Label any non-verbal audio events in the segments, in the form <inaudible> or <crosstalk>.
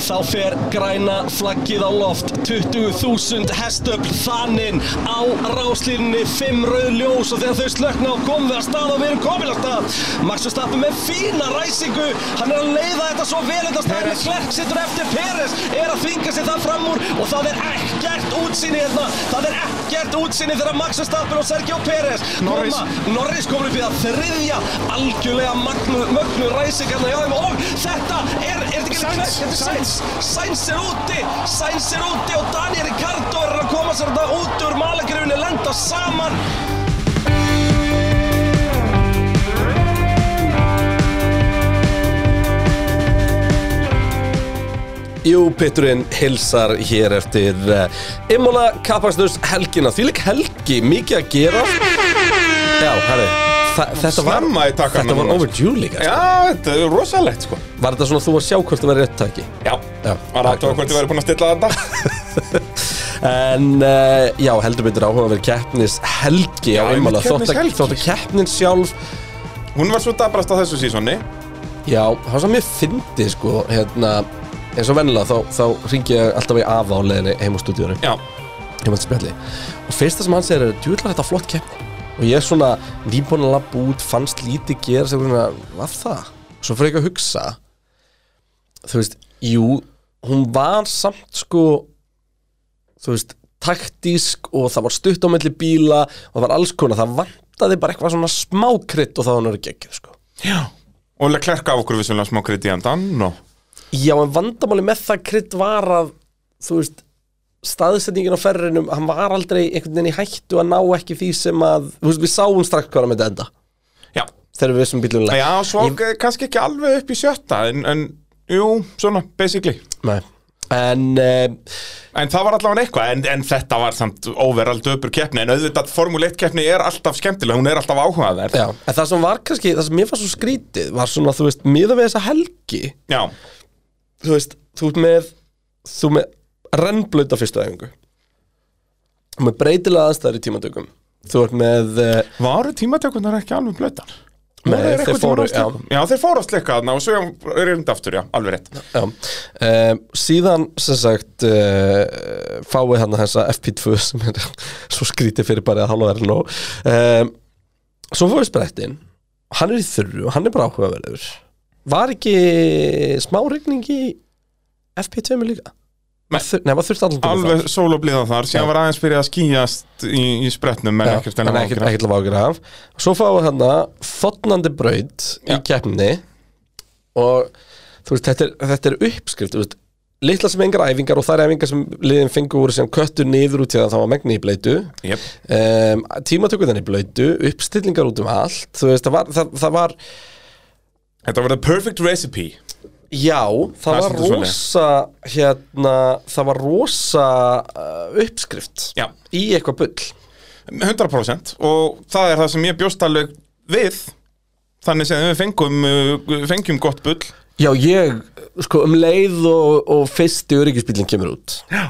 þá fer græna flaggið á loft 20.000 hestöfl þaninn á ráslínni 5 rauð ljós og þegar þau slökna á komum við að stað og við erum komin að stað Max Verstappen með fína ræsingu hann er að leiða þetta svo vel þetta stað Perez. með Klerk situr eftir Peres er að þvinga sig það fram úr og það er ekkert útsinni hérna það er ekkert útsinni þegar Max Verstappen og Sergio Peres Norris. Norris komur upp í það þriðja algjörlega magnu, mögnu ræsing hérna hjá þeim og þetta er, er þetta ekki Sainz, Leclerc? þetta er Sainz, Sainz er úti, Sainz er úti og Daniel Ricardo er að koma sér þetta út úr malagrifinu, lenda saman Jú, Pitturinn hilsar hér eftir uh, Imola Kappaksturs helgina Því lík helgi, mikið að gera Já, herri þa- Þetta var, Snemma í takkanum þetta var núna. overdue líka sko. Já, þetta er rosalegt sko Var þetta svona þú að sjá hvort það væri rétt tæki? Já, Já. var það tók hvort ég væri búin að stilla <laughs> þetta En uh, já, heldur betur áhuga að vera keppnis helgi á Já, Imola einmitt Þótt að keppnishelgi. þótt að keppnin sjálf Hún var svo dabrast á þessu sísoni Já, það var svo mér fyndi sko hérna, eins og vennilega þá, þá ringi ég alltaf í afa á leiðinni heim á stúdíunum Já, heim að spjalli og fyrsta sem hann segir er djúðlega þetta flott keppni og ég er svona nýbúin að lappa út fannst lítið gera sem svona, var það? svo fyrir ekki að hugsa þú veist, jú hún var samt sko þú veist, taktísk og það var stutt á melli bíla og það var alls konar, það vantaði bara eitthvað svona smákrytt og það var náttúrulega geggjuð sko og klerka af okkur vissulega smá kriti í andan og... Já, en vandamáli með það krydd var að, þú veist, staðsetningin á ferrinum, hann var aldrei einhvern veginn í hættu að ná ekki því sem að, þú veist, við sáum strax hvað hann myndi enda Já, þegar við vissum bílunlega. já svo kannski ekki alveg upp í sjötta en, en jú, svona, basically Nei. En, uh, En það var allavega eitthvað, en, en þetta var samt overall döpur keppni, en auðvitað Formule 1 keppni er alltaf skemmtileg, hún er alltaf áhugaverð já, en það sem var kannski, það sem mér fannst svo skrítið var svona, þú veist, miða við þessa helgi, Já, þú veist, þú ert með, þú með rennblöta fyrstu æfingu, Þú ert með breytilega aðstæður í tímatökum, þú ert með... Uh, varu tímatökunar ekki alveg blötar? Nei, Voru þeir einhvern tímann fóru- á slikku? já, þeir fóru að slikka þarna og svo er þetta aftur, já, alveg rétt Já, uh, síðan sem sagt uh, fáið hann þessa FP2 sem er <laughs> svo skrítið fyrir bara að hálfa verðin og uh, svo fóðið sprettinn hann er í þurru, hann er bara áhugaverður var ekki smá rigning í FP2 -mu líka? Nei. Þur, nei, maður þurfti allan tímann Alveg sól og blíða þar, síðan var aðeins byrjað að skýjast í, í spretnum, en Já, ekkert en enn ekkert ekkert alveg ágjur af svo fáið hann þotnandi braut í Já. keppni og þú veist, þetta er, þetta er uppskrift þú veist, litla sem engar æfingar og þær æfingar sem liðin fengur voru sem köttu niður út í það þá var megni í blöytu Jep, um, tímatökuðan í blöytu uppstillingar út um allt þú veist, það var, það, það var þetta var the perfect recipe Já, það, er var svolítið svoleiðis. rosa hérna, það var rosa uh, uppskrift Já. í eitthvað bull 100% og það er það sem ég bjóst alveg við Þannig sem við fengum, uh, fengjum gott bull Já, ég, sko, um leið og, og fyrsti öryggisbílinn kemur út Já.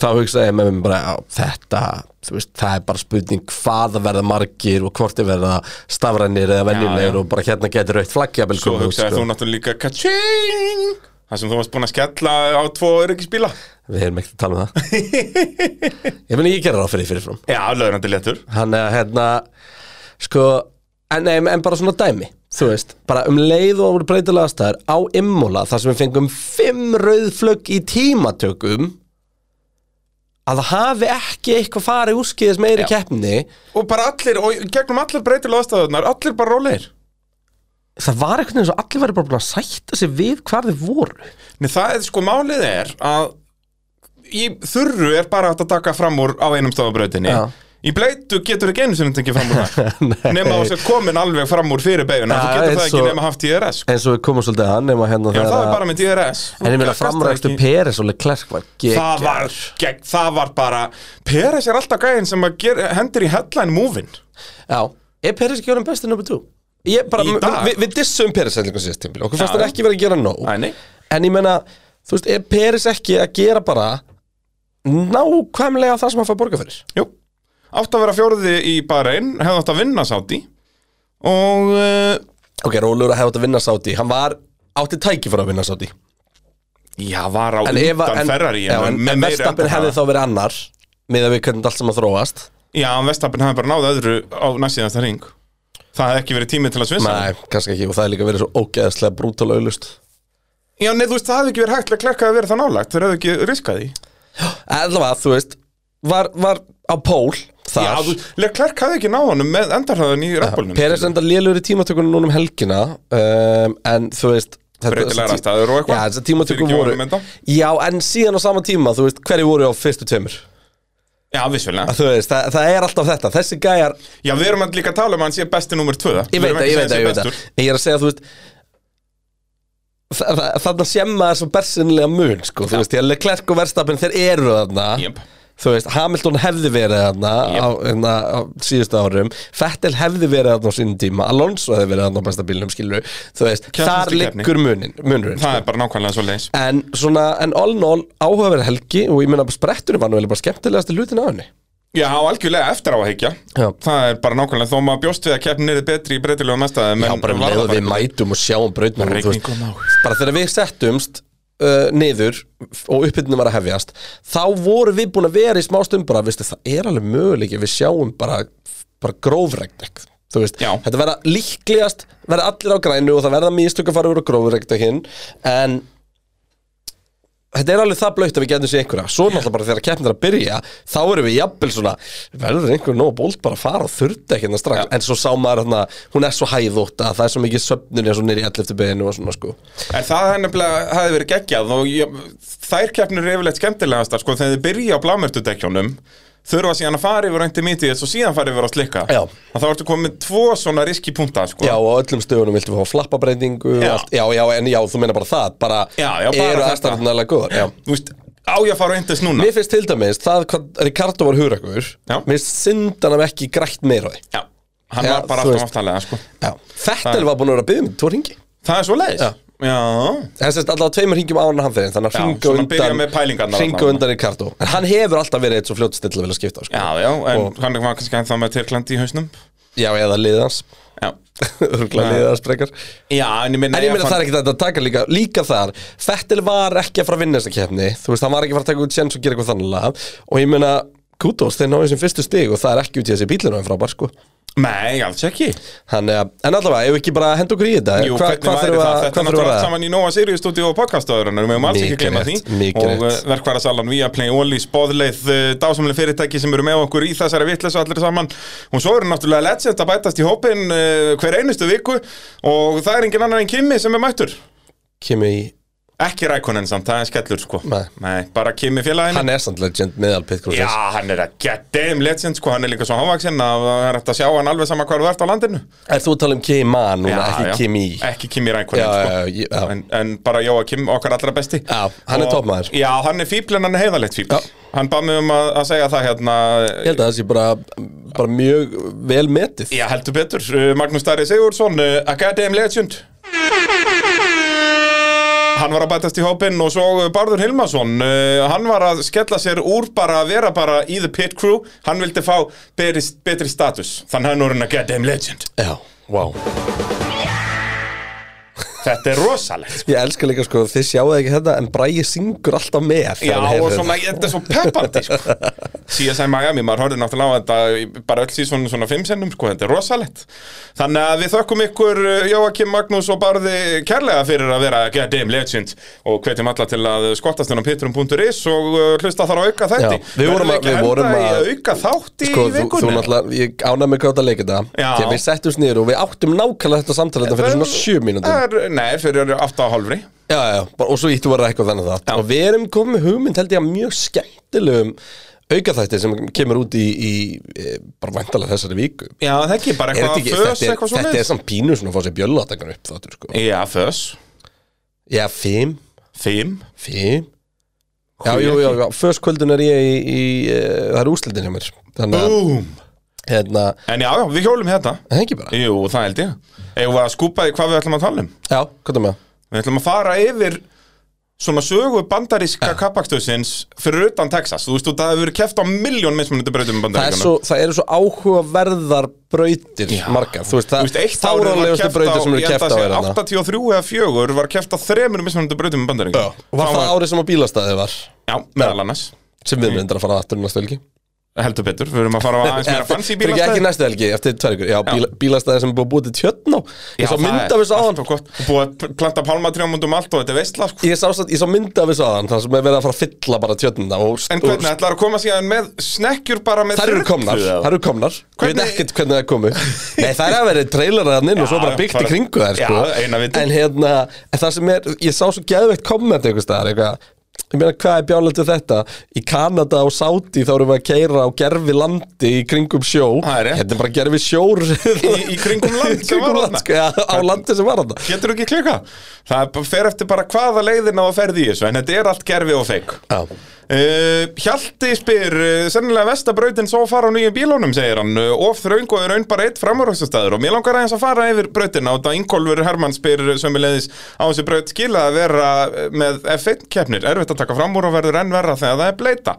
þá hugsaði ég með mér bara á, þetta, þú veist, það er bara spurning hvað að verða margir og hvort að verða stafrænir eða Já, venjulegir já. og bara hérna getur aukt flaggjabil Svo hugsaði sko." þú náttúrulega líka ka-ching Það sem þú varst búin að skella á tvo öryggisbíla Við erum ekkert að <laughs> tala um það Ég meni, ég gerir ráð fyrir því fyrirfram Já, löðrandi letur Hann er hérna, sko, en, en, en bara svona dæmi Þú veist, bara um leið og voru breytilega staðar á Immola þar sem við fengum fimm rauðflögg í tímatökum að það hafi ekki eitthvað farið úrskiðis meiri Já. keppni Og bara allir, og í gegnum allir breytilega aðstæðunar Allir bara rólegir það var eitthvað eins og allir væri bara búin að sætta sig við hvar þið voru Nei, það er sko, málið er að Í þurru er bara hægt að taka fram úr á einum stofabrautinni Já. Í bleitu getur ekki einu sinni tekið fram <laughs> úr það Nema þú sett komin alveg fram úr fyrir beiguna Já, Þú getur það eins ekki og- nema haft DRS sko. eins og við komum svolítið að nema hérna Já, þegar það er að- bara með DRS Þú en ég meina kastar framræktu ekki- Peres og Leclerc var Það var, geggjær gegn, það var bara Peres er alltaf gæðin sem að ger, hendur í headline move-in já, er Peres ekki orðin bestið nummer 2? Ég bara, Í við dag? vi, vi dissum Peres heldur síðast tímpil, okkur fannst Já. hann ekki verið að gera nóg Nei, nei. en ég meina, þú veist, er Peres ekki að gera bara nákvæmlega það sem hann fær borga fyrir Jú, átt að vera fjóruði í Bahrein hefði átt að vinna sátt í og uh, ok, Rólur að hefði átt að vinna sáti, hann var átti tæki fyrir að vinna sáti Já, var á En ef að- undan en- Ferrari já, En, en Verstappen hefði þá verið annar með að við hvernig allt sem að þróast Já, en Verstappen hefði bara náð öðru á næstíðasta ring Það hefði ekki verið tími til að svissa Nei, kannski ekki og það er líka verið svo ógeðslega brútal auðlust Já, nei, þú veist, það hefði ekki verið hægt að klerka að vera það nálægt Þeir hefði ekki riskað því Allavega, þú veist, var, var á pól þar Já, þú, Leclerc hafði ekki náð honum með endarhraðan í rappbólunum Peres enda lélur í tímatökunum núna um helgina um, en þú veist þetta- Breytilegar þessi tí- aðstæður og eitthvað. Já, þessar tímatökur Fyrir ekki voru honum enda. Já, en síðan á sama tíma, þú veist, hverju voru á fyrstu tveimur Já, vissulega Þú veist, það, það er alltaf þetta, þessi gæjar Já, við erum að líka að tala um að hann sé besti númer 2 Ég veit það, ég veit það, ég veit það En ég er að segja, þú veist þa- þa- Þarna semma er svo bersinlega mun, sko Þú veist, ég er Klerk og Verstapin, þeir eru þarna Jep. Þú veist, Hamilton hefði verið þarna á, hérna, á síðustu árum Fettel hefði verið þarna á sínum tíma Alonso hefði verið þarna á besta bílnum, skilur Þú veist, Kjarnfyrstu þar keppni. liggur munin, munurinn sko. Það er bara nákvæmlega svo leins En svona, en all in all áhugaverð helgi Og ég meina, spretturinn var nú eiginlega bara skemmtilegasti hlutin á henni Já, á algjörlega eftir á að hyggja Já. Það er bara nákvæmlega þó maður bjóst við að keppnin er betri í breytilegu mestæðum Já, bara með að við mætum og sjáum brautnum þú Rigning veist, og náð. Bara þegar við settumst uh, niður og uppbytunum var að hefjast þá voru við búin að vera í smá stund bara, veistu, það er alveg möguleik ef við sjáum bara, bara grófregnek þú veist, Já. þetta verða líklegast verða allir á grænu og það verða mistök að fara úr á grófregnekin en þetta er alveg það blöytt að við getum sér einhverja svo náttúrulega bara þegar keppnir að byrja þá erum við jafnvel svona verður einhver nóg bólt bara að fara og þurfti ekki hérna strax en svo sá maður hérna, hún er svo hæðótt að það er svo mikið söfnun eins og nýri allir eftir beðinu og svona sko En það er nefnilega, hefði verið geggjað og ég, þær keppnir eru yfirleitt skemmtilegast sko, þegar þið byrja á blámertudekjónum þurfa síðan að fara yfir reyndi mítið og síðan fara yfir á slikka Já. að þá ertu komið tvo svona riski punkta sko. Já, og á öllum stöðunum viltu fá flappabreitingu já. Já. já, já, en já, þú meina bara það bara Já, já, bara eru þetta. aðstæðanlega góðar já. Þú veist, á ég að fara reyndis núna Mér finnst til dæmis, það hvað Ricardo var hugrakur Já. mér finnst syndanum ekki grætt meira á því Já, hann Já, var bara þú alltaf veist. aftalega sko. Fettel var búin að vera að byggja með tvo ringi Það er svo leiðis Já. Það sést allavega tveimur ringjum án hann fyrir þannig Já, að hringa svona byrja með undan pælingarnar hringa þarna. undan Ricardo en hann hefur alltaf verið eitt svo fljótt still að vilja skipta á, sko. Já, já, en Og- hann var kannski ennþá með Tyrklandi í hausnum já, eða liðið <laughs> hans Já, örgulega Já. liðið hans frekar já en ég minna en ég meina það er ekki þetta að taka líka líka þar Fettil var ekki að fara að vinna þessa keppni þú veist, hann var ekki að fara að taka út sjens og gera eitthvað þannig lagað. og ég meina Kudos, þeir náðu sem fyrstu stig og það er ekki út í þessi bílinu en frábær sko Nei, alls ekki Þannig að, en allavega, ef við ekki bara að henda okkur í þetta Eh, Jú, Hva- hvernig hvað væri þurfum við það? að- Þetta hvað er þurfum við að- náttúrulega allt saman í Nóa Sirius stúdíu og podcastaðurinnar Við höfum alls ekki Mikið gleyma því rétt, mikið Og rétt. verkværasalan Viaplay, Ólís, Bóðleið, dásamlega fyrirtæki sem eru með okkur í þessari vitleysu allir saman Og svo eru náttúrulega legend að bætast í hópin eh, hver einustu viku Og það er engin annar en Kimi sem er mættur Kimi, Ekki rækonin samt, það er skellur sko Nei. bara Kimi félagin hann er samt legend meðal pitgrúsins Já, hann er að get damn legend sko, hann er líka svo hávaksinn að það er hægt að sjá hann alveg sama hvað þú ert á landinu Er þú að tala um Kima núna, Já, ekki já. Kimi? Ekki Kimi Já, Rækonin já, sko já, já. En, en bara Jóa Kim, okkar allra besti Já, hann er Og- toppmaður. Já, hann er fíbl en hann er heiðalegt fíbl Já. Hann bað mig um að, að segja það hérna Ég held að það sé bara, bara mjög vel metið Já, heldur betur, Uh, Magnús Dari Sigurðsson uh, A goddamn legend Hann var að bætast í hópinn og svo uh, Bárður Hilmarsson uh, Hann var að skella sér úr bara að vera bara í the pit crew Hann vildi fá betri, betri status Þannig hann er hann a goddamn legend Já, wow Þetta er rosalegt sko. Ég elska líka sko, þið sjáu ekki þetta en Bræði syngur alltaf með þegar Já, hann og heyrir svona, þetta er svo peppandi <laughs> sko. CSI Miami, maður horfði náttúrulega á þetta í- bara öll síðan svona fimm sennum, sko, þetta er rosalegt Þannig að við þökkum ykkur uh, Jóakim Magnús og Barði kærlega fyrir að vera goddamn legend og hvetjum alla til að skottast inn á pitrum.is og uh, hlusta þar á auka þætti Já, við vorum að- Verðum ekki við vorum enda að- í auka þátt í Sko, þú, þú vikunni náttúrulega, ég ána mig hvað það leikir það Já. Þegar við settumst niður og við áttum nákvæmlega þetta samtala þetta fyrir svona sjö mínútum Það er- Nei, fyrir átta og hálfri Já, já, bara, og svo íttu var eitthvað þannig þátt Já. Og við erum komið með hugmynd held ég að mjög skemmtilegum aukaþætti sem kemur út í, í e, bara væntalega þessari viku Já, það ekki, bara Er þetta ekki, eitthvað fös, þetta er, eitthvað þetta er svona samt pínu svona að fá sér bjöllatakar upp þáttur sko Já, fös, Já, fimm, fimm fimm Já, jú, jú, jú, fyrst kvöldun er ég í, í uh, það er úslitin hjá mér Þannig að, Búm hérna, En já, já, við hjólum hérna það hengi bara Jú, það held ég Eigum við að skúpa því hvað við ætlum að tala um Já, hvað er með það? Við ætlum að fara yfir svona sögu bandaríska Ah. ja. fyrir utan Texas, þú veist, þú- það hefur verið keft á miljón mismunandi Það, breytum í er bandaríkjunum svo, það eru svo áhugaverðar brautir margar, þú veist, Þú það veist, eitt árið var fáránlegustu keppt brautir sem eru ég held keppt á hérna. að sé er hana 83 eða 4 var keppt á þremur mismunandi brautum í bandaríkjunum Og var það árið sem á bílastæði var Já, meðal annars sem við myndir að fara aftur næstu helgi Heldur Petur, við erum að fara á Mm. aðeins meira fancy Fyrir ekki- bílastæði Ekki næstu helgi, eftir tvær ykkur Já, bíla, bílastæði sem er búið að búið til tjötn á Ég sá það mynd er af þessu allt áðan og gott. Og Búið að p- planta pálmatrjám út um allt og þetta er veistla sko. Ég sá, satt- ég sá mynd af þessu áðan þar sem er verið að fara að fylla bara tjötnina og, En og- hvernig, ætlar að koma síðan með snekkjur bara með Þær eru komnar, þyrlu, eða? þær eru komnar Ég veit Hvernig- ekkert hvernig það komu <laughs> Nei, þær hafa verið trailerað hann inn og svo Já, bara byggt í bara- kringu þær sko. Já, eina viti. En hérna, en það sem er Ég sá svo geðveikt komment einhvers staðar eitthvað Ég meina, hvað er bjálandi þetta? Í Kanada og Sáti þá erum við að keira á gerfi landi í kringum sjó Það er rétt. Hérna er bara gerfi sjór Í- í kringum <laughs> Í land sem kringum var þarna. land, sko, já, Á landi sem var hann Getur ekki klika? Það er bara- fer eftir bara hvaða leiðin á að ferði í þessu En þetta er allt gerfi og feik Já, Uh, Hjalti spyr uh, sennilega vestabrautin svo fara á nýjum bílónum segir hann, uh, of þröng og er raun bara eitt framuröksastæður og mér langar aðeins að fara yfir brautina og þetta Ingólfur Hermann spyr sömulegðis á þessi braut skila að vera uh, með F1 keppnir, erfitt að taka fram úr og verður enn verra þegar það er bleita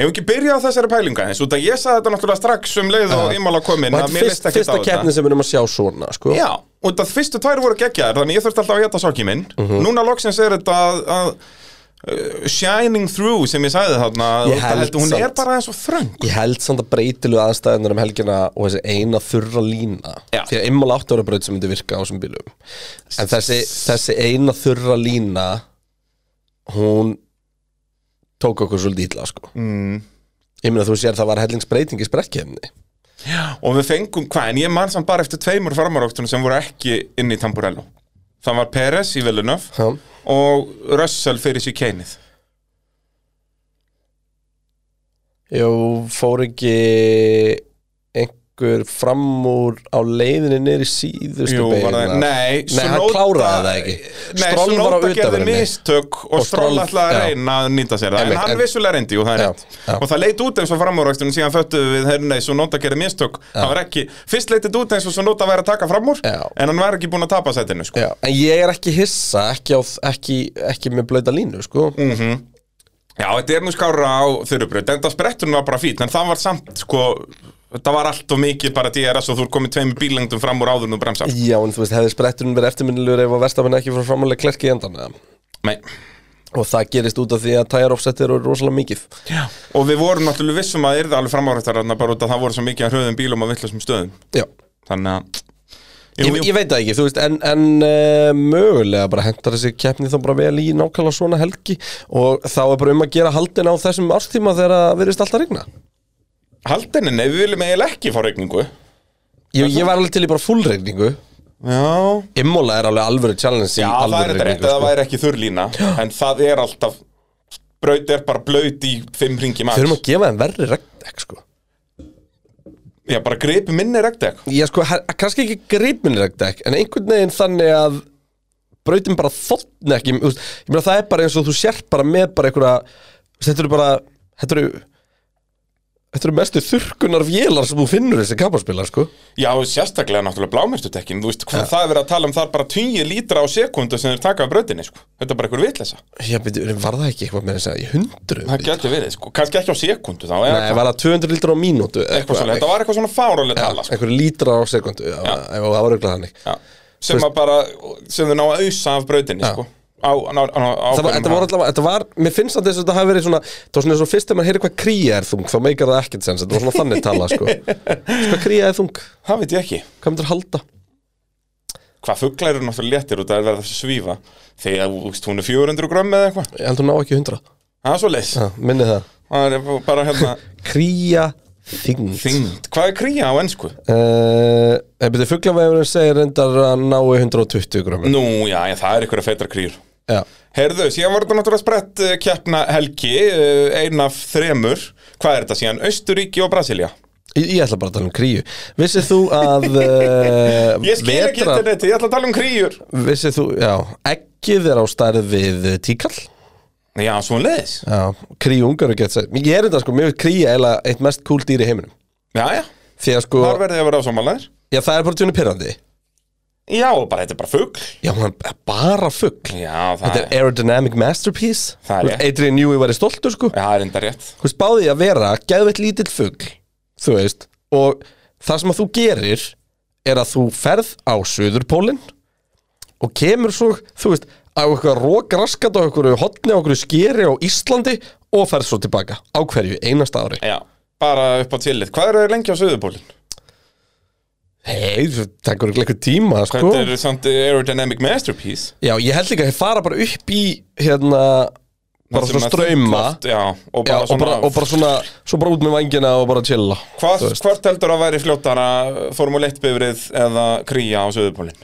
Hefur ekki byrjað á þessari pælinga eins út að ég saði þetta náttúrulega strax um leið og ymmala komin Og að þetta mér er leist fyrst, ekki á fyrsta þetta keppni sem við erum að sjá svona sko. Já, út að fyrstu tvær voru geggjaðar þannig ég þurfti alltaf að geta sokki minn Mhm. Núna loksins er þetta að, að uh, Shining through sem ég sagði þarna Ég út að held Hún er samt. bara eins og þröng Ég held samt að breytilu aðstæðunar um helgina og þessi eina þurra lína Já. Því að immal átt ára braut sem myndi virka á þessum bílum En þessi, þessi eina þurra lína Hún tók okkur svolítið illa sko mm. Ég meina þú sér það var hellingsbreyting í sprekkefni Og við fengum, hvað, en ég man samt bara eftir tveimur farmaróktunum sem voru ekki inn í Tamburello Það var Peres í Villeneuve Já, og Russell fyrir sér keinið Jú, fór ekki einhver fram úr á leiðinni niður í síðustu Jú, var það, beygina? nei, Nei, hann kláraði það ekki Stroll Nei, var á Snóta gerði utanverðinni. mistök og, Og Stroll Stroll- ætlaði að já. reyna að nýta sér það Einmitt, En hann en- vissulega reyndi og það er Já, rétt já. Og það leit út eins og framúrrækstunum síðan föttuðu við herr, Nei, Snóta gerði mistök Það var ekki, fyrst leitit út eins og Snóta væri að taka fram úr Já. En hann var ekki búin að tapa setinu sko. Já, en ég er ekki hissa, ekki, á, ekki, ekki með blöta línu, sko Mm. Já, þetta er nú skára á þurrubraut En það spretturinn var bara fínt En það var samt, sko Það var allt og mikið bara DRS og þú er komið tveimur bílengdum fram úr áður nú bremsar Já, en þú veist, hefði spretturinn verið eftirminnilegur ef að Verstafinn ekki frá framalega klerki í endan eða? Nei. og það gerist út af því að tire offset eru rosalega mikið Og við vorum náttúrulega vissum að yrði alveg framárhættar bara út að það voru svo mikið að hröðum bílum á villasum stöðum Já, Þannig að ég, ég veit það ekki, þú veist, en, en uh, mögulega bara hentar þessi keppni þá bara vel í nákvæmlega svona helgi og þá er bara um að gera haldin á þessum árstíma þegar það virðist alltaf regna Haldinni, nei, við viljum eiginlega ekki fá regningu Ég, ég var alveg til í bara fullregningu Já Immola er alveg alvöru challenge í Já, það er alvöru sko. þetta rétt regningu að það væri ekki þurrlína En það er alltaf Braut er bara blaut í fimm ringi max Þurfum að gefa þeim verri regndekk, sko Já, bara gripi minni regndeg Já, sko, her- kannski ekki gripminregdekk En einhvern veginn þannig að Brautin bara þotn ekki þú veist, Ég meina það er bara eins og þú sért bara með bara einhverja þú veist, Þetta eru bara Þetta eru Þetta eru mestu þurrkunar vélar sem þú finnur þessi kapaspilar, sko Já, og sérstaklega náttúrulega blámertutekkin Þú veist hvað það er verið að tala um það er bara 10 lítra á sekundu sem þeir taka af brautinni sko. Þetta er bara einhver vitleysa Já, beti, var það ekki eitthvað með þess að í hundru Það getur verið, sko. kannski ekki á sekundu þá eða Nei, var það 200 lítra á mínútu eða eitthvað svona, þetta var eitthvað svona fárálega tala sko. Einhverju lítrar á sekundu Já, já. það var auðvitað þannig Já. sem að bara, sem þau ná að ausa af brautinni sko. á, á, á, á Það var, ákveðnum þetta var hraða. allavega, þetta var, mér finnst að þess að þetta hafi verið svona, það var svona eins og fyrst þegar maður heyrir hvað kría er þung, þá meikar það ekkert sens, þetta var svona þannig tala, <laughs> sko. Veistu Hvað kría er þung? Það veit ég ekki Hvað myndir halda? hvað fuglar eru náttúrulega léttir og það er verið að svífa þegar þú veist, hún er 400 grömm eða eitthvað Ég held hún ná ekki 100. það er svo leys Já, minni það. það er bara hérna Kría þing. þyngd hvað er kría á ennsku? Uh, ef byrju fugglavegurinn segir reyndar að ná í 120 grammi. nú já, já það er einhverja feitar kríur Já. Herðu, síðan var þetta náttúrulega sprett eh, keppna helgi, eh, ein af þremur hvað er þetta síðan? Austuríki og Brasilia Ég, ég ætla bara að tala um kríu. Vissið þú að <laughs> uh, Ég skil ekki interneti, ég ætla að tala um kríur vissið þú, já, ekkið er á stærð við eh, tíkall? Já, svona leðis Já, kríungar er gett sætt. Ég er þetta sko, mér finnst kríja eiginlega eitt mest cool dýr í heiminum. Já, já, Því að sko, þar verðið að vera ásamálaðir já það er bara tjónu pyrrandi Já, bara, þetta er bara fugg Já, hún er bara fugg Já, það Þetta er aerodynamic masterpiece Það er Þú veist, Adrian Newey væri stoltur sko Já, það er enda rétt Þú veist, báði að vera geðveitt lítill fugg Þú veist Og það sem að þú gerir Er að þú ferð á Suðurpólinn Og kemur svo, þú veist Á eitthvað rókraskat á eitthvað hotni Á eitthvað skeri á Íslandi Og ferð svo tilbaka á hverju einasta ári Já, bara upp á tillið Hvað eru þeir lengi á Suðupólinn? Hei, það tekur eitthvað tíma sko Þetta er samt aerodynamic masterpiece Já, ég held líka að þeir fara bara upp í hérna bara Það sem svona að ströyma þykkt loft- Já, og Já, bara og, bara, og bara svona, svo bara út með vangina og bara chilla Hvað, þú veist. hvort heldur að væri fljótara Formule 1 bifrið eða kríja á Suðupólinn?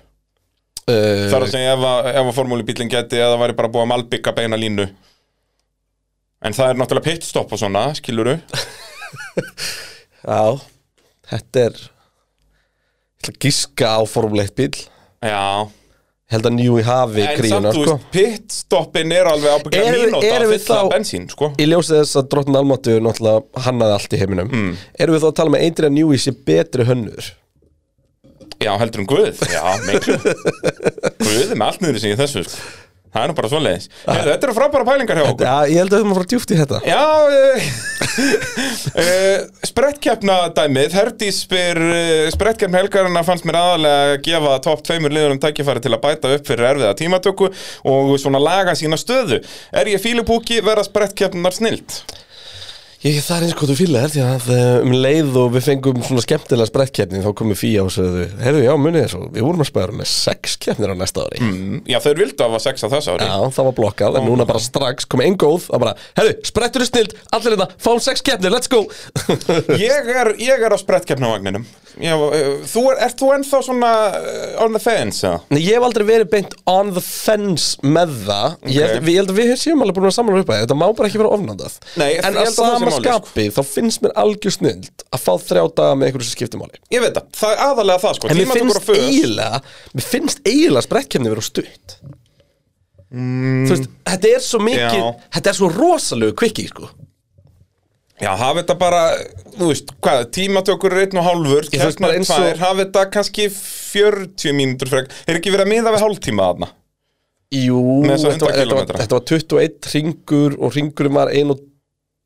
uh, Það er að segja ef að, ef að formúlubílinn geti eða væri bara búið að malbygga beina línu En það er náttúrulega pitstopp og svona, <laughs> skiluru Já, þetta er Ég ætla að gíska á Formule 1 bíl Ég Já held að Newey hafi En samt, kríuna þú sko. veist, pitstoppin er alveg ábyggja Erum við- mínúta erum að við fylla þá- bensín, sko Ég ljósi þess að drottin Almáttu náttúrulega hannaði allt í heiminum Hmm. mm. Erum við þá að tala með Adrian Newey sé betri hönnur Já, heldur um Guð, já, <laughs> miklu Guð er með allt niður sig í þessu, sko Það er nú bara <laughs> svoleiðis Heyrðu, Þetta eru frábæra pælingar hjá okkur Já, ég held að við maður fara djúpt í þetta Já, <laughs> uh, uh, sprettkeppna dæmið Herdís spyr uh, sprettkeppna helgarina fannst mér aðalega að gefa topp tveimur liðurum tækifæri til að bæta upp fyrir erfiða tímatöku og svona laga sína stöðu Er ég fílupúki vera sprettkeppnar snilt? Ég það er eins hvað þú fílar því að eh, um leið og við fengum svona skemmtilega sprettkeppni þá komum fíja og sagðu Herðu, já, munið þessu, við vorum að spæra með sex keppnir á næsta ári Mm, já, þau vildu að var sex á þessu ári Já, það var blokkað, en núna bara strax kom einn góð að bara, herru, sprettur er snild, allir þetta, fáum sex keppnir, let's go <laughs> Ég er, ég er á sprettkeppnavagninum Já, uh, Þú er, ert þú ennþá svona uh, on the fence, eða? Nei, ég hef aldrei verið beint on the fence með það ég, held, við- Ok. ég held að við séum alveg búin að samla upp að þetta má bara ekki vera ofnandað Nei, ég- En ég að held að það sé sama málið, sko. skapi, þá finnst mér algjör snild að fá þrjá daga með einhverju sem skiptir máli Ég veit það, það er aðalega það sko En mér Tímatökur finnst og fös. eiginlega, mér finnst eiginlega sprettkemni vera of stutt mm. Þú veist, þetta er svo mikið, Já. þetta er svo rosalegu kvikki, sko Já, hafa þetta bara, þú veist, hvað, tímatökur er einn og hálfur, Ég, þú veist, bara keppnar eins og- tvær, hafa þetta kannski 40 mínútur frek, er ekki verið að miða við hálftíma þarna? Jú, Með þessa þetta var, þetta, 100 var, kílómetra. þetta var 21 ringur og ringurinn var ein og,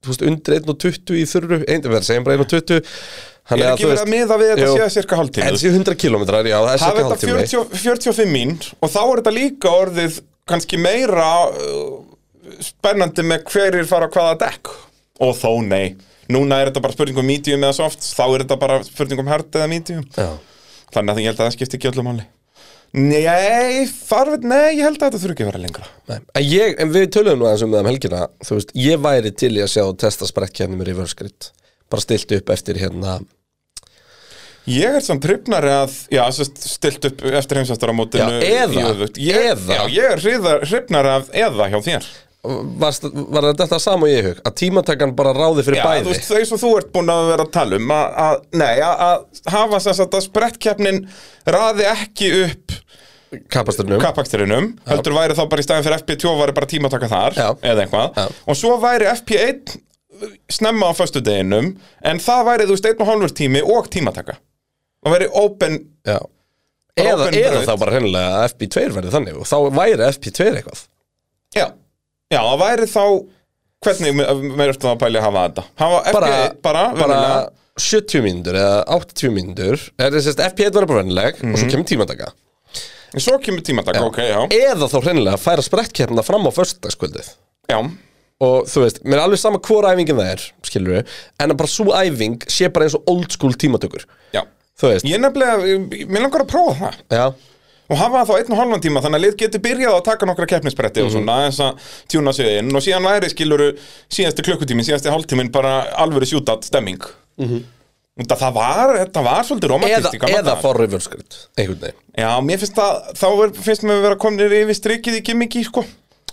þú veist, undir 1 og 20 í þurru, ein, við erum segjum bara 1 og 20 Er Þannig að ekki þú verið veist, að miða við þetta Jú. séða cirka þetta hálftíma? séu 100 kílómetrar, já, það er Hafa sér þetta hálftími 40, 45 mín og þá er þetta líka orðið kannski meira uh, spennandi með hverjir fara á hvaða dekk og þó nei. Núna er þetta bara spurning um medium eða soft, þá er þetta bara spurning um hard eða medium. Já, Þannig að ég held að það skipti ekki öllum máli. Nei, farfið, nei, ég held að þetta þurfi ekki að vera lengra. nei. En, ég, en við töluðum nú aðeins um það um helgina, þú veist, ég væri til í að sjá og testa sprekkenni með reverse grid bara stilt upp eftir hérna Ég er samt hrifnari að, já, sem sagt, stilt upp eftir heimsættar á mótinu Já, eða, ég, eða. Já, ég er hriðar, hrifnari af eða hjá þér Varst, var þetta sama og ég í hug að tímatakan bara ráði fyrir Já, bæði þú veist, þau svo þú ert búin að vera að tala um að, að nei, að, að hafa sem sagt að sprettkeppnin raði ekki upp kapasturnum kappaksturinn heldur væri þá bara í staðin fyrir FP2 væri bara tímataka þar, Já. eða eitthvað Já. og svo væri FP1 snemma á föstudeginum en það væri, þú veist, einn og hálfur tími og tímataka það væri open Já. eða, Open eða braut. þá bara hennilega að FP2 verði þannig og þá væri FP2 eitthvað Já, já, það væri þá Hvernig me- meira ertu þá að pæli að hafa þetta? Hafa FB bara, bara, bara venjulega. 70 mínútur eða 80 mínútur eða sérst FP1 verður bara vennileg og Mhm. svo kemur tímataka En Svo kemur tímatak, ok, já eða þá hennilega að færa sprettkeppna fram á föstudagskvöldið Já, og þú veist, mér er alveg sama hvora æfingin það er skilur við, en að bara svo æfing sé bara eins og old school tímatökur já þú veist, Ég nefnilega, ég- mér langar að prófa það já Og hafa það þá einn og halvan tíma Þannig að lið getur byrjað að taka nokkra keppnisbretti Mhm. Og svona aðeins að tjúna sig inn Og síðan væri skiluru síðasti klukkutímin, síðasti hálftímin Bara alvöru sjútat stemming mm Það var, þetta var svolítið Mhm. eða, romantist eða fá reverse grid, einhvern veginn Já, mér finnst það, þá er, finnst mér vera komnir yfir strikið í gimmiki, sko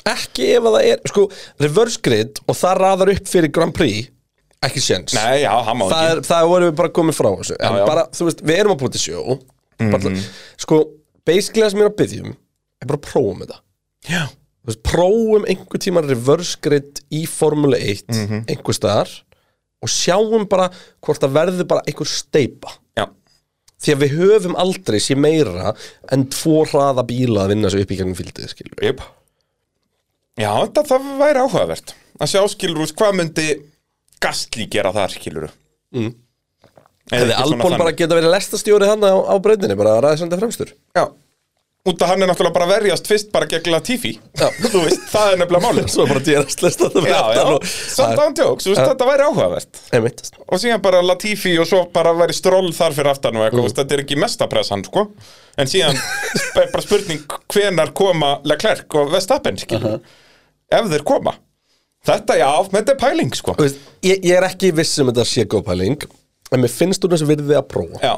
ekki ef að það er sko, reverse grid og það raðar upp fyrir Grand Prix ekki séns Nei, já, það má það, ekki er, það vorum við bara komið frá þessu en Já, Mhm. já. bara, þú veist, við erum að búið til sjó mm sko, basically það sem ég er að byggjum er bara að prófum þetta Já Þú veist, prófum einhver tíma reverse grid í Formule 1 mm Mhm. -hmm. einhver staðar og sjáum bara hvort það verður bara einhver steipa Já, því að við höfum aldrei sé meira en tvo hraða bíla að vinna þessu upp í gegnum fylgdið skilur Jep. Já, þetta það væri áhugavert að sjá skilur úr hvað myndi Gastli gera þar skilur mm. hefði Albon bara geta verið lestastjóri þannig á, á breyndinni bara ræðisandi fremstur Já, út að hann er náttúrulega bara að verjast fyrst bara gegn Latifi Þú veist, það er nefnilega málið <laughs> svo bara dýrast lestandi Já, já, samt án tjóks, þú veist, þetta væri áhugavert einmitt og síðan bara Latifi og svo bara væri stról þar fyrir aftan og eitthvað, mm. þetta er ekki mesta pressan sko, en síðan sp- bara spurning hvenar koma Leclerc og Vestapen, skilur ef þeir koma þetta, já, þetta er pæling, sko Þú veist, ég, ég er ekki viss um þetta sé góð pæling en mér finnst hún þessu virði að prófa já,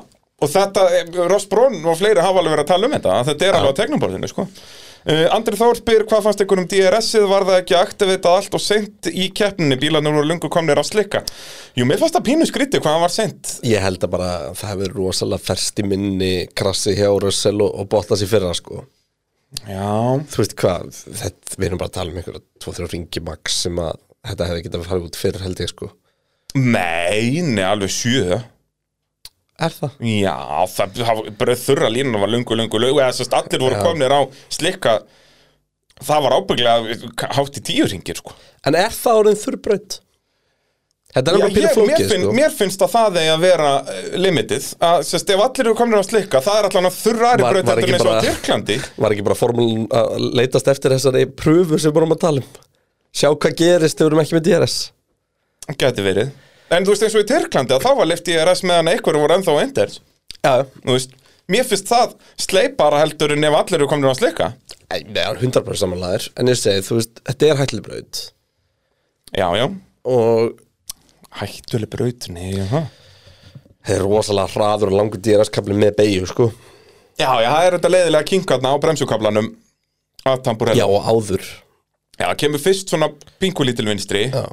og þetta, eh, Ross Brón og fleiri hafa alveg verið að tala um þetta, að þetta er alveg á tegnumborðinu, sko Uh, Andri Þór spyr hvað fannst ykkur um DRS-ið var það ekki að aktivita allt og seint í keppninni bílarnir voru lungu komnir að slikka Jú, mér fannst það pínu skrítið hvað hann var seint Ég held að bara það hefur verið rosalega ferst í minni krassi hjá Russell og, og Bottas í fyrra sko Já, Þú veist hvað, þetta, við erum bara að tala um einhverja tvo, þrjá ringi max sem að þetta hefði getað að fara út fyrr held ég sko Nei, nei, alveg sjö Er það? Já, það það- bara þurra línan var lungu, lungu, lungu eða sérst allir voru komnir á slikka það var ábygglega hátt í tíu ringir sko. En er það orðin þurrbraut? Þetta er Já, alveg pínu ég, mér, flókið finn, sko mér finnst að það eigi að vera eh, limitið að sérst ef allir eru komnir á slikka það er allan að þurra aðri Var- braut var heldur ekki en eins og á bara- Tyrklandi Var ekki bara formúlun að leitast eftir þessari pröfu sem við vorum að tala um Sjá hvað gerist þegar við erum ekki með DRS gæti verið en þú veist eins og í Tyrklandi að þá var leift í RS meðan einhverju voru ennþá enders Já, já þú veist, mér finnst það sleipara heldur en ef allir eru komnir á slikka Nei, Nei, það er 100% samanlæður En ég segi, þú veist, þetta er hætlibraut já, já, Og hættuleg braut nei, já þetta er rosalega hraður og langur DRS-kabli með beigju, sko Já, já, það er þetta leiðilega kinkarna á bremsukablanum af Já, tamburella. og áður Já, það kemur fyrst svona pinkulítil vinstri. Já.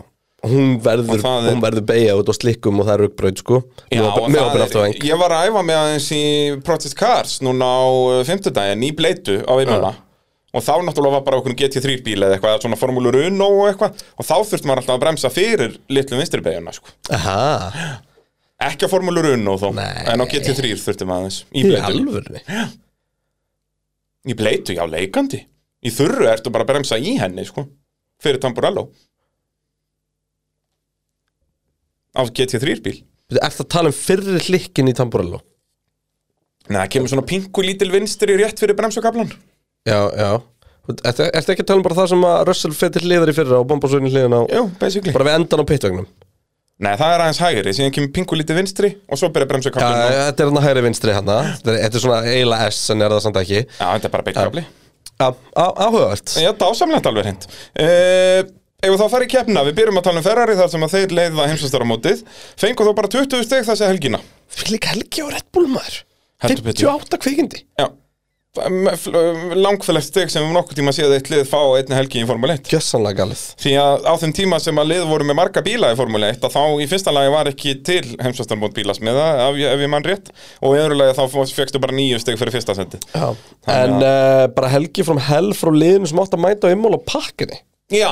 Hún verður, Og það er- hún verður beigja út og slikkum og það er aukbraut, sko Já, og með opinn það er, afturvæng ég var að æfa mig aðeins í Protest Cars núna á uh, fimmtudaginn í Bleitu á einuna. Og þá náttúrulega var bara okkur um GT3 bíl eða eitthvað, eða svona formúlur Uno og eitthvað. Og þá þurfti maður alltaf að bremsa fyrir litlu vinstri beiguna, sko. Aha, Ekki á formúlur Uno þó, Nei. en á GT3 þurfti maður aðeins. í Í Bleitu, alvörni í Bleitu, já, leikandi. Í þurru ertu bara að bremsa í henni, sko, fyrir tamburella. Á GT3 bíl. Er það að tala um fyrri hlikkin í Tamburello? Nei, það kemur svona pinku lítil vinstri rétt fyrir bremsukablan Já, já Ertu ertu ekki að tala um bara það sem að Russell fyrir hliðar í fyrra og bombasögnin hliðan á Jú, basically Bara við endan á pittvögnum Nei, það er aðeins hægri, síðan kemur pinku lítil vinstri og svo byrja Já, bremsukablan já, eh, þetta er hann að hægri vinstri hann Þetta er- þetta er svona eiginlega S en er það samt ekki Já, þetta er bara beittkabli Já, á- Áhugavert Já, dásamlegt alveg hreint uh, Ef þá farið keppna, við byrjum að tala um Ferrari þar sem að þeir leiða heimsvæstaramótið Fengu þó bara 20 steg þessi helgina Fyrir líka helgi á Red Bull maður Heldur betur. 58 kvikindi Já Langfælega steg sem við nokkuð tíma séð eitt lið fá á einni helgi í Formule 1 Gjössanlega galið Því að á þeim tíma sem að lið voru með marga bíla í Formule 1 að þá í fyrsta lagi var ekki til heimsvastarmót bílasmiða ef, ég- ef ég mann rétt og í öðru lagi þá fegstu bara nýju steg fyrir fyrsta sendi Já. En uh, bara helgi frá hell frá liðinu sem átt að mæta á ymmál á pakkinni Já,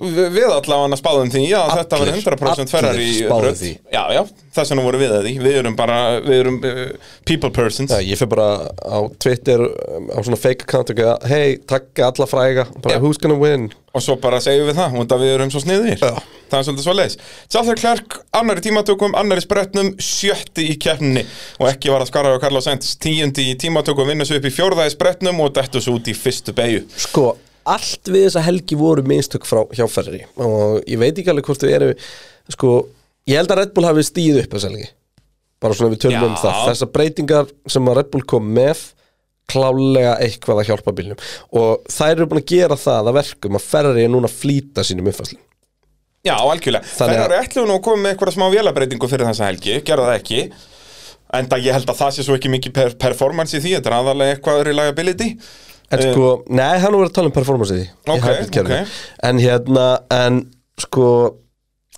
vi- við allavega spáðum því að þetta var 100% allir ferrar í spáðu því. Já, já, þess vegna voru við að því Við erum bara, við erum uh, people persons Já, ég fer bara á Twitter um, á svona fake account og geða hei, takk alla fræga, bara Já. who's gonna win og svo bara segjum við það, út að við erum svo sniðir Já. það er svolítið svo leis Sjálfur Klerk, annari tímatökum, annari spretnum sjötti í keppninni og ekki var að skara á Karla Sainz tíundi í tímatökum vinna svo upp í fjórða í spretnum og dettu svo út í fyrstu beigju Sko, allt við þessa helgi voru minnstök frá hjáferri og ég veit ekki alveg hvort við erum sko, ég held að Red Bull hafi stíð upp þessa helgi bara svona við tölum Já. um það þessar breytingar sem að Red Bull kom með klálega eitthvað að hjálpa bílnum og þær eru búin að gera það að verkum að Ferrari er núna að flýta sínum uppfæslum Já, algjörlega, Þannig þeir að- eru ætluðu nú að koma með eitthvað smá vélabreitingu fyrir þessa helgi, gera það ekki en það ég held að það sé svo ekki mikið per performance í því, þetta er aðalega eitthvað reliability En sko, nei, hann var að tala um performance í því í Eh. Ok, hybrid-kerfinu. ok. En hérna, en sko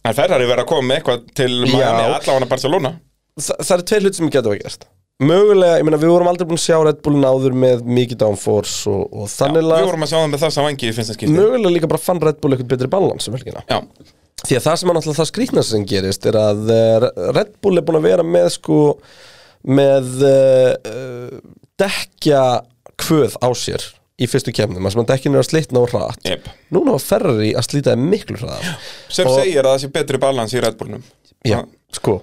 en Ferrari verið að koma með eitthvað til Miami, allavega Barcelona þa það eru tveir hlut sem getur að gerast Mögulega, ég meina, við vorum aldrei búin að sjá Red Bullin áður með mikið downforce og, og þannig Við lað vorum að sjá það með þess að vangi í finnsta skipti Mögulega líka bara fann Red Bull eitthvað betri balans um helgina Já, Því að það sem er náttúrulega það skrýtna sem gerist er að eh, Red Bull er búin að vera með sko með uh, uh, dekja kvöð á sér í fyrstu kemnum, þar sem að dekkin er að slitna og hratt Jep. núna var Ferrari að slíta þeim miklu hraðar sem Og- segir að það sé betri balans í Red Bullnum Já, Ha, sko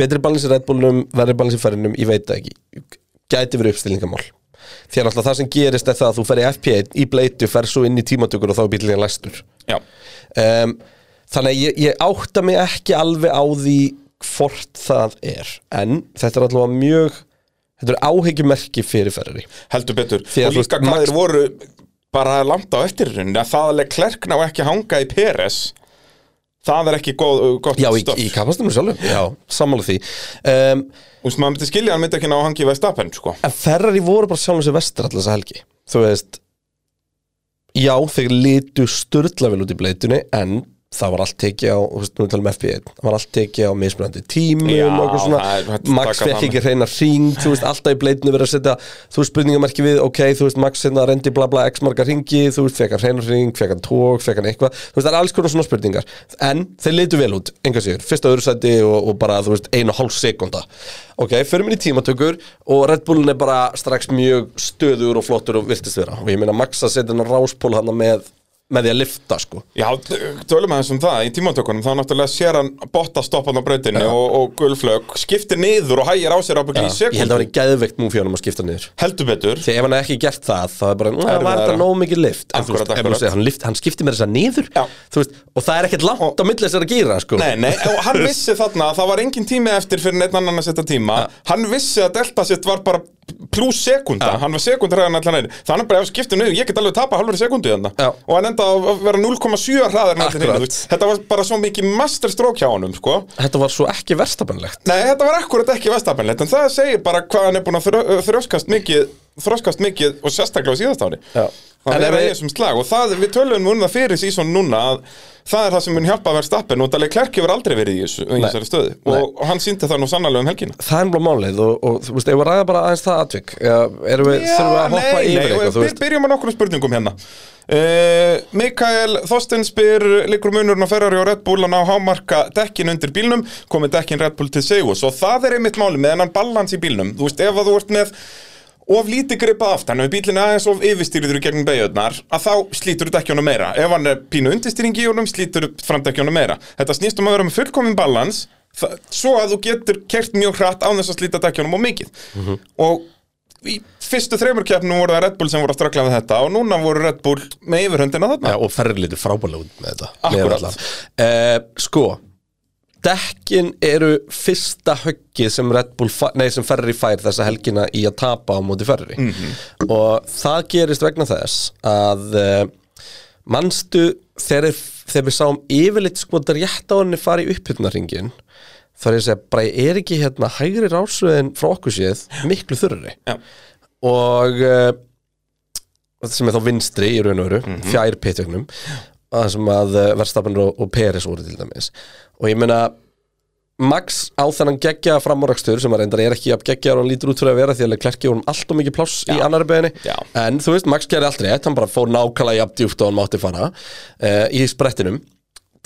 Betri balans í Red Bullnum, verri balans í ferrinum Ég veit það ekki, gæti verið uppstillingamál Því að alltaf það sem gerist er það að þú ferð í FP1 í bleitu, ferð svo inn í tímatökur og þá er bílinn læstur já, um, Þannig að ég, ég átta mig ekki alveg á því hvort það er En þetta er alltaf mjög Þetta er áhyggjumerki fyrir ferri heldur betur Því að og þú líka veist, hvað Max- þeir voru bara langt á eftir í rauninni, að það alveg klerkna og ekki að hanga í Peres það er ekki góð, gott Já, í, stöf í kapastunum sjálfum, já, sammála því um, og maður myndi skilja að hann myndi ekki ná að hangi í Vestapen sko. En Ferrari voru bara sjálfum sér vestir allas að helgi Þú veist Já, þeir litu sturla vel út í bleitunni En það var allt tekið á Þú veist, nú erum við að tala um FP1 Það var allt tekið á mismunandi tímum Já, og eitthvað svona, það er hægt að Max taka fekk það ekki reyna hring Þú veist, alltaf í bleitinu verið að setja Þú veist, spurningamarki við, ok, þú veist, Max hérna reyndi bla bla x marga hringi Þú veist, fekk hann reyna hring, fekk hann tók, fekk hann eitthvað Þú veist, það er alls konar svona spurningar En þeir litu vel út, enga sigur Fyrsta og öðru sæti og, og bara, þú veist, einu og hálf sekunda Ok, förum inn í tímatökur Og Red Bullin er bara strax mjög stöður og flottur og virtist vera Og ég meina, Max að setja hann ráspól hann með, með því að lifta, sko Já, tölum aðeins um það í tímantökunum þá náttúrulega sér hann bottastoppan á brautinu og, og gulflög, skiptir niður og hægir á sér ábyggjum í Ég held að sekund það var geðveikt múfi ánum að skipta niður heldur betur Þegar ef hann hefði ekki gert það, þá er bara, "Nú, það Erfiðara. var þetta nóg mikið lift En þú Akkúrat, veist, ef þú akkúrat. segir, hann, lift, hann skipti mér þess að niður Já. Þú veist, Og það er ekkert langt á milli þess að gýra sko. Nei, nei, og <laughs> hann vissi þarna að það var engin tími eftir fyrir neitt annan að setja tíma Hann vissi að delta sitt var bara pluss sekunda, hann var sekundar hraðan allan einu Þannig bara ef skiptum niður, ég get alveg tapa halvur sekundu þarna Já. hérna. Og hann enda að vera 0,7 hraðar en allir Akkurat. hinu Þetta var bara svo mikið masterstrók hjá honum, sko Þetta var svo ekki verstabanlegt Nei, þetta var akkurat ekki vestapenlegt En það segir bara hvað hann er búin að þrö, þrjóskast mikið Þrjóskast mikið og sérstaklega á síðast ári Já. En Það ef er við- eigin sem slag og það, við tölum um það fyrir sísón núna að það er það sem mun hjálpa að vera stappen og Dalí Klerk hefur aldrei verið í þessu, í þessari stöðu og hann síndi það nú sannarlega um helgina Það er mjög málið og, og þú veist, eigum við að ræða bara aðeins það atvik Eða Erum við, þurfum við að hoppa nei, yfir nei, eitthvað, þú við veist byrjum á nokkrum spurningum hérna uh, Mikael Þorsten spyr líkur munurinn á Ferrari og Red Bull að ná hámarka dekkin undir bílnum komið dekkin Red Bull til segjus og það er einmitt máli með hennan balans í bílnum þú veist, ef að þú ert með of lítið gripað aftan, ef bílinn er aðeins of yfirstýriður í gegnum beigjöðnar, að þá slítur dekkjónu meira. Ef hann er pínu undirstýring í honum, slítur framdekkjónu meira. Þetta snýst um að vera með fullkomin balans, það- svo að þú getur kert mjög hratt án þess að slíta dekkjónum og mikið. Mhm. Og í fyrstu þreymur keppnum voru það Red Bull sem voru að strakla við þetta og núna voru Red Bull með yfirhöndina þarna. Já, Og ferri litur frábælega út með þetta Hérna. Akkúrat. uh, Sko Dekkin eru fyrsta höggið sem, Red Bull fa- nei, sem Ferri fær þessa helgina í að tapa á móti Ferri og það gerist vegna þess að uh, manstu þegar, þeir- þegar við sáum yfirleitt sko þetta rétt á henni fara í upphyrnaringin þá er ég að segja, bara er ekki hérna hægri rásröðin frá okkur séð miklu þurrari Já. og uh, sem er þá vinstri í raun og veru, Mhm. fjær pittögnum það sem að verðstafnir og, og Peres voru til dæmis og ég meina Max á þennan geggjaða framúrakstur sem að reyndar er ekki jafn geggjaðar og hann lítur út fyrir að vera því að klerki honum allt og mikið pláss í annari beginni Já. en þú veist, Max gerði allt rétt hann bara fór nákvæmlega jafn djúpt og hann mátti fara uh, í sprettinum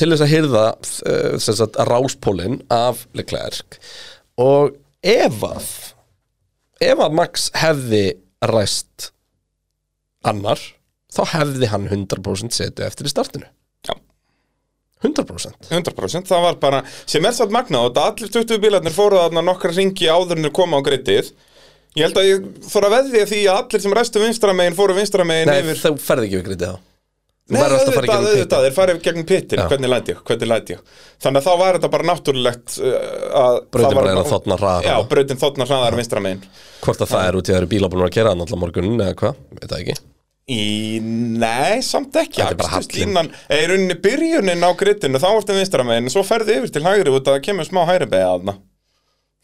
til þess að hyrða uh, sem sagt, ráspólinn af Leclerc og ef að ef að Max hefði ræst annar þá hefði hann 100% setið eftir í startinu Já. 100% 100% það var bara, sem er satt magnað og þetta allir 20 bílarnir fóru þarna nokkra ringi áður en þeir koma á grittið ég held að ég þóra veðja því að allir sem restu vinstra megin fóru vinstra megin Nei, yfir þá ferði ekki við grítið þá Þú Nei, verður alltaf að fara í gegnum auðvitað, pitta. auðvitað, þeir farið gegn pittin, hvernig læt ég, hvernig læt ég þannig að þá var þetta bara náttúrulegt uh, að Brautin það var- bara er að þotna hraðar. Já, brautin þotna hraðar vinstra megin Hvort að það er út í að það eru bíla búin að kera hann allan morgunin eða hvað, veit það ekki Í, nei, samt ekki Þetta er bara hallinn. Aksturslinnan er í rauninni byrjunin á grittinu Þá ertu vinstra megin, svo ferðu yfir til hægri Út að það kemur smá hægri beða aðna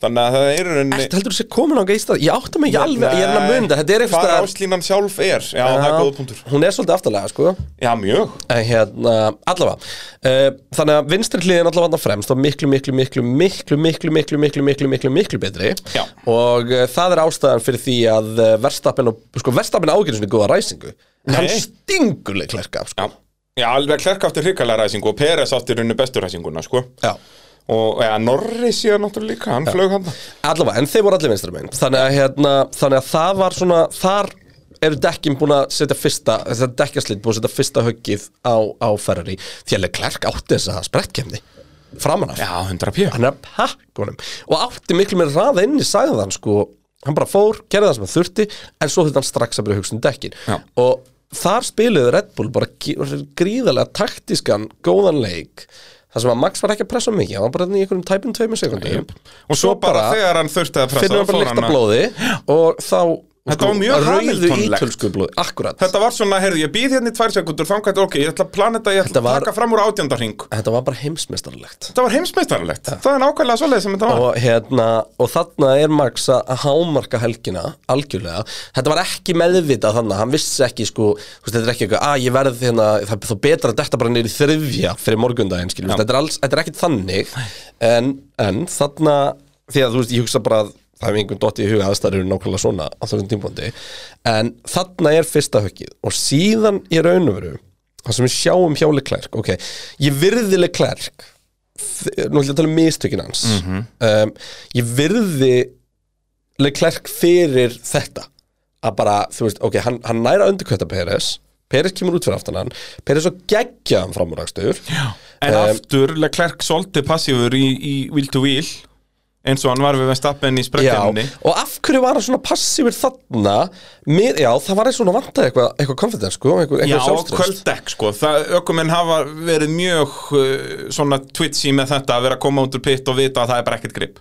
Þannig að það er í rauninni Ertu heldur þú sé komin á geistar? Ég átta mig ekki alveg, ég er hann að munda Þetta er Hvað eitthvað áslínan sjálf er, já, það er góða punktur Hún er svolítið aftalega, sko Já, mjög En hérna, allavega uh, Þannig að vinstri hliðin allavega þarna fremst og miklu, miklu, miklu, miklu, miklu, miklu, miklu, miklu, miklu, miklu betri Já. Og uh, það er ástæðan fyrir því að uh, verstappin og, sko, verstappin ágjörn svona góða ræsingu Hann stingur leik klerka, Já, sko já alveg klerk átti hrikalega ræsingu og Peres átti í rauninni bestu ræsinguna, sko Já. og ja, Norri síðan náttúrulega líka, hann flög hann Allavega, en þeir voru allir vinstra megin þannig að, hérna, þannig að það var svona Þar eru dekkin búin að setja fyrsta Þetta dekkjaslit búin að setja fyrsta höggið á, á Ferrari Því að Leclerc átti þess að sprettkemni Framan af Já, 100 pjö Hann er að pakka honum Og átti miklu meira raða inn í sagðan sko Hann bara fór, gerði það sem hann þurfti En svo þetta hann strax að byrja að hugsa um dekkin Já. Og þar spiluðu Red Bull bara gí- gríðarlega taktískan góðan leik Það sem að Max var ekki að pressa of mikið, hann var bara þarna í einhverjum tæpum tveimur sekundum Og svo bara þegar hann þurfti að finnur pressa hann bara fór líkt að- að blóði og þá sko, Þetta var mjög rauðu Hamilton-legt. ítölsku blóði, akkurat Þetta var svona, heyrðu, ég býð hérna í tvær sekundur þangat, ok, ég ætla að plana þetta, ég ætla Þetta að var- taka fram úr átjöndarhing þetta var bara heimsmeistarlegt Þetta var heimsmeistarlegt, það er nákvæmlega svoleið sem þetta var og, hérna, og þarna er Max að- að hámarka helgina algjörlega, þetta var ekki meðvitað þannig, hann vissi ekki sko þú veist, þetta er ekki eitthvað, að ég verð hérna það er þó betra að detta bara niður í þriðja fyrir morgundaginn, skiljum, þetta er, alls, þetta er ekki þannig en, en þarna því að þú veist, ég hugsa bara að það hefur einhvern dotti í huga aðstæður eru nákvæmlega svona á þessum tímpóndi, en þarna er fyrsta höggið og síðan í raun og veru, það sem við sjáum hjáli klærk ok, ég virðileg klærk nú ætlum ég að tala um mistökin hans um, ég virði Leclerc fyrir þetta að bara, þú veist, ok, hann, hann næra undirkvæta Peres, Peres kemur út fyrir aftan hann Peres og geggja hann framúrækstur En eh, aftur, Leclerc solti passífur í, í wheel to wheel eins og hann var við Vestappen í sprekkjarni og af hverju var hann svona passífur þarna mér, já, það var eins og hann vantaði eitthvað eitthvað konfidens, sko, eitthvað, Já, eitthvað og sjálfstraust. kvöldekk sko það, Ökumenn hafa verið mjög uh, svona twitchy með þetta að vera að koma út úr pitt og vita að það er bara ekkert grip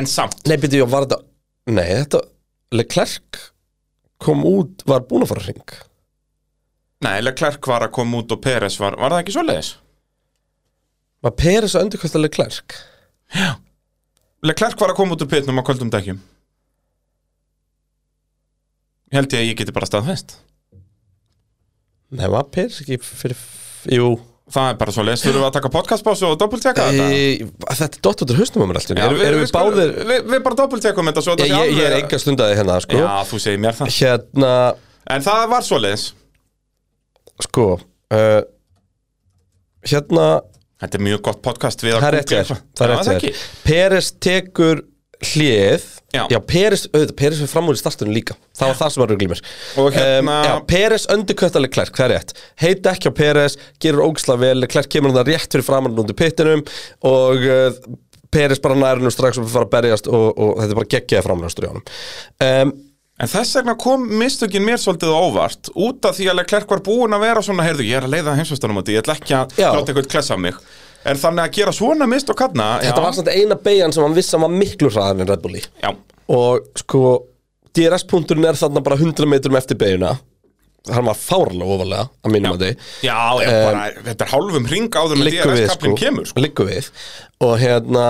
En samt, Nei, byrju, var þetta Nei, þetta, Leclerc kom út, var búin að fara hring nei, Leclerc var að koma út og Peres var, var það ekki svoleiðis? var Peres að undirkvæta Leclerc Leclerc var að koma út úr pitnum á kvöldum dekkjum Ég held ég að ég geti bara staðfest Nei, var Peres ekki fyrir Jú, Það er bara svoleiðis, þurfum við að taka podcastpásu og doppeltjekka þetta? Í- Þetta er dott út úr hausnum á mér alltaf Eh, Erum við, erum við sko- báðir Við, við bara doppeltekum þetta svo þetta ég, sé ég, ég er alveg- enga stundaði hérna sko. Já, þú segir mér það Hérna, En það var svoleiðis sko uh, Hérna Þetta er mjög gott podcast við að Það er rétt googla hjá þér, eitthvað. það er Já, rétt hjá ekki. þér. Peres tekur hlið Já. Já Peres, auðvitað, Peres fyrir framúr í startunum líka Það var það sem var ruglimir Og hérna- Já, Peres önduköttaleg Klerk, það er rétt Heita ekki á Peres, gerur ógisla vel Klerk kemur hann rétt fyrir framann undir pittinum Og uh, Peres bara nærinu strax og fara að berjast Og, og þetta er bara geggjaði framlöstur í honum um, En þess vegna kom mistökin mér svolítið á óvart Út af því að Leclerc var búin að vera svona Heyrðu, ég er að leiða heimsvöstanum átti Ég ætla ekki að Já. láta eitthvað klessa mig En þannig að gera svona mistök hann Þetta var samt eina beigjan sem hann vissi að hann var miklu hraðan en Red Bulli Já, Og sko, DRS-punkturinn er þarna bara 100 metrum eftir beigjuna Hann var fárlega ofalega, að mínum að þau já, já bara, þetta er hálfum ring áður Eh, með Liggur við, DRS-kaplinn sko, kemur sko. Liggur við Og hérna,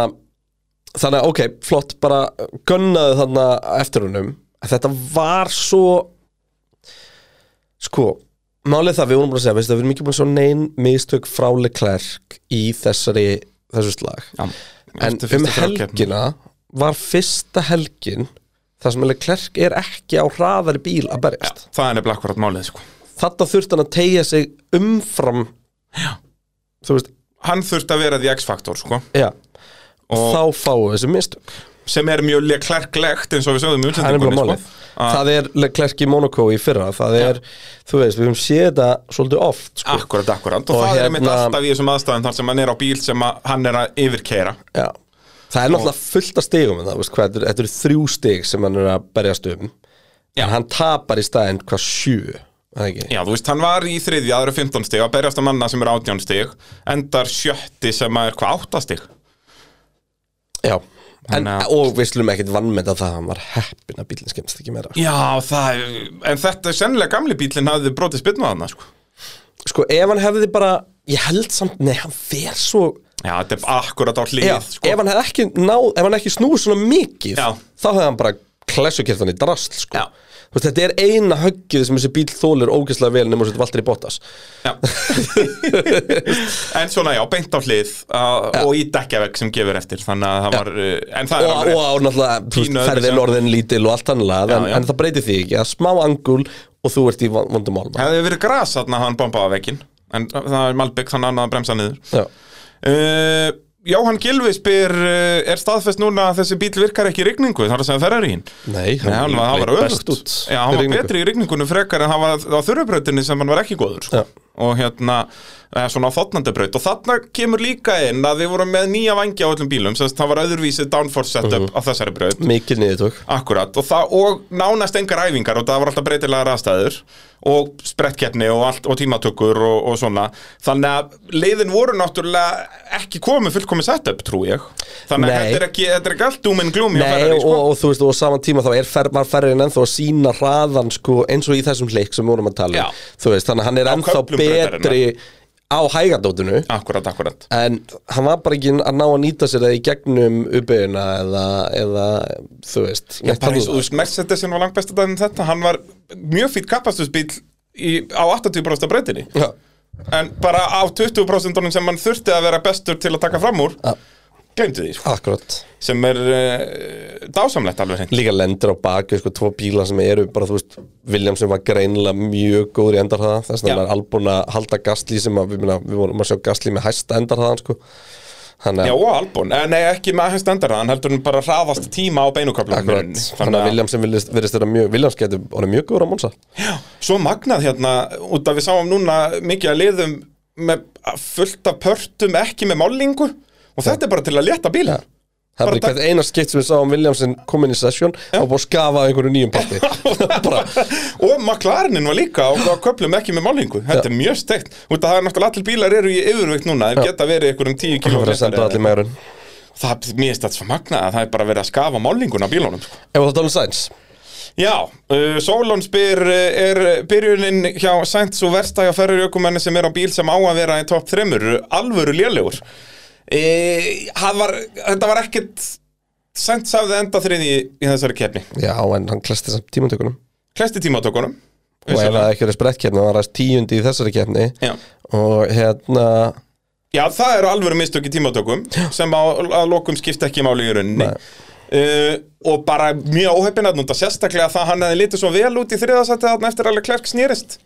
þannig að ok, flott, bara gunnaði þarna eftir húnum Þetta var svo, sko, málið það, við vorum bara að segja, veistu, við erum ekki búin að sjá nein mistök frá Leclerc í þessari, þessu slag Já, En eftir um fyrstu þrjár keppnir. helgina var fyrsta helgin þar sem Leclerc er ekki á hraðari bíl að berjast. Það er nefnilega akkurat málið sko. Þetta þurfti hann að tegja sig umfram þú veist, Hann þurfti að vera því X-faktor sko. já Og- þá fáum við þessi mistök. sem er mjög Leclerc-legt eins og við sögðum í Ah. Það er nefnilega útsendingunni sko. málið. Að- Það er Leclerc í Monaco í fyrra, það er, þú veist, við höfum séð þetta svolítið oft, sko. Akkurat, akkurat, og, Og það er einmitt hérna- alltaf í þessum aðstæðum þar sem hann er á bíl sem að hann er að yfirkeira Já. Það er náttúrulega fullt af stigum en það, veist, hvað, þetta eru- þetta eru þrjú stig sem hann er að berjast um. Já. En hann tapar í staðinn hvað sjö, er það ekki? Já, þú veist, hann var í þriðja, það eru 15 stig að berjast að manna sem eru 18 stig endar sjötti sem að er hvað 8 stig Já, en, Þannig að- og við slum ekkit vannmynda það að hann var heppin að bílinn skemmst ekki meira Já, það er, en þetta er sennilega gamli bílinn hafði brotið spilnað hann sko. Sko, ef hann hefði bara, ég held samt, nei, hann fer svo Já, þetta er akkurat á hlið Já, sko. ef hann hefði ekki náð, ef hann ekki snúið svona mikið Já. Þá hefði hann bara klessukert hann í drasl, sko Já. Þú veist, þetta er eina höggið sem þessi bíl þólir ógeðslega vel nema þessi valdir í botas <laughs> Já. En svona, já, beint á hlið uh, og í dekkjavegg sem gefur eftir þannig að það var, uh, en Og, það er alveg og, og náttúrulega, þú veist, Pínu öðruvísi. ferðin orðin lítil og allt annað en, Já, já. en það breytir því ekki, að smá angul og þú ert í von- vondum málma hefði verið gras þarna að hann bombaði veginn en það er Malbygg þannig að hann að bremsa niður Já, Uh, Jóhann Gilvi spyr eh, er staðfest núna að þessi bíl virkar ekki í rigningu þar að segja ferrar í hinn Nei, Nei, hann var, hann var leit öfugt Já, hann í var rigningu. betri í rigningunum frekar en hann var á þurrubrautinni sem hann var ekki góður sko. Já. og hérna, eða svona á þotnandabraut og þarna kemur líka inn að þið voru með nýja vangi á öllum bílum sem það var öðruvísi downforce setup Mhm. á þessari braut Mikil niðurtök Akkurat, og, það, og nánast engar æfingar og það var alltaf breytilegar aðstæður og sprettkeppni og, allt, og tímatökur og, og svona þannig að leiðin voru náttúrulega ekki komið fullkomið setup, trú ég Nei. þannig að þetta er ekki, þetta er ekki allt dúminn glúmi á Nei, Ferrari, og, sko. og þú veist, og á saman tíma þá er fer, maður ferðin ennþá að sína hraðan sko, eins og í þessum leik sem við vorum að tala um. Já. Þú veist, þannig að hann er ennþá köflum betri á hægardótinu Akkurat, akkurat En hann var bara ekki að ná að nýta sér það í gegnum uppeina eða, eða, þú veist neitt Bara annað. eins og þú veist, Mercedesin var langt besta dæðin þetta hann var mjög fýtt kapastusbíl í, á 80% breytinni Já, en bara á 20% honum sem hann þurfti að vera bestur til að taka fram úr Ja. glemdi því, sko. akkurat sem er uh, dásamlegt alveg hreint Líka lendur á baki, sko, tvo bíla sem eru bara, þú veist, William sem var greinilega mjög góður í endarhraða, þess Já. vegna er albúin að halda Gastli sem að, við, minna, við vorum að sjá Gastli með hæsta endarhraðan, sko Þannig Já, að, og Albon, Eh, nei ekki með hans standarðan heldur hann bara hraðast tíma á beinuköflum akkurat, þannig að William sem virðist virðist vera mjög, William getur orðið mjög góður á Monsa Svo magnað hérna, út af við sáum núna mikið að liðum með fullt af pörtum ekki með málingu og þetta er bara til að leta bíla Það Bara er bara takk- hvert eina skipt sem við sáum Williamson komin í session og búið að skafa af einhverju nýjum <laughs> patti bara, og McLarenin var líka á, á köflum ekki með málingu þetta er mjög steikt, út af það er náttúrulega allir bílar eru í yfirveikt núna, þeir geta verið ykkur um 10 Það km verður að senda allir meðurinn það mér finnst þetta svo magnað að það er bara verið að skafa málinguna á bílunum sko. Ef það tala um Sainz Já, uh, Solon spyr uh, er byrjunin hjá Sainz og Verstæg og ferri aukumenni sem er á bíl sem á að vera í topp 3 alvöru lélegur e, var, Þetta var ekkit Sainz hafði enda þriði í, í þessari keppni Já, en hann klesti samt tímantökunum Klesti tímatökunum og ef það ekki verið sprettkeppni, hann ræst tíundi í þessari keppni Já. og hérna Já, það eru alvöru mistök í tímatökum sem á, að lokum skipta ekki máli í rauninni uh, og bara mjög óheppin að núnda sérstaklega það að hann hefði litið svo vel út í þriðasætti þarna eftir alveg klerk snýrist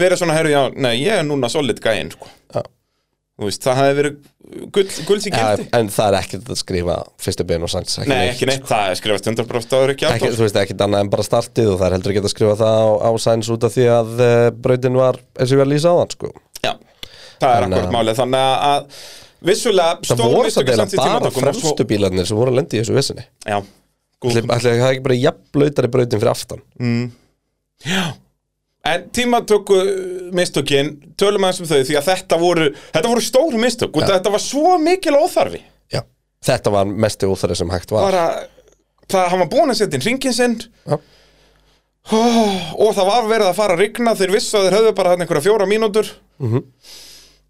verið svona, herru, já, nei, ég er núna solid gæinn, sko Já. Þú veist, það hefði verið gull, gulls í ja, gildi en það er ekkert að skrifa fyrstu bein og Sainz Nei, ekki neitt, það er skrifast 100% sko. áður ekki Ekki, aftur þú veist, ekkert annað en bara startið og það er heldur ekki að skrifa það á, á Sainz út af því að uh, brautin var eins og ég var að lýsa á þann sko. Já, það er Þannig að- akkurat málið, þannig að vissulega Það stór voru samt mistök í eða Sainz í bara tímatökum og fremstu bílarnir sem voru að lendi í þessu vesinni svo- Já, gúl, Ætli ætli það er ekki bara jafnlautari brautin fyrir aftan En tímatöku uh, mistökin, tölum aðeins um þau því að þetta voru, þetta voru stóru mistök og þetta var svo mikil óþarfi Já. Þetta var mestu óþæri sem hægt var bara, það, hann var búin að setja inn ringin sinn Já. og það var verið að fara að rigna þeir vissu að þeir höfðu bara þarna einhverja fjóra mínútur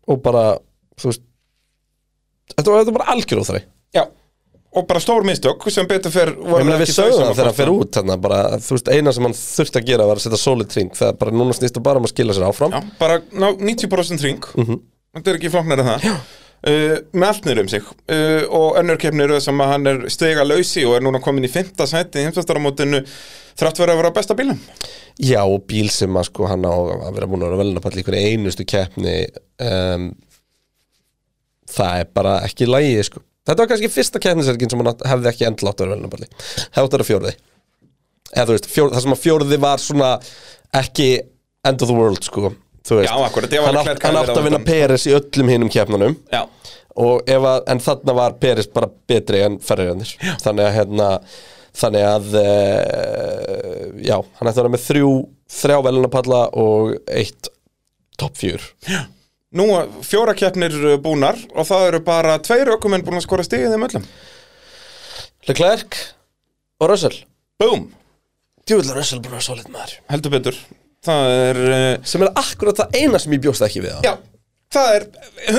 Og bara, þú veist Þetta var, þetta var bara algjör óþæri Já, og bara stór mistök sem betur fer Ég meina við sögum það þegar hann fer út þarna bara, Þú veist, eina sem hann þurfti að gera var að setja solid ring Það er bara núna snýst það bara um að skila sér áfram Já, bara ná 90% ring Þetta er ekki flóknar en það uh, Með allt niður um sig uh, Og önnur keppni eru þess að hann er stega lausi Og er núna komin í 5. sæti í heimsvæstaramótinu Þrátt verið að vera á besta bílum Já, og bíl sem að sko hann á að vera búin að vera velnapall í hverju einustu keppni um, Það er bara ekki lægi sko. Þetta var kannski fyrsta keppnisergin sem hann átt- hefði ekki endlátt að vera velnapalli Hefði átt að vera fjórði Eða þú veist, fjór, það sem að fjórði var svona ekki end of the world sko Þú veist, Já, akkurat, ég var hann, að átt, Klerk hann hafði átt verið á að vinna undan. Peres í öllum hinum keppnunum Já og ef að, en þarna var Peris bara betri en ferriðanir þannig að hérna þannig að e, já, hann ætti að vera með þrjú þrjá velunapalla og eitt topp fjör Nú fjóra keppnir uh, búnar Og það eru bara tveir ökumenn búin að skora stigið þeim öllum Leclerc og Russell Búm, djúvillar Russell búin að vera solid maður heldur betur Það er, uh, sem er akkurat það eina sem ég bjóst ekki við það já Það er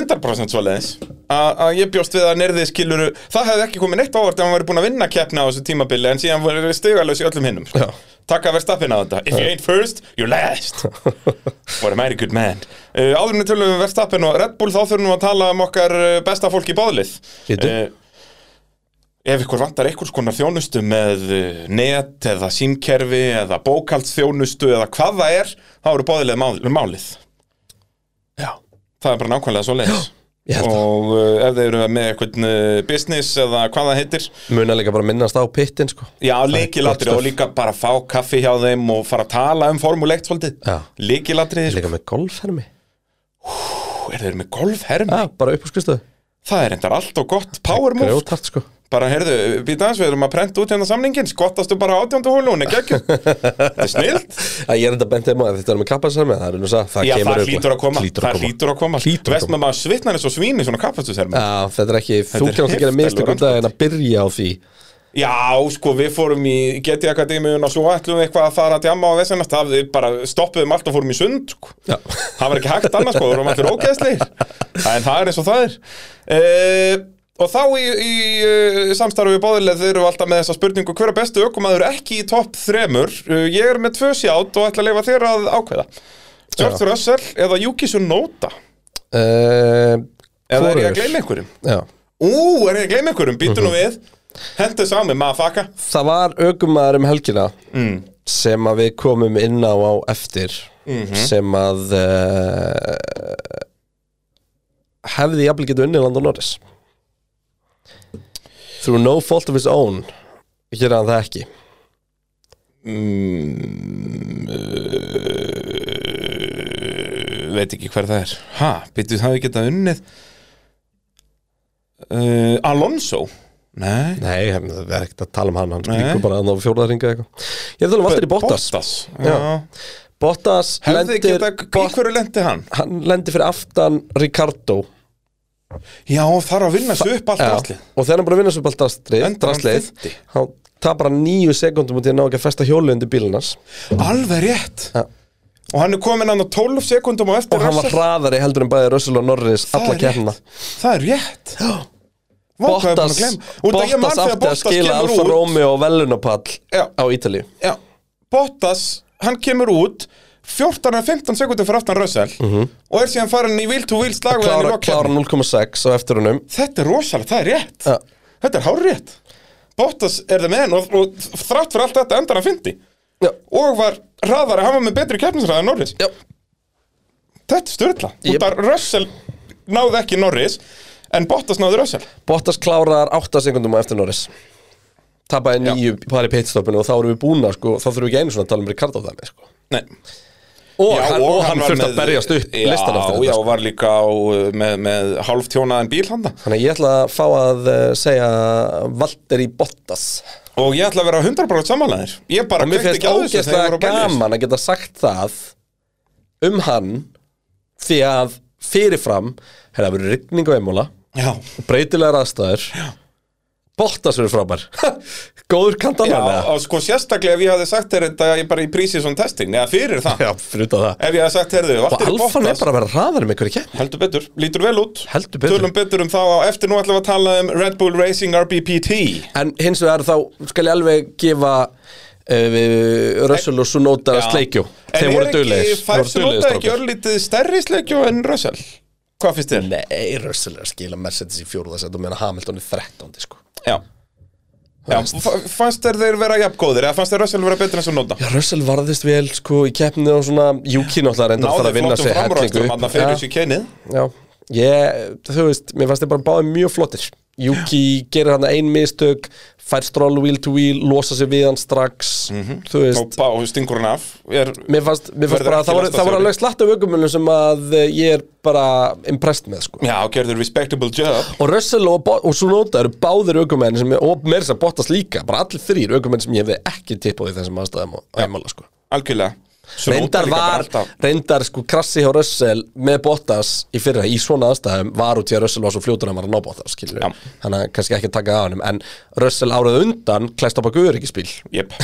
100% svoleiðis A- að ég bjóst við að nyrðið skiluru það hefði ekki komið neitt á óvart ef hann væri búin að vinna keppna á þessu tímabili en síðan var stigalaus í öllum hinnum sko. Já. Takk að verðstappin á þetta If you ain't first, you're last What a mighty good man uh, Áðurinn við tölum við verðstappin og Red Bull þá þurfum við að tala um okkar uh, besta fólk í báðlið Bíddu. Ef ykkur vantar einhvers konar þjónustu með uh, net eða símkerfi eða bókaldsþjónustu eða hvað það er þá eru báðlið málið já, Það er bara nákvæmlega svo leiðis Ég held það. og uh, ef þeir eru með eitthvað eh, business eða hvað það heitir Muna líka bara minnast á pittin sko Já, líkilatri gott og stöf. líka bara fá kaffi hjá þeim og fara að tala um formuleikt svolítið Já. Líkilatri, sko, Líka með golfhermi er þeir með golfhermi? Já, bara upp á skrifstöðu Það er endar allt og gott power move Grjótart sko Bara, heyrðu, býta hans, við erum að prenta út hérna samningin Skottastu bara átjöndu hólu, hún er <laughs> geggjum Þetta er snilt Æ, Ég er enda bent þeim á að þetta er með kappasarmi Það er nú sagt, það Já, kemur það örugglega. hlýtur að koma Hlýtur Það hlýtur að koma Hlýtur að Vest með maður svitnar eins og svín í svona kappastusermi Já, þetta er ekki, þú Þetta er kannast að gera heiftarlegur mistök um dag en að byrja á því Já, sko, við fórum í Geti Akademiun og svo ætlum við eitthvað að fara að djamma á vesenast Það við bara stoppuðum allt og fórum í sund sko. Já. Það var ekki hægt annars, sko, við vorum allir ógeðslegir En það er eins og það er e Og þá í, í eh, samstarfi við báðilegð eru alltaf með þessa spurningu Hver er bestu ökumæður ekki í topp þremur? Eh, Ég er með tvö sjátt og ætla að leifa þér að ákveða George Russell eða Yuki Sunoda uh, Eða er ég að gleyma einhverjum? Já Ú, er ég að gleyma einhverjum? Býtu nú við Hentu sami, maður faka Það var aukumæður um helgina Mm. sem að við komum inn á á eftir Mhm. sem að uh, hefði jafnvel getur unnið Landon Norris Through no fault of his own gerir hann það ekki Mm, uh, veit ekki hver það er ha, býttu það við geta unnið uh, Alonso nei, Nei, hann- það er ekkert að tala um hann hann Nei. líkur bara að það fjóraðringa eitthvað Ég er að tala um Valtteri Bottas Bottas. Já. Já. Bottas hefði lendir geta, í hverju lendi hann hann lendir fyrir aftan Ricardo já, þarf að vinna svo upp allt um Já, allir og þegar hann er búin að vinna svo bara draslið Endar hann draslið, fimmti. hann tapar hann níu sekundum og því að ná ekki að festa hjólu undir bílinas alveg rétt Já. og hann er komin hann á 12 sekundum og eftir og hann var Russell. hraðari heldur en bæði Russell og Norris það alla er <gasps> kemna rétt það er rétt Vá, hvað ég er búin Bottas, að gleyma. Út af ég man Bottas þegar átti að Bottas skila kemur Alfa út. Romeo og Velunapall Já. á Ítalíu Já, Bottas, hann kemur út 14-15 sekundir fyrir aftan Russell og er síðan farin í wheel-to-wheel slag við hann í Mhm. klára, klára lokkeppni. 0,6 á eftir húnum Þetta er rosalega, það er rétt Já. Þetta er hárrétt Bottas er það með hann og, og þrátt fyrir allt þetta endar hann fyndi Já. og var hraðari, hann var með betri keppnisræði en Norris Já. Þetta er styrla Jep. Út af Russell náði ekki Norris en Bottas náði Russell Bottas klárar 8 sekundum á eftir Norris tapaði níu pari pitstoppinu og þá erum við búin að sko, þá þurfum við ekki einu svona að tala um Ricardo þannig sko. Nei og, hann, og hann, var þurfti að með- berjast upp já, listan eftir Já, þetta sko. og var líka á, uh, með, með hálf tjónaðan bíl handa þannig að ég ætla að fá að eh, segja Valtteri Bottas Og ég ætla að vera 100% samanlæðir Ég bara og mér kveikti finnst ekki á þessu þegar ég ógeðslega voru að berjast. gaman að geta sagt það um hann því að fyrirfram hefur það verið rigning á emula Já, breytilegar aðstæður Bottas verið frábær <laughs> góður kantan já hann eða? og sko sérstaklega ef ég hafði sagt þér þetta ég bara í prísi svona testing Neða fyrir það já, fyrir utan það Ef ég hafði sagt þér þau, og Valtteri Alfan er Bottas bara að vera hraðar með hverju kemur Heldur betur, lítur vel út Heldur betur. Tölum betur um þá á eftir nú ætlum við að tala um Red Bull Racing RBPT en hins vegar þá skal ég alveg gefa uh, Russell og Sunoda sleikjó þeir voru döglegir En er ekki Færsunóta ekki örlítið stærri sleikjó en Russell? Hvað finnst þér? Nei, Russell er að skila Mercedes í fjóruða set og meðan Hamilton í 13 sko. Já Já, fa- fannst þér þeir vera jafngóðir eða fannst þér Russell vera betur en svo nota? Já, Russell varðist vel sko í keppni og svona Juki náttúrulega reyndar að fara að vinna sig hellingu framröstum upp. hann að fyrir þessu kennið Já, já. Ég, þú veist, mér fannst þið bara báði mjög flottir Juki gerir hann ein mistök fær stról wheel to wheel, losa sig við hann strax þú og veist bá, stingur hann af er, Mér fannst, mér fannst Verður bara að ekki það voru, það voru lastaþjóri. alveg slatt af aukumönnum sem að eh, ég er bara impressed með sko já, gerður respectable job Og Russell og, Bo- og Sunoda eru báðir aukumenn sem, ég- og meira þess að Bottas líka bara allir þrýr aukumenn sem ég hefði ekki tippað í þessum aðstæðum á Emala sko algjörlega Svo reyndar Róta líka bara var, alltaf- reyndar sko krassi hjá Russell með Bottas í fyrra í svona aðstæðum var út í að Russell var svo fljótur að hann var að ná Bottas skilur Já. þannig að kannski ekki að taka af hann en Russell árað undan klæst á baka öryggisbíl Jep.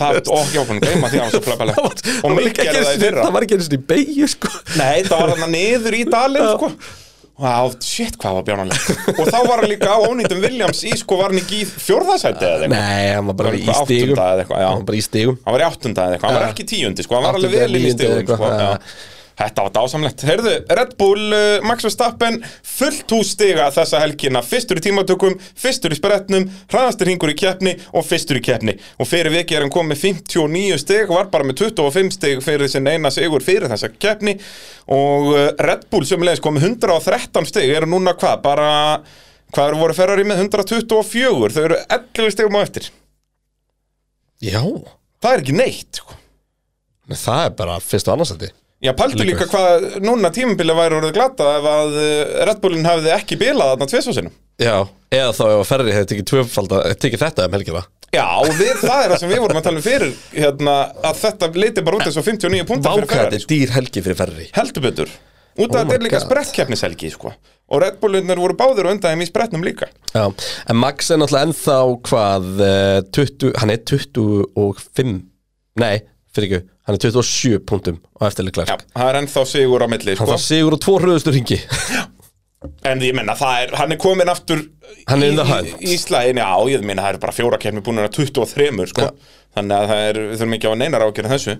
það og ég okkur gleyma því að hann var svo <laughs> flabbaleg og mig líka gerði einu það í sinni- fyrra það var ekki eins og í beigju sko nei, það var hann niður í dalinn sko Wow, shit, hvað var bjánanlega Og þá var hann líka á ónýtum Williams í, sko, var hann ekki í fjórðasæti eða eitthvað nei, hann var bara í Var eitthvað stígum áttunda eða eitthvað, já. hann var bara í stígum Hann var í áttunda eða eitthvað, hann var ekki í tíundi, sko, hann var alveg Áttunda, vel inn í níunda eða stegum, sko eitthvað, já. já. Þetta var dásamlegt. Heyrðu, Red Bull, uh, Max Verstappen, fullt hús stiga þessa helgina. Fyrstur í tímatökum, fyrstur í spretnum, hraðastur hingur í keppni og fyrstur í keppni. Og fyrir vikið er hann kom með 59 stig, var bara með 25 stig fyrir sinn eina sigur fyrir þessa keppni. Og uh, Red Bull sömulegis kom með 113 stig, eru núna hvað, bara, hvað eru voru Ferrari með 124, þau eru 11 stigum á eftir. Já, Það er ekki neitt, sko. en það er bara fyrst og annarsætti Já, paldu Líka. líka hvað núna tímabilið væri orðið glata ef að eh, Red Bullin hafði ekki bilað þarna tvisvarsinum. Já, eða þá ef að Ferri hefði tekið, tvöfalda, tekið þetta um helgina Já, og við, það er það sem við vorum að tala um fyrir hérna, að þetta leiti bara út eins og 59 punktar fyrir Váka þetta Ferrari. er dýr helgi fyrir Ferri sko. Heldur betur. Oh Út af að þetta er my líka God. sprettkeppnishelgi, sko. Og Red Bullinir voru báðir og undan þeim í sprettnum líka. Já, en Max er náttúrulega ennþá hvað, eh, 20, hann er 25, nei, fyrir ekki, hann er 27 punktum á eftirleiklar. Já, það er ennþá sigur á milli, Hann sko. þarf sigur og tvo hröðustur ringi. En ég menna, það er, hann er komin aftur Hann er in the í, hunt. í slæðin, já, ég menna, það eru bara fjóra keppni búin að 23, sko. Þannig að það er, við þurfum ekki á neinar ákjörða þessu.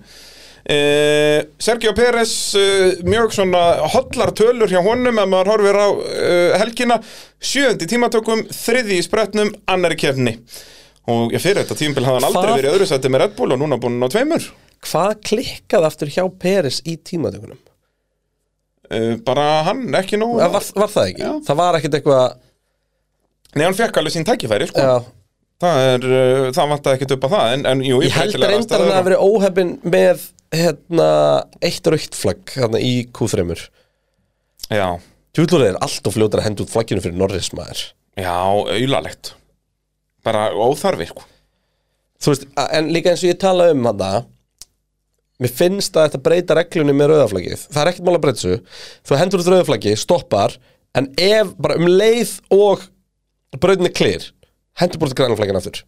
Uh, Sergio Pérez, uh, mjög svona hotlar tölur hjá honum ef maður horfir á uh, helgina, sjöndi tímatökum, þriði í spretnum, annari keppni. Og ég fyrir þetta tímabil hafði hann aldrei Hvað? verið í öðru sætti með Red Bull og núna búin á tveimur. Hvað klikkaði aftur hjá Peres í tímatökunum? Uh, bara hann, ekki nóg. Var, var það ekki? Já. Það var ekkert eitthvað, Nei, hann fekk alveg sín tækifæri, sko. já, Það er, uh, það vantaði ekkert upp á það, en, en jú, ég held breytilegar reyndar aðstæður hann og- að verið óhefin með, hérna, eitt rauktflagg, hérna, í Q3-mur. Já, Tjúlur er allt og fljótar að henda út flagginu fyrir Norris, maður. já, aulalegt. Bara óþarfi, sko. þú veist, a- en líka eins og ég tala um hann mér finnst að þetta breyta reglunni með rauðaflagið, það er ekkert mál að breyta þessu þú hendur út rauðaflagi, stoppar en ef, bara um leið og brautin er klýr hendur búið til grænaflagin aftur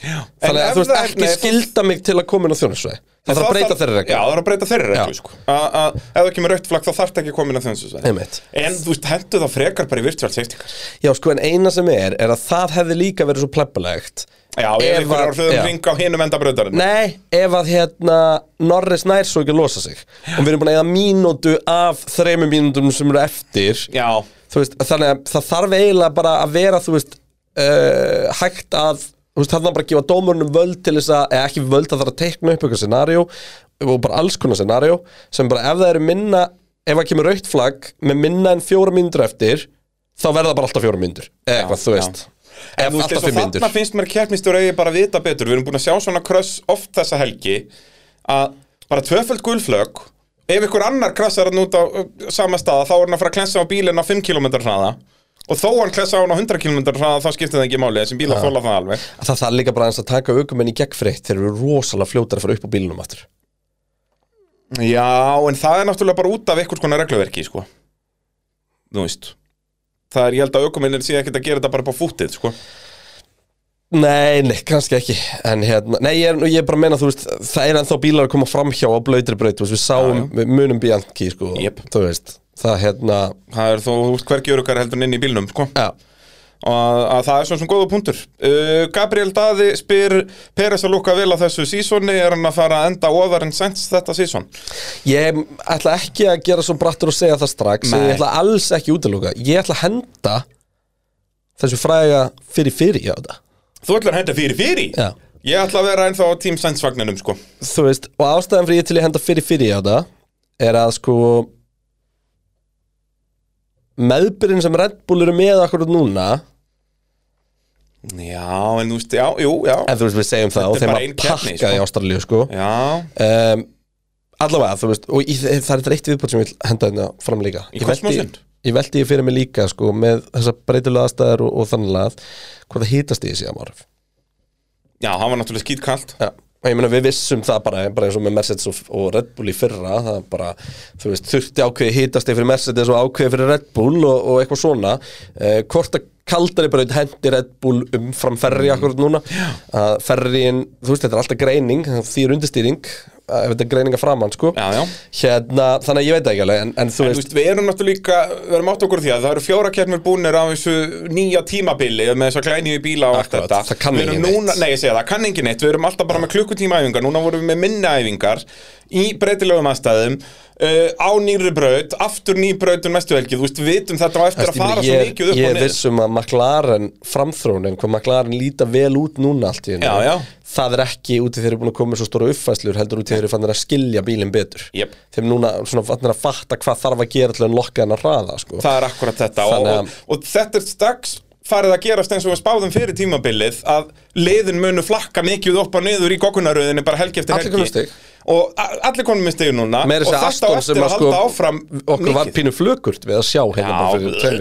þannig En að ef þú veist það- ekki nei, skilda mig til að koma inn á þjónusvei það þarf að breyta þeirri Já, reglu það þarf að breyta þeirri reglu, Já. sko. A- a- Ef það kemur rautt flagg, þá þarf ekki að koma inn að þjónsu sveið. Einmitt. En þú veist, hendur það frekar bara í virtual safety car. já sko en eina sem er, er að það hefði líka verið svo plebbalegt Já, ef Ef ykkur að- er hlöðum já. ring á hinum enda brautarinn. Nei, ef að hérna Norris nær svo ekki að losa sig og við erum búin að eða mínútu af þreymum mínútum sem eru eftir Já, þú veist, þannig að það þarf eiginlega bara að vera, þú veist, uh, hægt að, þú veist, þannig að bara gefa dómurunum völd til þess að, eða ekki völd að það þarf að teikna upp eitthvað scenario og bara alls konar scenario sem bara ef það eru minna, ef það kemur raukt flagg með minna en fjóra myndur eftir, þá verða bara alltaf fjóra myndur, eða eitthvað, þú veist. En Ef þú veist, alltaf eins og fimm myndur. þarna finnst mér keppnistur eigi bara að vita betur Við erum búin að sjá svona kröss oft þessa helgi að bara tvöföld gulflög ef ykkur annar krassar hann út á uh, sama staða þá er hann að fara að klensa á bílinn á 5 km hraða og þó hann klensa á hann á 100 km hraða þá skiptir það ekki máli þessi bíla þóla það alveg Það þarf líka bara aðeins að taka aukumenn í gegnfreitt þegar eru rosalega fljótar að fara upp á bílunum aftur. Já, en það er náttúrulega bara út af einhvers konar regluverki, sko Þú veist Það er, ég held að aukuminnir sé ekkert að gera þetta bara upp á fútið, sko Nei, nei, kannski ekki En hérna, nei, ég er, nú- ég er bara að meina, þú veist Það er ennþá bílar að koma framhjá á blautri braut þú veist, Við sáum, við munum Bianchi, sko Jep. Þú veist, það hérna Það er þó, þú veist, hvergi örugar heldur en inn í bílnum, sko Já, og að, að það er svona svona góða punktur uh, Gabriel Daði spyr Peres að lúka vel á þessu sísoni er hann að fara að enda ofar en sens þetta síson ég ætla ekki að gera svo brattur og segja það strax en Nei. Ég ætla alls ekki útiloka Ég ætla að henda þessu fræga fyrir fyrir á þetta þú ætlar að henda fyrir fyrir Já. ég ætla að vera ennþá á tím sensvagninum sko Þú veist, og ástæðan fyrir ég til ég henda fyrir fyrir á þetta Er að sko Meðbyrinn sem Red Bull eru með akkur núna já en þú veist já, jú, já En þú veist, við segjum það Þetta og er þeim bara að ein keppni, pakka sko. í Ástralíu, sko já, um, Allavega, þú veist, og í, það er þetta eitt viðbótt sem ég vil henda hérna fram líka Í Ég velti- kosmosinn? Ég velti ég fyrir mig líka, sko, með þessar breytulega aðstæður og, og þannig að hvað það hýtast í síðan árið já, hann var náttúrulega skýtkalt Já, og ég meina við vissum það bara, bara eins og með Mercedes og, og Red Bull í fyrra það bara, þú veist, þurfti ákveði hítast fyrir Mercedes og ákveði fyrir Red Bull og, og eitthvað svona eh, hvort að kaldari bara hendi Red Bull umfram ferri akkurat núna að ferriin, þú veist, þetta er alltaf greining því er undistýring, eh, ef þetta er greininga framann sko, Já, já. hérna þannig að ég veit það ekki alveg, en, en þú En, þú veist veist, við erum náttúrulega líka, við erum átt okkur á því að það eru fjóra keppnir búnir á þessu nýja tímabili með þess að glænýju bíla og allt Akkurat, þetta það kann Við erum enginn neitt. núna, Nei, ég segja það, kann engin eitt, við erum alltaf bara með klukkutíma æfingar Núna vorum við með minni æfingar í breytilegum aðstæðum uh, á nýri braut, aftur ný braut um næstu helgi, þú veist, við vitum þetta á eftir Ég að fara meina, svo ég, mikið upp ég og niður vissum að McLaren framþrónin, hvað McLaren líta vel út núna allt í henni Já, já. það er ekki út í þeir eru búin að koma með svo stóra uppfæslur heldur út í þeir eru fannir að skilja bílinn betur Jep. þeim núna svona fannir að fatta hvað þarf að gera til að lokka henn að hraða sko. það er akkurat þetta og, Þannig að- og, og þetta er strax farið að gerast eins og við spáðum fyrir tímabilið að liðin munu flakka mikið upp og niður í gokkunaröðinni bara helgi eftir Allir helgi komnir með stig. og a- allir konum með stig núna Meira þess og að þetta á Aston sem eftir að að sko halda áfram okkur var mikið. pínu flökurt við að sjá hérna Já, uh, bara fyrir tveim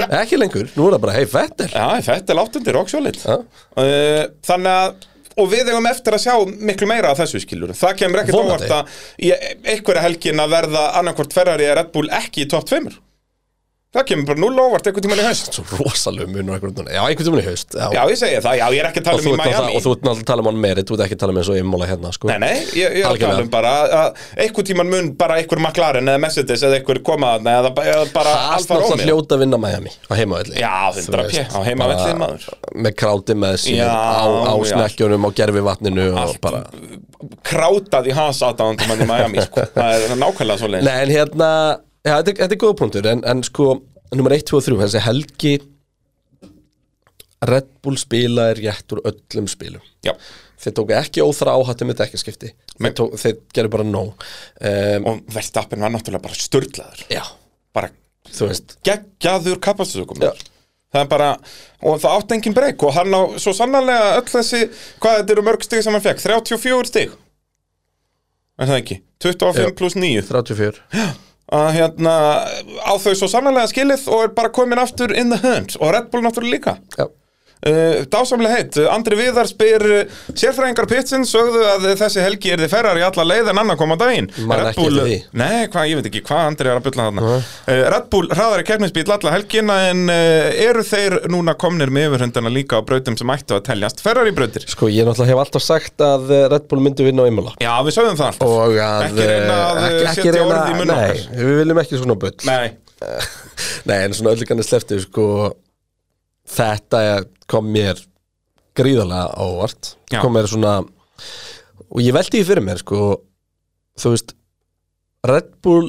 vikum ekki lengur, nú er það bara hei Vettel Já, þetta er láttundir, roksjólit Já. Eh, Þannig að Og við eigum eftir að sjá miklu meira af þessu skilur Það kemur ekkert Vonandi. óvart að í einhverja helgin að verða annarkvort Ferrari eða Red Bull ekki í topp 5 Það kemur bara null óvart einhvern tímann í haust svo rosalegu mun og einhvern veginn já, einhvern veginn í haust já. Já, ég segi það, já, ég er ekki að og tala þú um í ert náttúrulega- Miami og þú ert náttúrulega að tala um hann meiri þú ert ekki að tala um eins og ymmóla hérna sko. Nei, nei, ég, ég er að Algjörlega. tala um bara að- að einhvern tímann mun bara einhver McLaren eða Mercedes eða einhver koma þarna eða ba- eða bara Haas Alfa náttúrulega Romeo hljóta að vinna Miami á heimavelli Já, 100p, á heimavelli, maður. Með kráti með sín Já, á, á já. snekkjunum, á gerfivatninu og Allt. bara Krátað í hans aðdáðandum hann í Miami, <laughs> sko Það er nákvæmlega svo Nei, en hérna, já, þetta, er- þetta er góða punktur en, en sko, nummer 1, 2 og 3 þessi helgi Red Bull spila er rétt úr öllum spilum Já, Þeir tóku ekki óþra áhættu með dekkaskipti Þeir, tók, þeir gerðu bara nóg um, og Verstappen var náttúrulega bara störtlaður Já, bara þú veist geggjaður kapastusökum Já. það er bara, og það átti engin breyk og hann á svo sannarlega öll þessi hvað þetta eru mörg stig sem hann fekk, 34 stig er það ekki 25 Já. pluss 9 34 að hérna, á þau svo sannarlega skilið og er bara komin aftur in the hunt og Red Bull náttúrulega líka Já, Uh, dásamlega heitt, Andri Viðar spyr uh, sérfræðingar pitsin sögðu að þessi helgi er þið ferrar í alla leið en annan kom á daginn Man Red ekki Bull- eftir því. Nei, hvað, ég veit ekki, hvað Andri er að bylla þarna uh. Red Bull hraðar í keppnisbíl alla helgina en uh, eru þeir núna komnir með yfirhundana líka á brautum sem ættu að teljast ferrar í brautir? sko, ég náttúrulega hef alltaf sagt að eh, Red Bull myndi vinna á ymmóla Já, við sögðum það alltaf og að Ekki reyna að, ekki, eh, ekki setja reyna- orð í munn á nei, okkur. við viljum ekki svona bull Nei, nei en svona öllu kannar sleftu sko, þetta kom mér gríðarlega ávart Já. kom mér svona og ég veldi því fyrir mér sko, þú veist Red Bull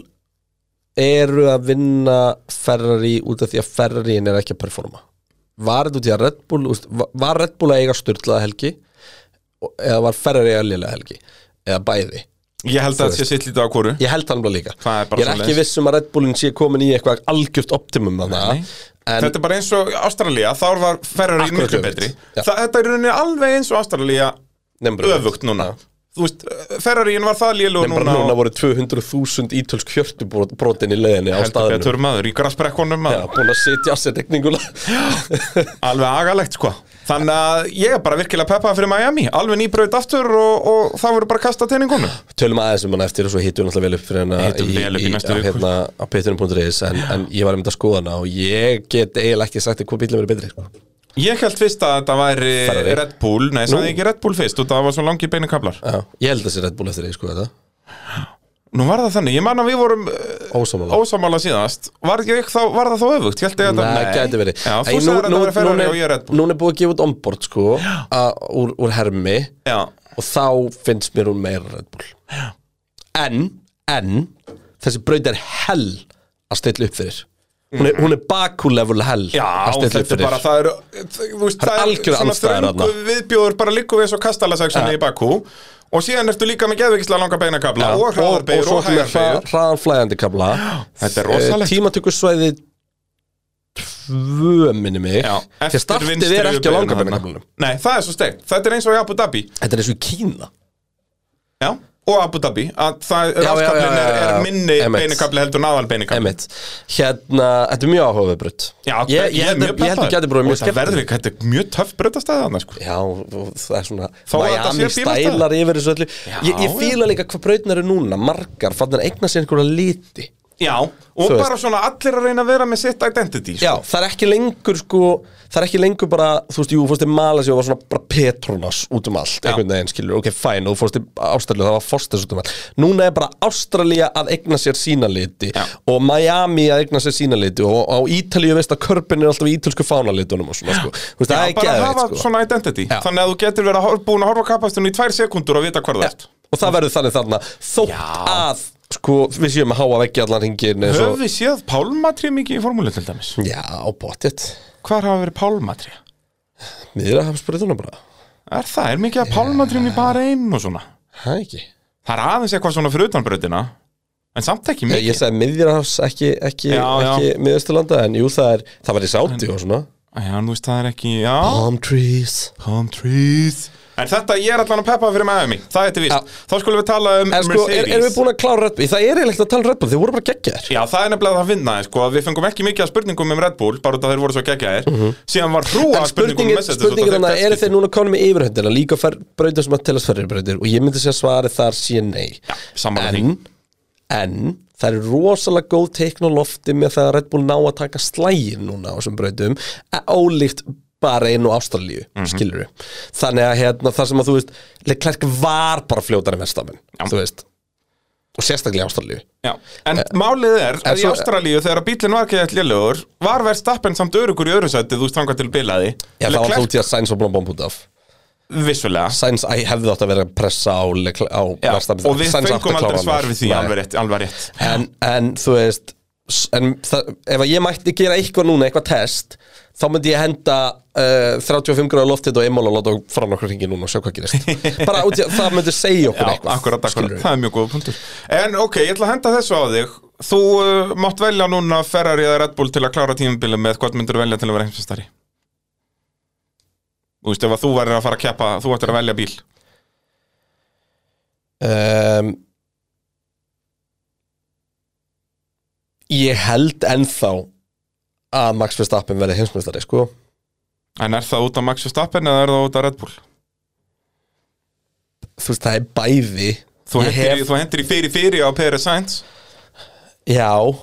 eru að vinna Ferrari út af því að Ferrari er ekki að performa var þetta út í að Red Bull þú veist, va- var Red Bull að eiga styrlaða helgi Og- eða var Ferrari að liðlega helgi eða bæði ég held að það sé sitt lítið á kóru Ég held það alveg líka Það er bara Ég er ekki svoleiðis. viss um að Red Bullin sé komin í eitthvað algjört optimum að það Nei. En Þetta er bara eins og Ástralía, þá var Ferrari Akkurat miklu öfugt. betri Já. Þa, Þetta er í rauninni alveg eins og Ástralía nefnum bara- öfugt núna Þú veist, Ferraríin var það lélug Nefnum bara núna núna og voru 200.000 ítölsk hjörtubrotin í leiðinni á heldur staðinu betur maður í grasprekkunum Já, búin að sitja á sér tekningula alveg agalegt sko þannig að ég er bara virkilega peppað fyrir Miami alveg nýbraut aftur og, og það voru bara kasta teiningunum <laughs> Tölum aðeins um hann eftir og svo hittum við náttúrulega vel upp fyrir hana Hittum vel upp í næstu á, viku. hérna, á pittunum.is en, en ég var einmitt að skoða hana og ég get eiginlega ekki sagt þér hvað bílum er betri sko. ég held fyrst að þetta væri Ferrari. Red Bull nei, Nú. sagði ég ekki Red Bull fyrst og það var svo langir beinu kablar Já, Ég held að þessi Red Bull eftir því sko þetta nú var það þannig, ég man að við vorum uh, Ósamála ósamála síðast var, ég, þá, var það þá öfugt, ég held ég að Nei, þetta gæti verið Já, Ei, þú sagði þetta var núna Ferrari er- og ég er Red Bull núna er búið að gefa út onboard sko að, úr, úr hermi já, og þá finnst mér hún meira Red Bull en, en þessi braut er hell að stilla upp fyrir hún er, hún er bakúlevel hell já að þetta stilla upp er bara fyrir það eru, þú veist, Það er algjör andstæður þröngu viðbjóður bara líku við svo kastalaseksjoni í Bakú og síðan ertu líka með geðvikislega langa beinakabla og og hraðarbeigur svo og ertu með hra- hægarbeigur hraðan flæðandi kabla Þetta er rosalegt. Eh, tímatökusvæði tvö minni mig Já, því að startið er ekki á beinu langa þarna. kablanum Nei, það er svo steik Þetta er eins og í Abu Dhabi þetta er eins og í Kína Já, og Abu Dhabi að það já, já, rafkablin er, já, er já. minni Emmett. beinakabli heldur en aðal beinakabli Einmitt. hérna, þetta er mjög áhugaverð brutt Já, ég, ég, ég er held- ég mjög held að peppaður. gæti bróðið mjög Og það skemmt verður ekki, þetta er mjög töff bröðastæða þarna sko Já, og það er svona Þó að þetta sé Miami bílastæði. stælar yfir þessu öllu Ég, ég já. fíla líka hvað brautnar eru núna Margar, fannar eigna sér einhverja liti Já, og Þú bara svona allir að reyna að vera með sitt identity sko. Já, það er ekki lengur sko Það er ekki lengur bara, þú veist, jú, fórstu mala sér og var svona bara Petronas út um allt einhvern veginn skilur, ok, fæn, og þú fórstu Ástralíu það var Fosters út um allt Núna er bara Ástralía að eigna sér sína liti Já. og Miami að eigna sér sína liti og á Ítalíu veist að körpin er alltaf í ítölsku fánalitunum og svona sko Þú veist, Já, það er bara að geðveikt, hafa sko. svona identity Já. Þannig að þú getur verið að hor- búin að horfa á kapastunni í tvær sekúndur og vita hvar það ert og það verður þannig þarna þótt Já. að sko, við séum að háa veggi allan ringin eins Höfum og, við séð pálmatri mikið í formúlu til dæmis? já, pottitt Hvar hafa verið pálmatri? niður að hafa spurðuna bara, Er það, er mikið að pálmatrjum í bara einn og svona? hæ ekki Það er aðeins eitthvað svona fyrir utanbröðina En samt ekki ég, mikið ég sagði miðjarhafs ekki, ekki, Já, já. ekki miðasturlanda, en jú, það er það var í sáti og svona Já, þú veist, það er ekki, já palm trees Palm trees En þetta, ég er allan að peppa fyrir Miami, það heitir víst Þá skulum við tala um en sko, er, Mercedes erum við búin að klára Red Bull það er eiginlega að tala um Red Bull, þeir voru bara geggjaðir Já, það er nefnilega það að finna, sko, að við fengum ekki mikið að spurningum um Red Bull, bara út að þeir voru svo geggjaðir Síðan var hrúa Mhm. En spurningum spurningin, um Mercedes spurningin þannig að eru þeir núna konum með yfirhundina líka fer, brautir sem að telast ferri brautir og ég myndi segja að svarið þar sé nei Samanlega því en, en það eru rosalega góð teikn á lofti með það að Red Bull ná að taka slægin núna á þessum brautum e- ólíkt bara inn og Ástralíu, Mhm. mm þannig að hérna, það sem að þú veist Leclerc var bara fljótar en verðstafin Já. þú veist og sérstaklega í Ástralíu Já, en málið er að í svo- Ástralíu þegar bílinn var ekki eitthvað lélugur var Verstappen samt örugur í öðru sæti þú stanga til bilaði Já, það var þó til að Sainz var búin að bomba út af vissulega Sainz æ, hefði átt að vera að pressa á, Leclerc- á Já, verðstafin og við fengum aldrei svar við því alveg rétt, alveg rétt. en, en þú veist s- en það, ef að ég mætti gera eitthvað núna, eitthvað test þá myndi ég henda uh, 35 gráða loftið og einmál og láta frá nokkur hringi núna og sjá hvað <laughs> gerist bara út í að það myndi segja Já, okkur eitthvað akkurat, akkurat, skilurðu. það er mjög góð punktur En ok, ég ætla að henda þessu á þig Þú uh, mátt velja núna Ferrari eða Red Bull til að klára tímabilið með hvað myndur velja til að vera heimsistari Þú veist, ef að þú verður að fara að keppa þú ættir að velja bíl um, ég held ennþá að Max Verstappen verði heimsmyndstari sko En er það út af Max Verstappen eða er það út af Red Bull? þú veist það er bæði Þú Ég hendir, hef... þú hendir í fyrir fyrir á Peri Sainz já og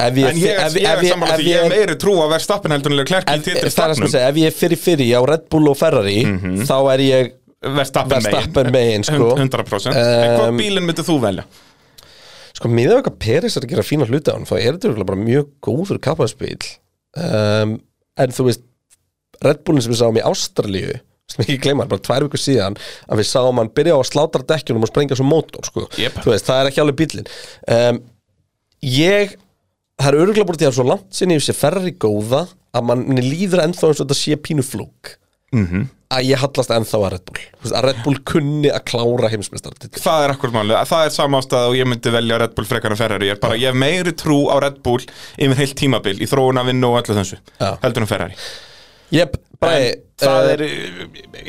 ef ég En ég, ef- ég, ég, ef ég, sammála ef því, ég er meiri trú að Verstappen heldur en Leclerc í En eh, sko, það er það sem ég titilstafnum segja, ef ég er fyrir fyrir á Red Bull og Ferrari þá er ég Verstappen sko. Verstappen megin megin sko. 100% En hvað Um, bílinn myndir þú velja? sko, miðað okkar Peris er að gera fína hluti á hann þá er þetta örugglega bara mjög góður kappaðspil um, en þú veist Red Bullin sem við sáum í Ástralíu sem ekki gleyma, bara tvær vikur síðan að við sáum hann byrja á að slátra dekkjunum og sprengja svo mótor, sko, Jep. þú veist, það er ekki alveg bíllinn um, ég það er örgulega búin til að svo langt sinni ég sé ferri góða að manni líður ennþá eins og þetta sé pínu flúk Mhm. að ég hallast ennþá að Red Bull Þú veist, að Red Bull kunni að klára heimsmeistaratitil Það er akkur málið, það er samástað og ég myndi velja Red Bull frekar en Ferrari Ég er bara, ég hef meiri trú á Red Bull yfir heilt tímabil í þróunavinnu og öllu þessu Já. heldur en Ferrari Jep, eh, bræði, En Það er,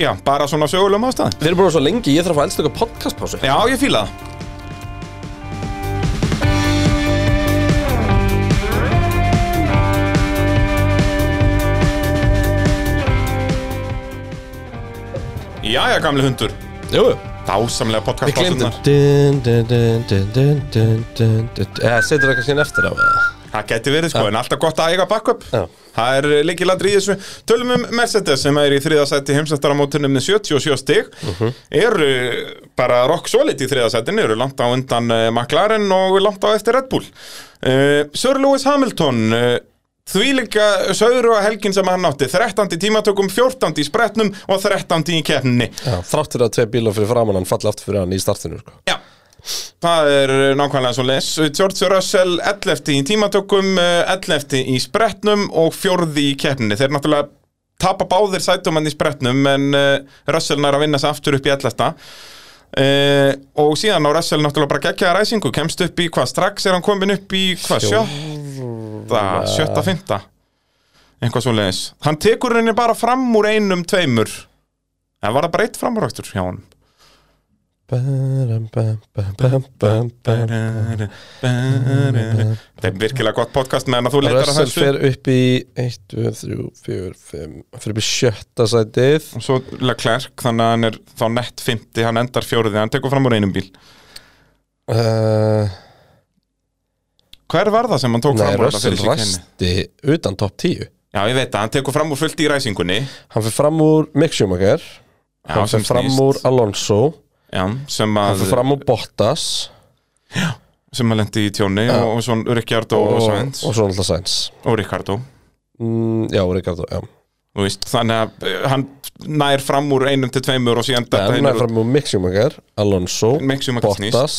já, bara svona sögulegum ástæðan Við erum bara svo lengi, ég þarf að elsta eitthvað podcastpásu Já, ég fíla það Jæja, gamli hundur Jú, Dásamlega podcast við glemdum Dun, dun, dun, dun, dun, dun, dun, dun. Eh, Setur það kannski inn eftir á það Það geti verið sko, en alltaf gott að eiga backup Já. Það er leikilandri í þessu Tölum um Mercedes sem er í þriðasætti heimsættaramótunum með 77 stig Eru bara rock solid í þriðasættinu Eru langt á undan eh, McLaren og langt á eftir Red Bull uh, Sir Lewis Hamilton uh, Því líka sögru að helgin sem hann átti 13. í tímatökum, 14. í spretnum og 13. í keppninni Þráttur að tvei bílar fyrir framann, hann falli aftur fyrir hann í startinu sko. Já Það er uh, nákvæmlega svo les George Russell 11. í tímatökum uh, 11. í spretnum og fjórði í keppninni Þeir náttúrulega tapa báðir sætum hann í spretnum en uh, Russell nær að vinna sig aftur upp í 11. Uh, og síðan á Russell náttúrulega bara geggjaða ræsingu kemst upp í hvað strax er hann komin upp í hvað sjötta, sjötta, fymta eitthvað svo leiðis hann tekur henni bara fram úr einum tveimur en var það bara eitt framúræktur hjá honum Bam, bam, bam, bam, bam, bam. Þetta er virkilega gott podcast meðan að þú leitar að Russell þessu fer upp í 1, 2, 3, 4, 5 Fyrir upp í sjötta sætið og svo Leclerc, þannig að hann er þá nett 50, hann endar fjóruði, hann tekur fram úr einum bíl uh, Hver var það sem hann tók Nei, fram úr þetta Russell fyrir sig kynni? ræsti utan topp 10 Já, ég veit það, hann tekur fram úr fullt í ræsingunni Hann fyrir fram úr Mick Schumacher Já, Hann sem fyrir fram snýst. úr Alonso Já, sem Hann að, fyrir fram úr Bottas sem að lendi í tjóni og, og svo Ricciardo og, og Sainz og og, svo náttúrulega Sainz Ricciardo mm, Já, Ricardo, já Þú veist, þannig að eh, hann nær fram úr einum til tveimur og síðan Þetta detta er hinur- fram úr Mick Schumacher, Alonso Mick Schumacher snýst. Bottas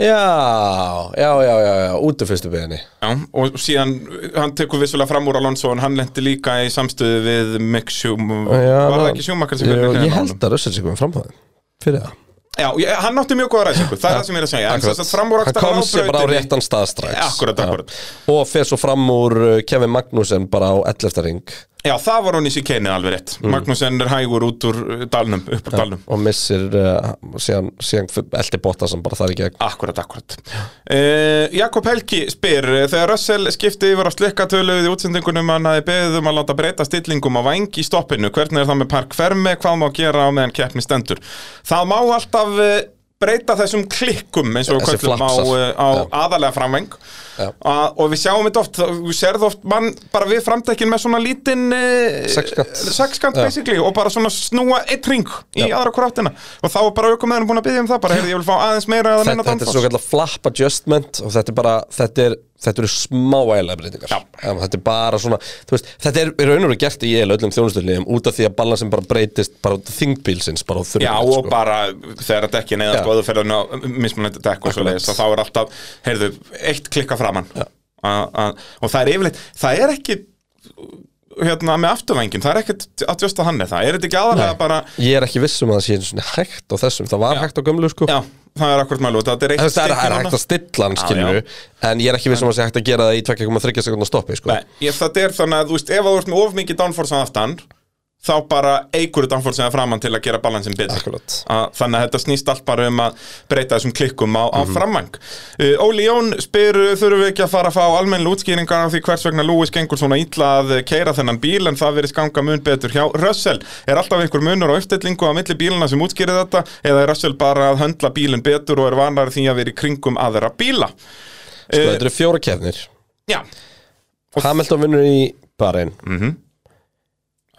Já, já, já, já, já, út af fyrstu beginni Já, og síðan hann tekur vissulega fram úr Alonso en hann lendi líka í samstöðu við Mick Schumacher var það ekki Schumacher sem Ég, fyrir ég held að Russell sé komið fram á þeim Fyrir það Já, ég, hann átti mjög góða ræsingu, það er það sem ég er að segja Akkurat. Hann framúr Hann kom sér bara á réttan stað strax Akkurat, akkurat. Já. Og fer svo fram úr uh, Kevin Magnussen bara á 11. ring Já, það var hann í síkenni alveg rétt Mm. Magnussen er hægur út úr uh, dalnum, upp úr dalnum og missir uh, síðan, síðan eldi botta sem bara þar í gegn Akkurat, akkurat uh, Jakob Helgi spyr eh, Þegar Russell skipti yfir á slikkatöluð í útsendingunum hann hafði beðið um að láta breyta stillingum á væng í stoppinu Hvernig er það með parkfermi, hvað má gera á meðan keppni stendur Það má alltaf eh, breyta þessum klikkum eins og Þessi kvöldum á, flaksar. eh, á Já. aðalega framvæng Já. A, og við sjáum þetta oft, þá- þú sérð oft mann bara við framtekkin með svona lítinn eh, Sexkant. sexkant Já. basically og bara svona snúa eitt ring í Já. aðra okkur áttina og þá er bara aukumæðurinn búin að byggja um það bara, heyrðu, ég vil fá aðeins meira eða þetta, minna þetta er svo kallar flap adjustment og þetta er bara, þetta er þetta eru smáægilega breytingar Já. þetta er bara svona, þú veist, þetta er, er raunur og gert í eil öllum þjónustöðliðum út af því að balansin bara breytist bara út af þingbílsins bara á sko. þurrið Já og bara þegar dekkin eða Já. sko þú ferðin á mismunandi dekk og svo leiðis þá er alltaf, heyrðu, eitt klikka framann a, a, og það er yfirleitt það er ekki hérna með afturvængin, það er ekkert að tjósta hann eða það, er þetta ekki aðalega bara ég er ekki viss um að það sé einu svona hægt á þessum það var hægt á gömlu sko já, það er akkurat mælu, þetta er Þú eitt veist, það er, stykki það er þarna. hægt að stilla hann Já, skilju já. en ég er ekki viss um að sé hægt að gera það í 2,3 sekundar stoppi sko. Nei, ég, þetta er þannig að þú veist, ef að þú ert með of mikið downforce að aftan þá bara eigur downforce að framann til að gera balansin betur Akkurat. Að- þannig að þetta snýst allt bara um að breyta þessum klikkum á, á Mhm. framang uh, Óli Jón spyr, uh, þurfum við ekki að fara að fá almennilega útskýringar á því hvers vegna Lewis gengur svona ítla að keira þennan bíl en það verið skanga mun betur hjá Russell er alltaf einhver munur á uppstillingu á milli bílana sem útskýrir þetta eða er Russell bara að höndla bílinn betur og er vanar því að vera í kringum aðra bíla Eh, sko, þetta eru fjóra kefnir Já, Hamilton vinnur í barinn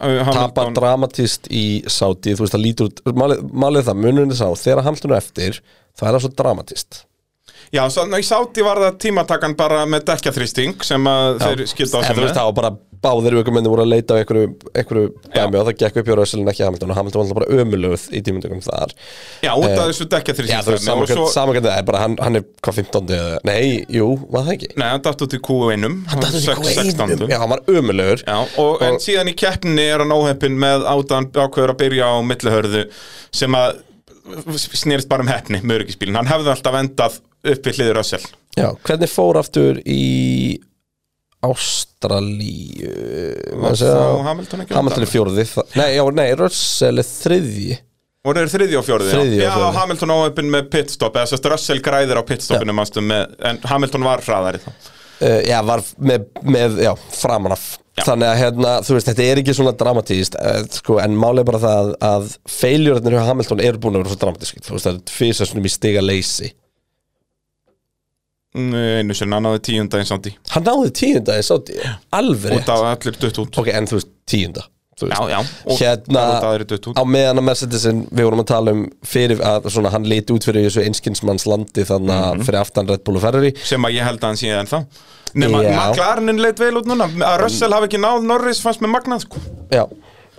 uh, tapar dramatist í Saudi þú veist það lítur út, málið, málið það munurinn er sá, þegar Hamilton er eftir það er það svo dramatist Já, svo, ná, í Sáti var það tímatakan bara með dekkjaþrýsting sem að þeir skilta á En sem þú veist það var bara báðir aukumenni voru að leita á einhverju, einhverju dæmi og það gekk upp hjá Rössilin ekki Hamilton og Hamilton var alltaf bara ömulöð í tímundökum þar Já, út Eh, Já, af þessu þú veist, dekkjaþrýsting og svo, samankvæmt það er bara, hann, hann er hvað 15. eða, nei, jú, var það ekki? nei, hann datt út í Q1 Hann Það er ekki einum, já, hann var ömulögur Já, og, en Og- síðan í keppninni er hann óheppin með átan ákveður að byrja á millihörðu sem að snýrist bara um heppni með öryggisbílinn, hann hefði alltaf endað upp við hliður Össel Já, hvernig fór aftur í Ástralíu Var maður segja- þá Hamilton ekki á Hamilton er undan? fjórði það- Nei, já, nei, Russell er þriðji og það er þriði og fjórði Þriðji og Já, fjórði. Hamilton óheppin með pitstop eða sérst Össel græðir á pitstopinu manstu, með, en Hamilton var hraðari þá uh, Já, var með, með já, framan af Þannig að hérna, þú veist, þetta er ekki svona dramatíst uh, sko, En málið er bara það að, að Feiljurarnir hjá Hamilton eru búin að vera svo dramatísk Þú veist, það er fyrst svona í stiga leysi Mm, einu sinni, hann náði tíunda eins ándi Hann náði tíunda, ég sátti Alveg út rétt af allir dutt út Ok, en þú veist, tíunda þú veist. Já, já, og Hérna, það er út af aðrir dutt út á meðan að Mercedesin við vorum að tala um fyrir að svona, hann liti út fyrir þessu einskinsmanns landi þannig að Mhm. fyrir aftan Red Bull og Ferrari sem að ég held að hann síðan þá nema Já. Mm. McLarenin leit vel út núna að Russell hafi ekki náð Norris fannst með magnað sko. já,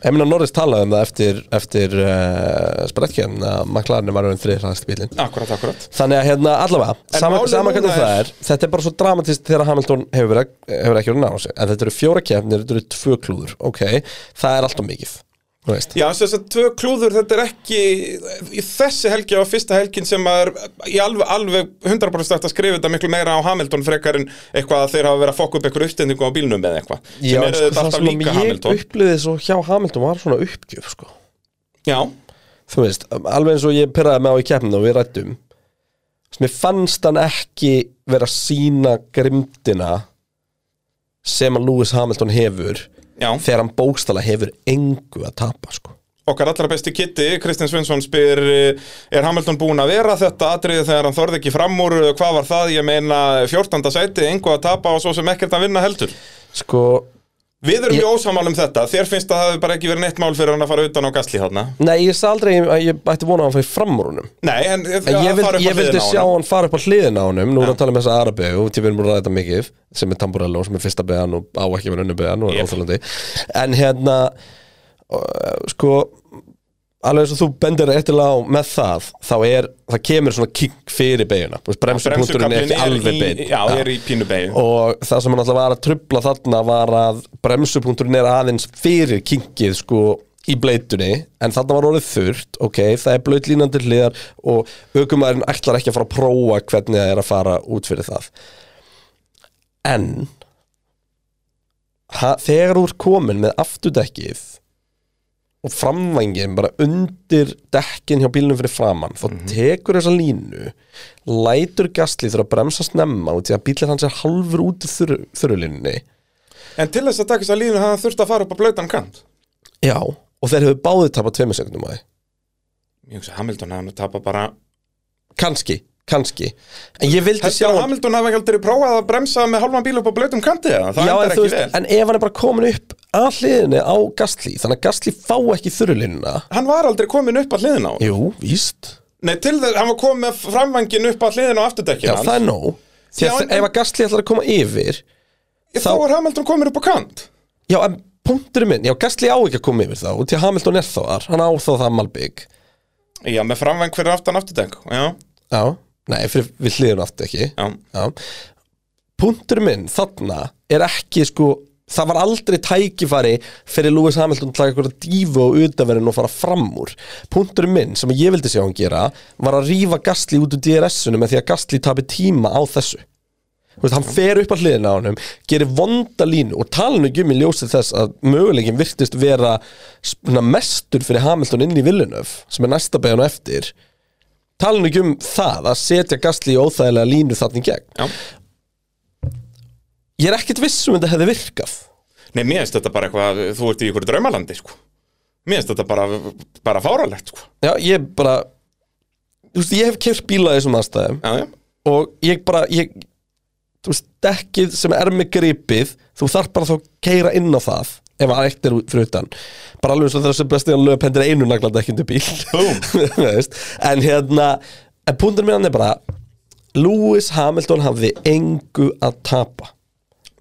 ég minna Norris talaði um það eftir, eftir uh, spretkjæn að McLaren var um þrið hraðast bílinn akkurat, akkurat þannig að hérna allavega, En sama, málið sama hvernig núna það er- er þetta er bara svo dramatist þegar Hamilton hefur, verið að- hefur ekki verið að ná sig en þetta eru fjóra kefnir, þetta eru tvö klúður ok, það er alltaf mikið þú veist. Já, þess að tvö klúður, þetta er ekki í þessi helgi og fyrsta helgin sem er í alveg, alveg 100% hægt að skrifa þetta miklu meira á Hamilton frekar en eitthvað að þeir hafa verið að fokka upp eitthvað uppstendingu á bílnum eða eitthvað Já, sem er sko, þetta það alltaf sem líka ég Hamilton upplýði svo hjá Hamilton var svona uppgjöf sko. Já, þú veist, alveg eins og ég pyrraði með á í keppnum og við rættum sem ég fannst hann ekki vera að sína grimdina sem að Lewis Hamilton hefur já þegar hann bókstala hefur engu að tapa sko. Okkar allra besti kitti, Kristinn Svensson spyr eh, Er Hamilton búinn að vera þetta atriði þegar hann þorði ekki fram úr eh, Hvað var það? Ég meina 14. sæti, engu að tapa og svo sem ekkert að vinna heldur sko, Við erum Ég- í ósamál um þetta Þér finnst að það hefur bara ekki verið neitt mál fyrir hann að fara utan á gasli þarna nei ég sagði aldrei að ég ætti vona að hann fæði framrúnum Nei, en, eh, En ég, að vild, fara upp ég að vildi hliðina á sjá honum. hann fara upp á hliðina á honum Nú erum við að tala um þessa Arabi og tífið erum búin að ræða þetta mikið sem er Tamburello sem er fyrsta beðan og á ekki verið unnu beðan og er Yep. óþálandi En hérna uh, sko alveg eins og þú bendir eftirlega á með það þá er, það kemur svona kink fyrir beiguna bremsupunkturinn er ekki alveg beign Já, er í pínu beign og það sem hann alltaf var að trubla þarna var að bremsupunkturinn er aðeins fyrir kinkið sko í bleitunni, en þarna var orðið þurrt ok, það er blautlínandi hliðar og aukumæðurinn ætlar ekki að fara að prófa hvernig það er að fara út fyrir það en ha, þegar þú er komin með afturdekkið og framvængin bara undir dekkin hjá bílnum fyrir framann þá tekur þessa línu lætur gaslið þurfa að bremsa snemma út í að bílir hans er halfur út í þurru, þurrulínunni En til þess að taka þess að línu hann þurfti að fara upp á blautan kant já, og þeir hefur báðið tapað tveimur sekundum á því Ég hugsa Hamilton hann tapa bara kannski, kannski en ég vildi Heldur sjá að hann Hamilton hafi ekki aldrei prófað að bremsa með hálfan bíl upp á blautum kanti eða? Það Já, en, endar þú ekki vel en ef hann er bara komin upp að hliðinni á gasli þannig að gasli fá ekki þurrulínuna Hann var aldrei komin upp að hliðin á jú, víst Nei, til þess, hann var komin með framvangin upp að hliðin á afturdekkinu já, það er nóg Því Já, að en- ef að gasli ætlar að koma yfir Þá þá- er Hamilton komin upp á kant Já, en punkturinn minn, já, Gastli á ekki að koma yfir þá og til Hamilton er þá þar, hann á þá það malbygg Já, með framvang fyrir aftan afturdekk Já, Já, nei, fyrir við hliðum aftur ekki já Já Punkturinn minn, þarna, er ekki sko Það var aldrei tækifæri fyrir Lewis Hamilton að taka eitthvað dífu og utanverðin og fara fram úr. Punkturinn minn sem ég vildi sjá hann gera var að rífa Gastli út úr DRS-unum með því að Gastli tapi tíma á þessu. Þú veist, hann fer upp að hliðina á honum gerir vonda línu og tala nú ekki um í ljósið þess að möguleikin virtist vera svona mestur fyrir Hamilton inn í Villeneuve sem er næsta beigjan og eftir tala nú ekki um það að setja Gastli í óþægilega línu þarna í gegn Já. ég er ekkert viss um þetta hefði virkað Nei, mér finnst þetta bara eitthvað, þú ert í ykkur draumalandi, sko Mér finnst þetta bara, bara fáralegt, sko já, ég bara þú veist, ég hef kert bíla í þessum aðstæðum Já, já og ég bara ég, þú veist, dekkið sem er með gripið þú þarf bara þá að keira inn á það ef að eitt er út- fyrir utan bara alveg eins og þessu besti að löp hendur einu nagladekkindu bíl Búm. <laughs> Þú veist, en hérna en púntur mér hann er bara Lewis Hamilton hafði engu að tapa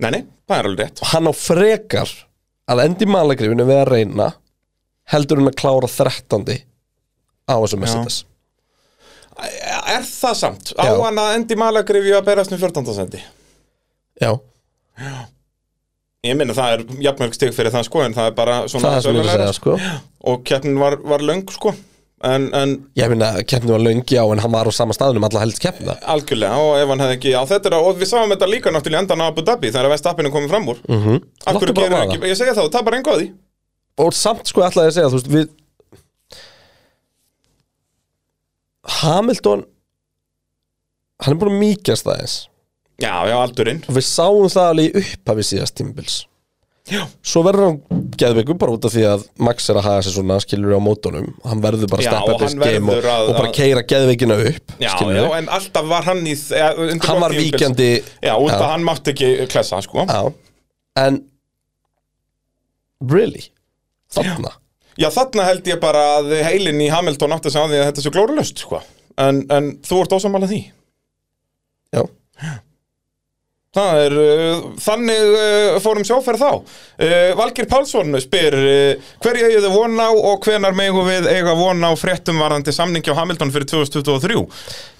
Nei, nei, það er alveg rétt og hann á frekar að endi malagrifinu við að reyna heldur hann að klára 13. á þessu Mercedes Er það samt? Á Já. hann að endi malagrifju að berast með 14. sendi? já, Ég minna það er jafnmörg stig fyrir það sko en það er bara svona það er sem ég er að sögulegra, segja sko sko. og keppnin var, var löng sko en, en Ég meina, keppni var löngi á en hann var á sama staðnum alla helst keppna algjörlega og ef hann hefði ekki á þetta er- og við sáum þetta líka náttúrulega í endan á Abu Dhabi þegar Vestappinu komið fram úr mm -hmm. Mhm. Láttu bara vaða. ekki, ég segja það, það er bara engu að því Og samt sko ætlaði ég að segja, þú veist, við Hamilton Hann er búin að mýkjast það eins Já, já, aldurinn Og við sáum það alveg í upphafi síðast tímbils Já, Svo verður hann geðveikur bara út af því að Max er að haga sér svona skilur á mótunum og hann verður bara að Já, steppa og upp hann his game og, verður að- og bara keira geðveikina upp já, skilurðu. já, en alltaf var hann í þ- eh, undir Hann lok var tímabils. víkjandi Ah. Já, út að hann mátti ekki klessa sko Já, en Really? Þarna? Já, þarna held ég bara að heilin í Hamilton átti sem á því að þetta sé glórulust sko en, en þú ert ósamála því Já, Það er, uh, þannig uh, fórum sjóferð þá uh, Valgir Pálsson spyr uh, hverju eigið þið von á og hvenar megum við eiga von á fréttum varðandi samningi á Hamilton fyrir 2023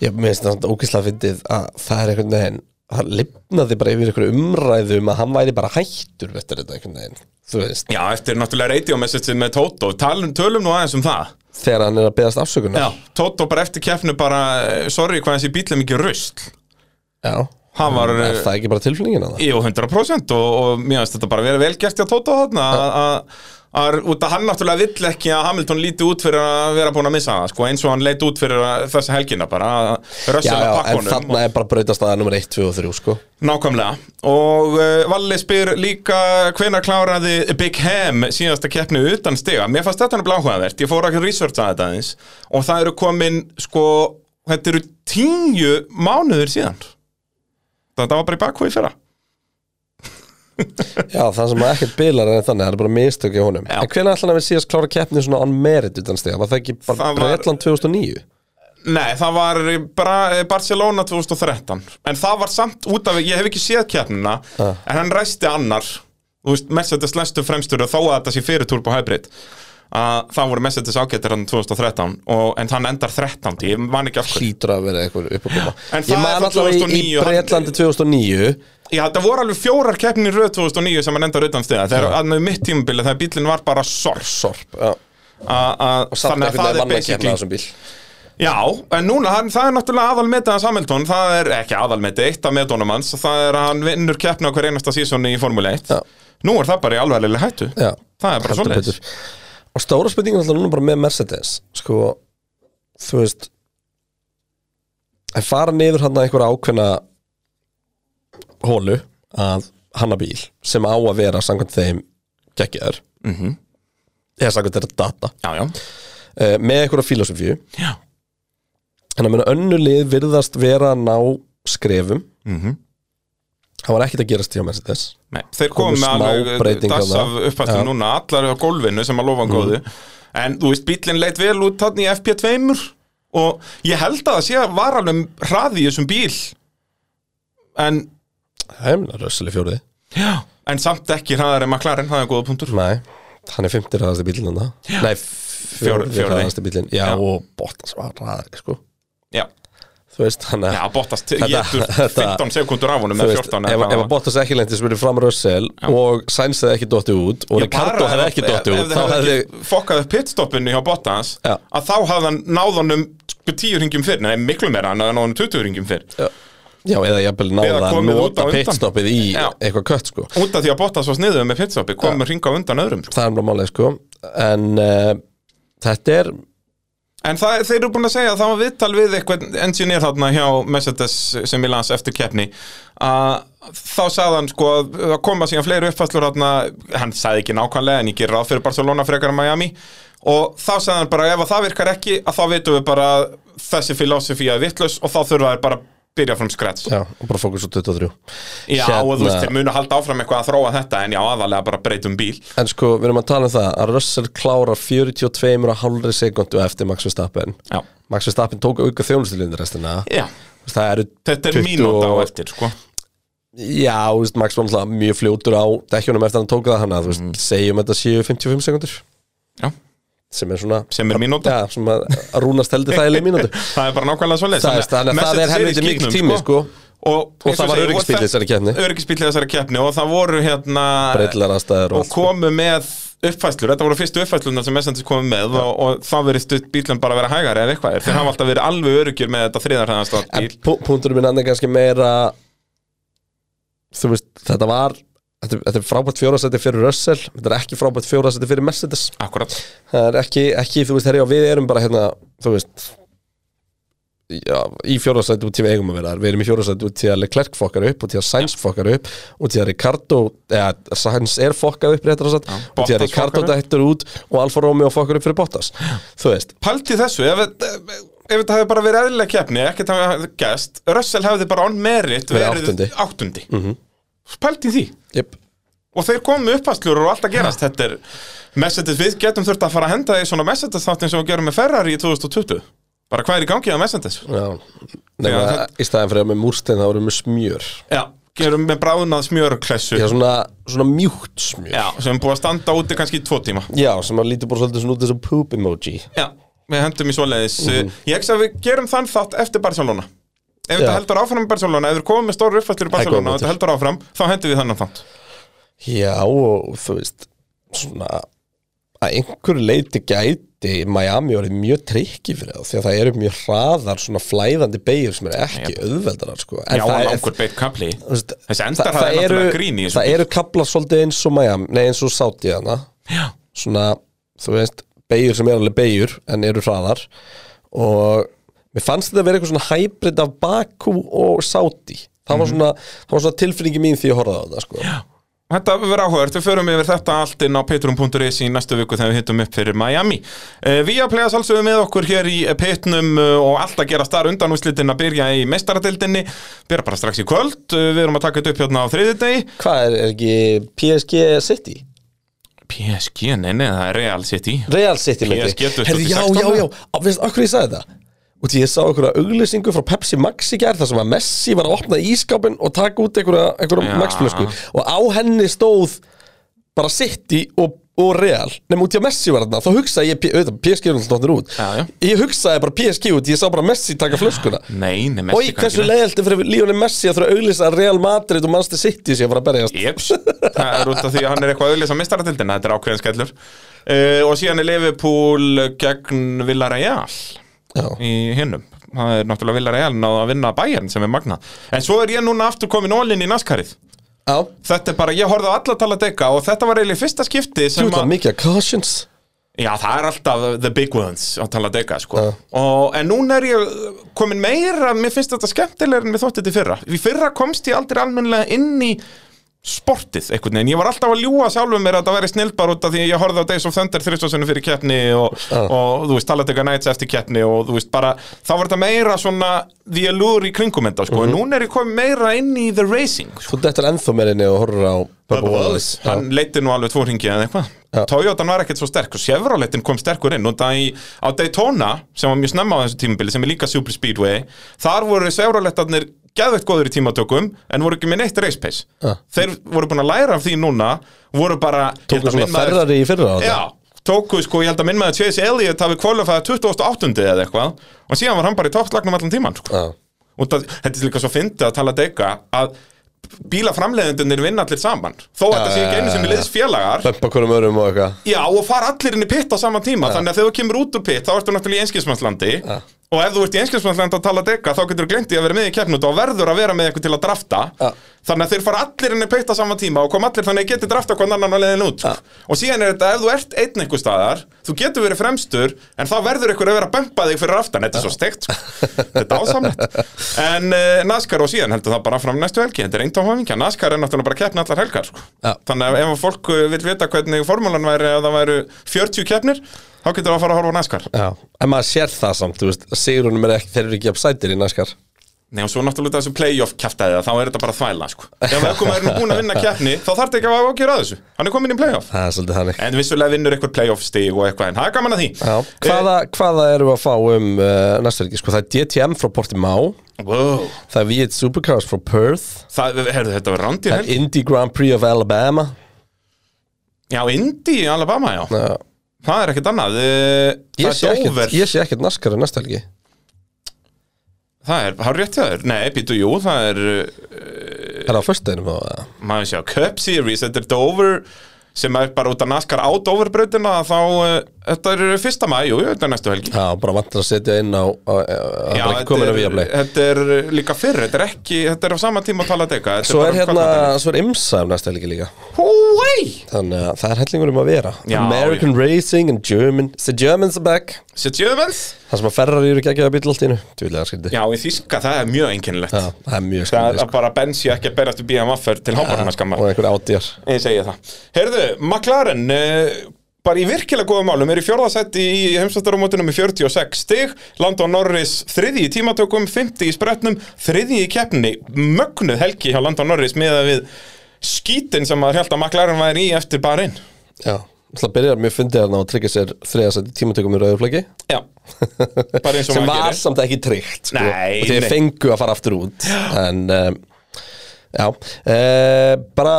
ég minnst þetta ókvæslega fyndið að það er einhvern veginn það lifnaði bara yfir einhverju umræðu um að hann væri bara hættur eftir þetta einhvern veginn þú veist, Já, eftir náttúrulega radiomessage með Tóto Talum, tölum nú aðeins um það þegar hann er að beðast afsökunar Já, Tóto bara eftir keppnu bara eh, sorry hvað þessi bílum ekki rusl Já. Hann var, er eh, það ekki bara tilfinningin að það? Jú, 100% og, og mér finnst þetta bara verið velgert hjá Tóto þarna að- að- að- út að hann náttúrulega vill ekki að Hamilton líti út fyrir að vera búin að missa það sko, eins og hann leit út fyrir að, þessa helgina bara Já, rössum já, að en pakkunum þarna er bara brautastæða nummer 1, 2 og 3 sko. Nákvæmlega og uh, Valli spyr líka hvenar kláraði Big Ham síðasta keppni utan stiga mér fannst þetta nefnilega áhugavert, ég fór ekki að researcha þetta aðeins og það eru komin sko, þetta eru tíu mánuður síðan þetta var bara í bakhói fyrra Já, það sem ekkert bilar er þannig, það er bara mistökja honum Já. En hvernig ætlan að við síðast klára keppni svona on merit utan stiga, var það ekki bara Það var- Breitland 2009? Nei, það var bara Barcelona 2013 En það var samt út af, ég hef ekki séð keppnina Ah. En hann ræsti annar Þú veist, Mercedes lestu fremstur og þó að þetta sé fyrir turbo hybrid að þá voru Mercedes ágættir hann 2013 og, en hann endar 13, ég man ekki af hverju hlýtur að vera eitthvað upp að koma En Ég það man er frá allavega í- 2009, í hann- Breitlandi 2009 Já, það voru alveg fjórar keppnir í röð 2009 sem hann endar utan stiða þegar Ah. að með mitt tímabili þegar bílinn var bara sorg Sorp, já Og samt Þannig að ekkert það að manna er kemna basically þessum bíl Já, en núna, hann, það er náttúrulega aðalmetið hans Hamilton, það er ekki aðalmetið, eitt af metunum hans, það er að hann vinnur keppni á hver einasta sísoni í Formule 1 Já. Nú er það bara í alvarlega hættu Já. Það er bara Heldur svoleiðis betur. Og stóra spurningin alltaf núna bara með Mercedes Sko, þú veist En fara niður hann að einhverja ákveðna hólu að hanna bíl sem á að vera samkvæmt þeim geggjaður mm -hmm. eða samkvæmt þeirra data Mhm. Já, já, eh, með einhverja filosofíu já, en að meina önnu lið virðast vera að ná skrefum Mhm. það var ekkert að gerast hjá Mercedes nei, þeir komum smá með alveg breytingar Mhm. dass af þarna. upphættu núna, allar á gólfinu sem að lofa hann góðu En þú veist, bílinn leit vel út hann í FP2 og ég held að það sé að var alveg um hraði í þessum bíl En, það er mér rössali fjóriði já, en samt ekki hraðar en McLaren, það er góða punktur nei, hann er 50 ræðasti bílinn hann nei, fjóri Fjórði. ræðasti bílinn já, Já. og Bottas var ræðari sko. Já, þú veist, hann er Já, Bottas Þetta- getur þetta- 15 sekundur af honum Þú eða veist, 14 ef, ef að Bottas ekki lendi sem eru fram Russell og Sainz hefði ekki dottið út og Ricardo hefði ekki dottið út Ef þá það hefði hefði ekki fokkað upp pitstoppinu hjá Bottas Já. að þá hafði hann náð honum sko 10 ringjum fyrr, nei miklu meira hann hafði náð honum 20 ringjum fyrr já, eða jafnvel Eða náða að komið út á nota undan. pitstoppið í Já. eitthvað kött sko út af því að Bottas var sniðuð með pitstoppi kom að ringa undan öðrum sko. það er bara málið sko en uh, þetta er en það, þeir eru búin að segja að það var viðtal við eitthvað engineer þarna hjá Mercedes sem við lands eftir keppni að þá sagði hann sko að að koma síðan fleiri uppfæslur þarna hann sagði ekki nákvæmlega en ég gerir ráð fyrir Barcelona frekar en Miami og þá sagði hann bara ef að það virkar ekki að þá vitum við bara að þessi filosofía er vittlaus og þá þurfa þeir bara að byrja frá scratch Já, og bara fókus á 23 Já, Hérna- og þú veist, þeir munu halda áfram eitthvað að þróa þetta en já, aðalega bara breytum bíl En sko, við erum að tala um það að Russell klárar 42 og halvri sekundu eftir Max Verstappen Já, Max Verstappen tók auka þjónustilindi restina já. Þú veist, Það eru þetta er 20 mínúta á og- eftir sko. Já, þú veist, Max var alltaf mjög fljótur á dekkjunum eftir að hann tók það hana Þú veist, Mm. segjum þetta séu 55 sekundur Já. Sem er svona sem er mínúta Já, sem að að rúnast heldur þægilega mínútu <laughs> það er bara nákvæmlega svo Það er, þannig að það er helviti mikill tími, sko og, Og það var öryggisbíll í þessari keppni. öryggisbíl þessari keppni og það voru hérna Breitlar aðstæður og komu með uppfæslur, þetta voru fyrstu uppfæslunar sem Messendis komu með og, og það verið stutt bílum bara að vera hægari eða eitthvað er, þeir hafa alltaf verið alveg örygjur með þetta þriðarhæðanstofn En bíl pú- punkturinn minn hann er kannski meira Þú veist, þetta var Þetta, þetta er frábært fjórasæti fyrir Russell Þetta er ekki frábært fjórasæti fyrir Mercedes akkurat, Það er ekki, ekki þú veist, herri og við erum bara hérna Þú veist Já, í fjórasæti út til við eigum að vera þar. Við erum í fjórasæti út til að Leclerc fokkar upp út til að Sainz fokkar upp út til að Ricardo eða, Sainz er fokkað upp réttar að satt út til að Bottas Ricardo fokkar dættur út og Alfa Romeo fokkar upp fyrir Bottas Þú veist, paldi þessu ef, ef, ef þetta hefði bara verið eðlilega keppni ekkert hafa gæst, Russell hefði bara on merit Verið verið áttundi. Mhm. áttundi. Mm -hmm. paldi því jöp og þeir komu uppfæslur og alltaf gerast þetta er messages við getum þurft að fara að henda því svona messages þáttin sem við gerum með Ferrari í 2020 bara hvað er í gangi á messages Já, nema Já, það- í staðin fyrir að með múrstein þá erum við smjör já, gerum með bráðnað smjörklessu Já, já, svona, svona mjúkt smjör sem er búið að standa úti kannski í tvo tíma Já, sem að lítur bara svolítið svona út þessu poop emoji já, við hendum í svoleiðis eh, Mhm. ég ekki að við gerum þann þátt eftir Barcelona ef Já. þetta heldur áfram í Barcelona ef við komum með stóru uppfæslur er í góð Barcelona og punktur. þetta heldur áfram, þá hendum við þannan þátt Já, og þú veist Svona að einhverju leiti gæti Miami orðið mjög trikki fyrir það því að það eru mjög hraðar svona flæðandi beigur sem eru ekki auðveldarar sko. En já, það og er- langur beitt kapli þú veist, Þessi það- endar það hafði eru- náttúrulega grín í þessu Það eru kapla svolítið eins og Miami Nei, eins og Saudi hana já, svona, þú veist, beigur sem er alveg beigur en eru hraðar og mér fannst þetta að vera eitthvað svona hybrid af Baku og Saudi það var svona, það var svona tilfinningi mín því ég horfði á þetta sko. Þetta verður áhugavert, við förum yfir þetta allt inn á patreon.is í næstu viku þegar við hittum upp fyrir Miami. Uh, við að plega sálsögum með okkur hér í pitnum uh, og allt að gera starf undanúslitin að byrja í mestaradildinni, byrja bara strax í kvöld, uh, við erum að taka þetta upp hérna á þriðjudegi. hvað er, er ekki PSG City? PSG, nei, nei, það er Real City. Real City myndi PSG 2016. Herri, já, já, já, á, veist, okkur ég sagði þetta og því ég sá einhverja auglýsingu frá Pepsi Max í gær þar sem að Messi var að opna ískápin og taka út einhverja, einhverja Já. Max-flösku og á henni stóð bara City og og Real nema út í að Messi var þarna, þá hugsaði ég, P- auðvitað, PSG er náttúrulega út Já, já. ég hugsaði bara PSG út, ég sá bara Messi taka flöskuna Nei, nei, og í kann hversu ekki leiðaldi fyrir Lionel Messi að þurfa að auglýsa að Real Madrid og Manchester City sé að fara að berjast Jeps, það er út af því að hann er eitthvað auðvitað mistaradeildina, þetta er ákveðin skellur uh, og síðan er Liverpool gegn Já. Villarreal í hinnum það er náttúrulega Villarreal náðu að vinna Bayern sem er magna en svo er ég núna aftur komin ólinn í naskarið Já, þetta er bara, ég horfði á alla tala deka og þetta var eiginlega fyrsta skipti sem þú það mikið að cautions já það er alltaf the big ones á tala deka sko og, en núna er ég komin meira mér finnst þetta skemmtilegur en við þótti þetta í fyrra í fyrra komst ég aldrei almennilega inn í sportið einhvern veginn, ég var alltaf að ljúa sjálfum mér að þetta væri snildbar út af því að ég horfði á Days of Thunder þrjóðsvössinu fyrir keppni og, og þú veist, Talladega Nights eftir keppni og þú veist, bara, þá var þetta meira svona því að lúður í kringum enda, sko, en núna er ég komið meira inn í the racing, sko Þú dettur ennþá meirinni og horfur á Bubba Wallace hann Já. leiti nú alveg tvo ringi eða eitthvað Toyotan var ekkert svo sterk og Chevroletin kom sterkur inn og það í, á Daytona sem var mjög snemma á þessu tímabili sem er líka Super Speedway þar voru Chevroletarnir geðveikt góður í tímatökum en voru ekki með neitt race pace Já. þeir voru búin að læra af því núna voru bara ég held Tóku að svona minn maður- ferrari í fyrra á þetta Já, tóku sko, ég held að minn með að Chase Elliott hafi kvalifaðið 28. eða eitthvað og síðan var hann bara í toppslagnum allan tíman sko. Já. og það, þetta er líka svo fyndið að tala dega að bílaframleiðendunir vinna allir saman þó að þetta sé ekki einu sinni liðsfélagar Bömpa hverjum örum og eitthvað Já, og fara allir inn í pitt á sama tíma þannig að þegar þú kemur út úr pitt þá ertu náttúrulega í einskilsmannslandi og ef þú ert í einskilsmannslandi að tala dega þá getur þú glemt í að vera með í keppnut og verður að vera með eitthvað til að drafta Já. þannig að þeir fara allir inn í pitt á sama tíma og kom allir þannig að geti drafta hvern annan á leiðin út og síðan er þetta ef þú ert einn einhver staðar þú getur verið fremstur en þá verður ykkur að vera að bempa þig fyrir aftan þetta er svo steikt sko. þetta er ásamlegt en uh, NASCAR og síðan heldur það bara fram næstu helgi þetta er einn tóhafingja NASCAR er náttúrulega bara keppni allar helgar sko. Já. þannig að ef fólk eh, vill vita hvernig formúlan væri ef það væru 40 keppnir þá getur það að fara að horfa á NASCAR Já, en maður sér það samt, þú veist, sigurunum er ekki, þeir eru ekki upsætir í næskar Nei og svo náttúrulega þessu playoff kæftæði þá er þetta bara þvæla sko. ef ökkum er nú búin að vinna keppni þá þarf þetta ekki að ágjöra þessu hann er komin í playoff Það er svolítið þannig Eh. en vissulega vinnur eitthvað playoff stig og eitthvað en það er gaman að því Eh, Já, hvaða, hvaða erum við að fá um uh, næstu helgi? Sko, það er DTM frá Portimao wow. Það er Viet Supercars frá Perth það, herðu, þetta var rándýr Það helgi er Indy Grand Prix of Alabama Já, Indy í Alabama, já Já. Það er ekkert annað eh, Ég Það sé er ekkert, Dover ég sé ekkert naskari næstu helgi Eh. Það er, hár rétt hjá þér Nei, býtu, jú, það er eh, Er það á föstudeginum þá? eða? Maður sjá, Cup Series, þetta er Dover sem er bara út að naskar á Doverbrautina þá, eh, þetta er fyrsta maður, jú, jú, þetta er næstu helgi Já, bara vantar að setja inn á Það er bara ekki komin að þetta, við að er, þetta er líka fyrr, þetta er ekki þetta er á sama tíma að tala deka Svo er hérna, svo er IMSA um næstu helgi líka Hói! Þannig að það er hellingur um að vera Já, American Racing and German The Germans are back Sjöðumens? Það sem að Ferrari eru ekki að gefa bíl allt í hennu Tvílega skrýndi Já, í þýska, það er mjög einkennilegt Já, það er mjög Það skrýndi er að sko. bara bensi ekki að berast í BMW til hábarna skammar Og einhver átjar Ég segi það. Herðu, McLaren, uh, bara í virkilega góðum málum, er í fjórðasætti í heimsvættarumótunum með 46 stig, Landon Norris þriði í tímatökum, 50 í spretnum, þriði í keppni, mögnuð helgi hjá Landon Norris með að við skítin sem maður held að McLaren væri í eftir bara inn. Já Það byrjar mjög fundið hérna og tryggja sér þriðasætt í tímatökum í rauðuflöki Já, bara eins og sem maður var gerir. samt ekki tryggt sko. Nei, og þeir nei. fengu að fara aftur út en um, já uh, bara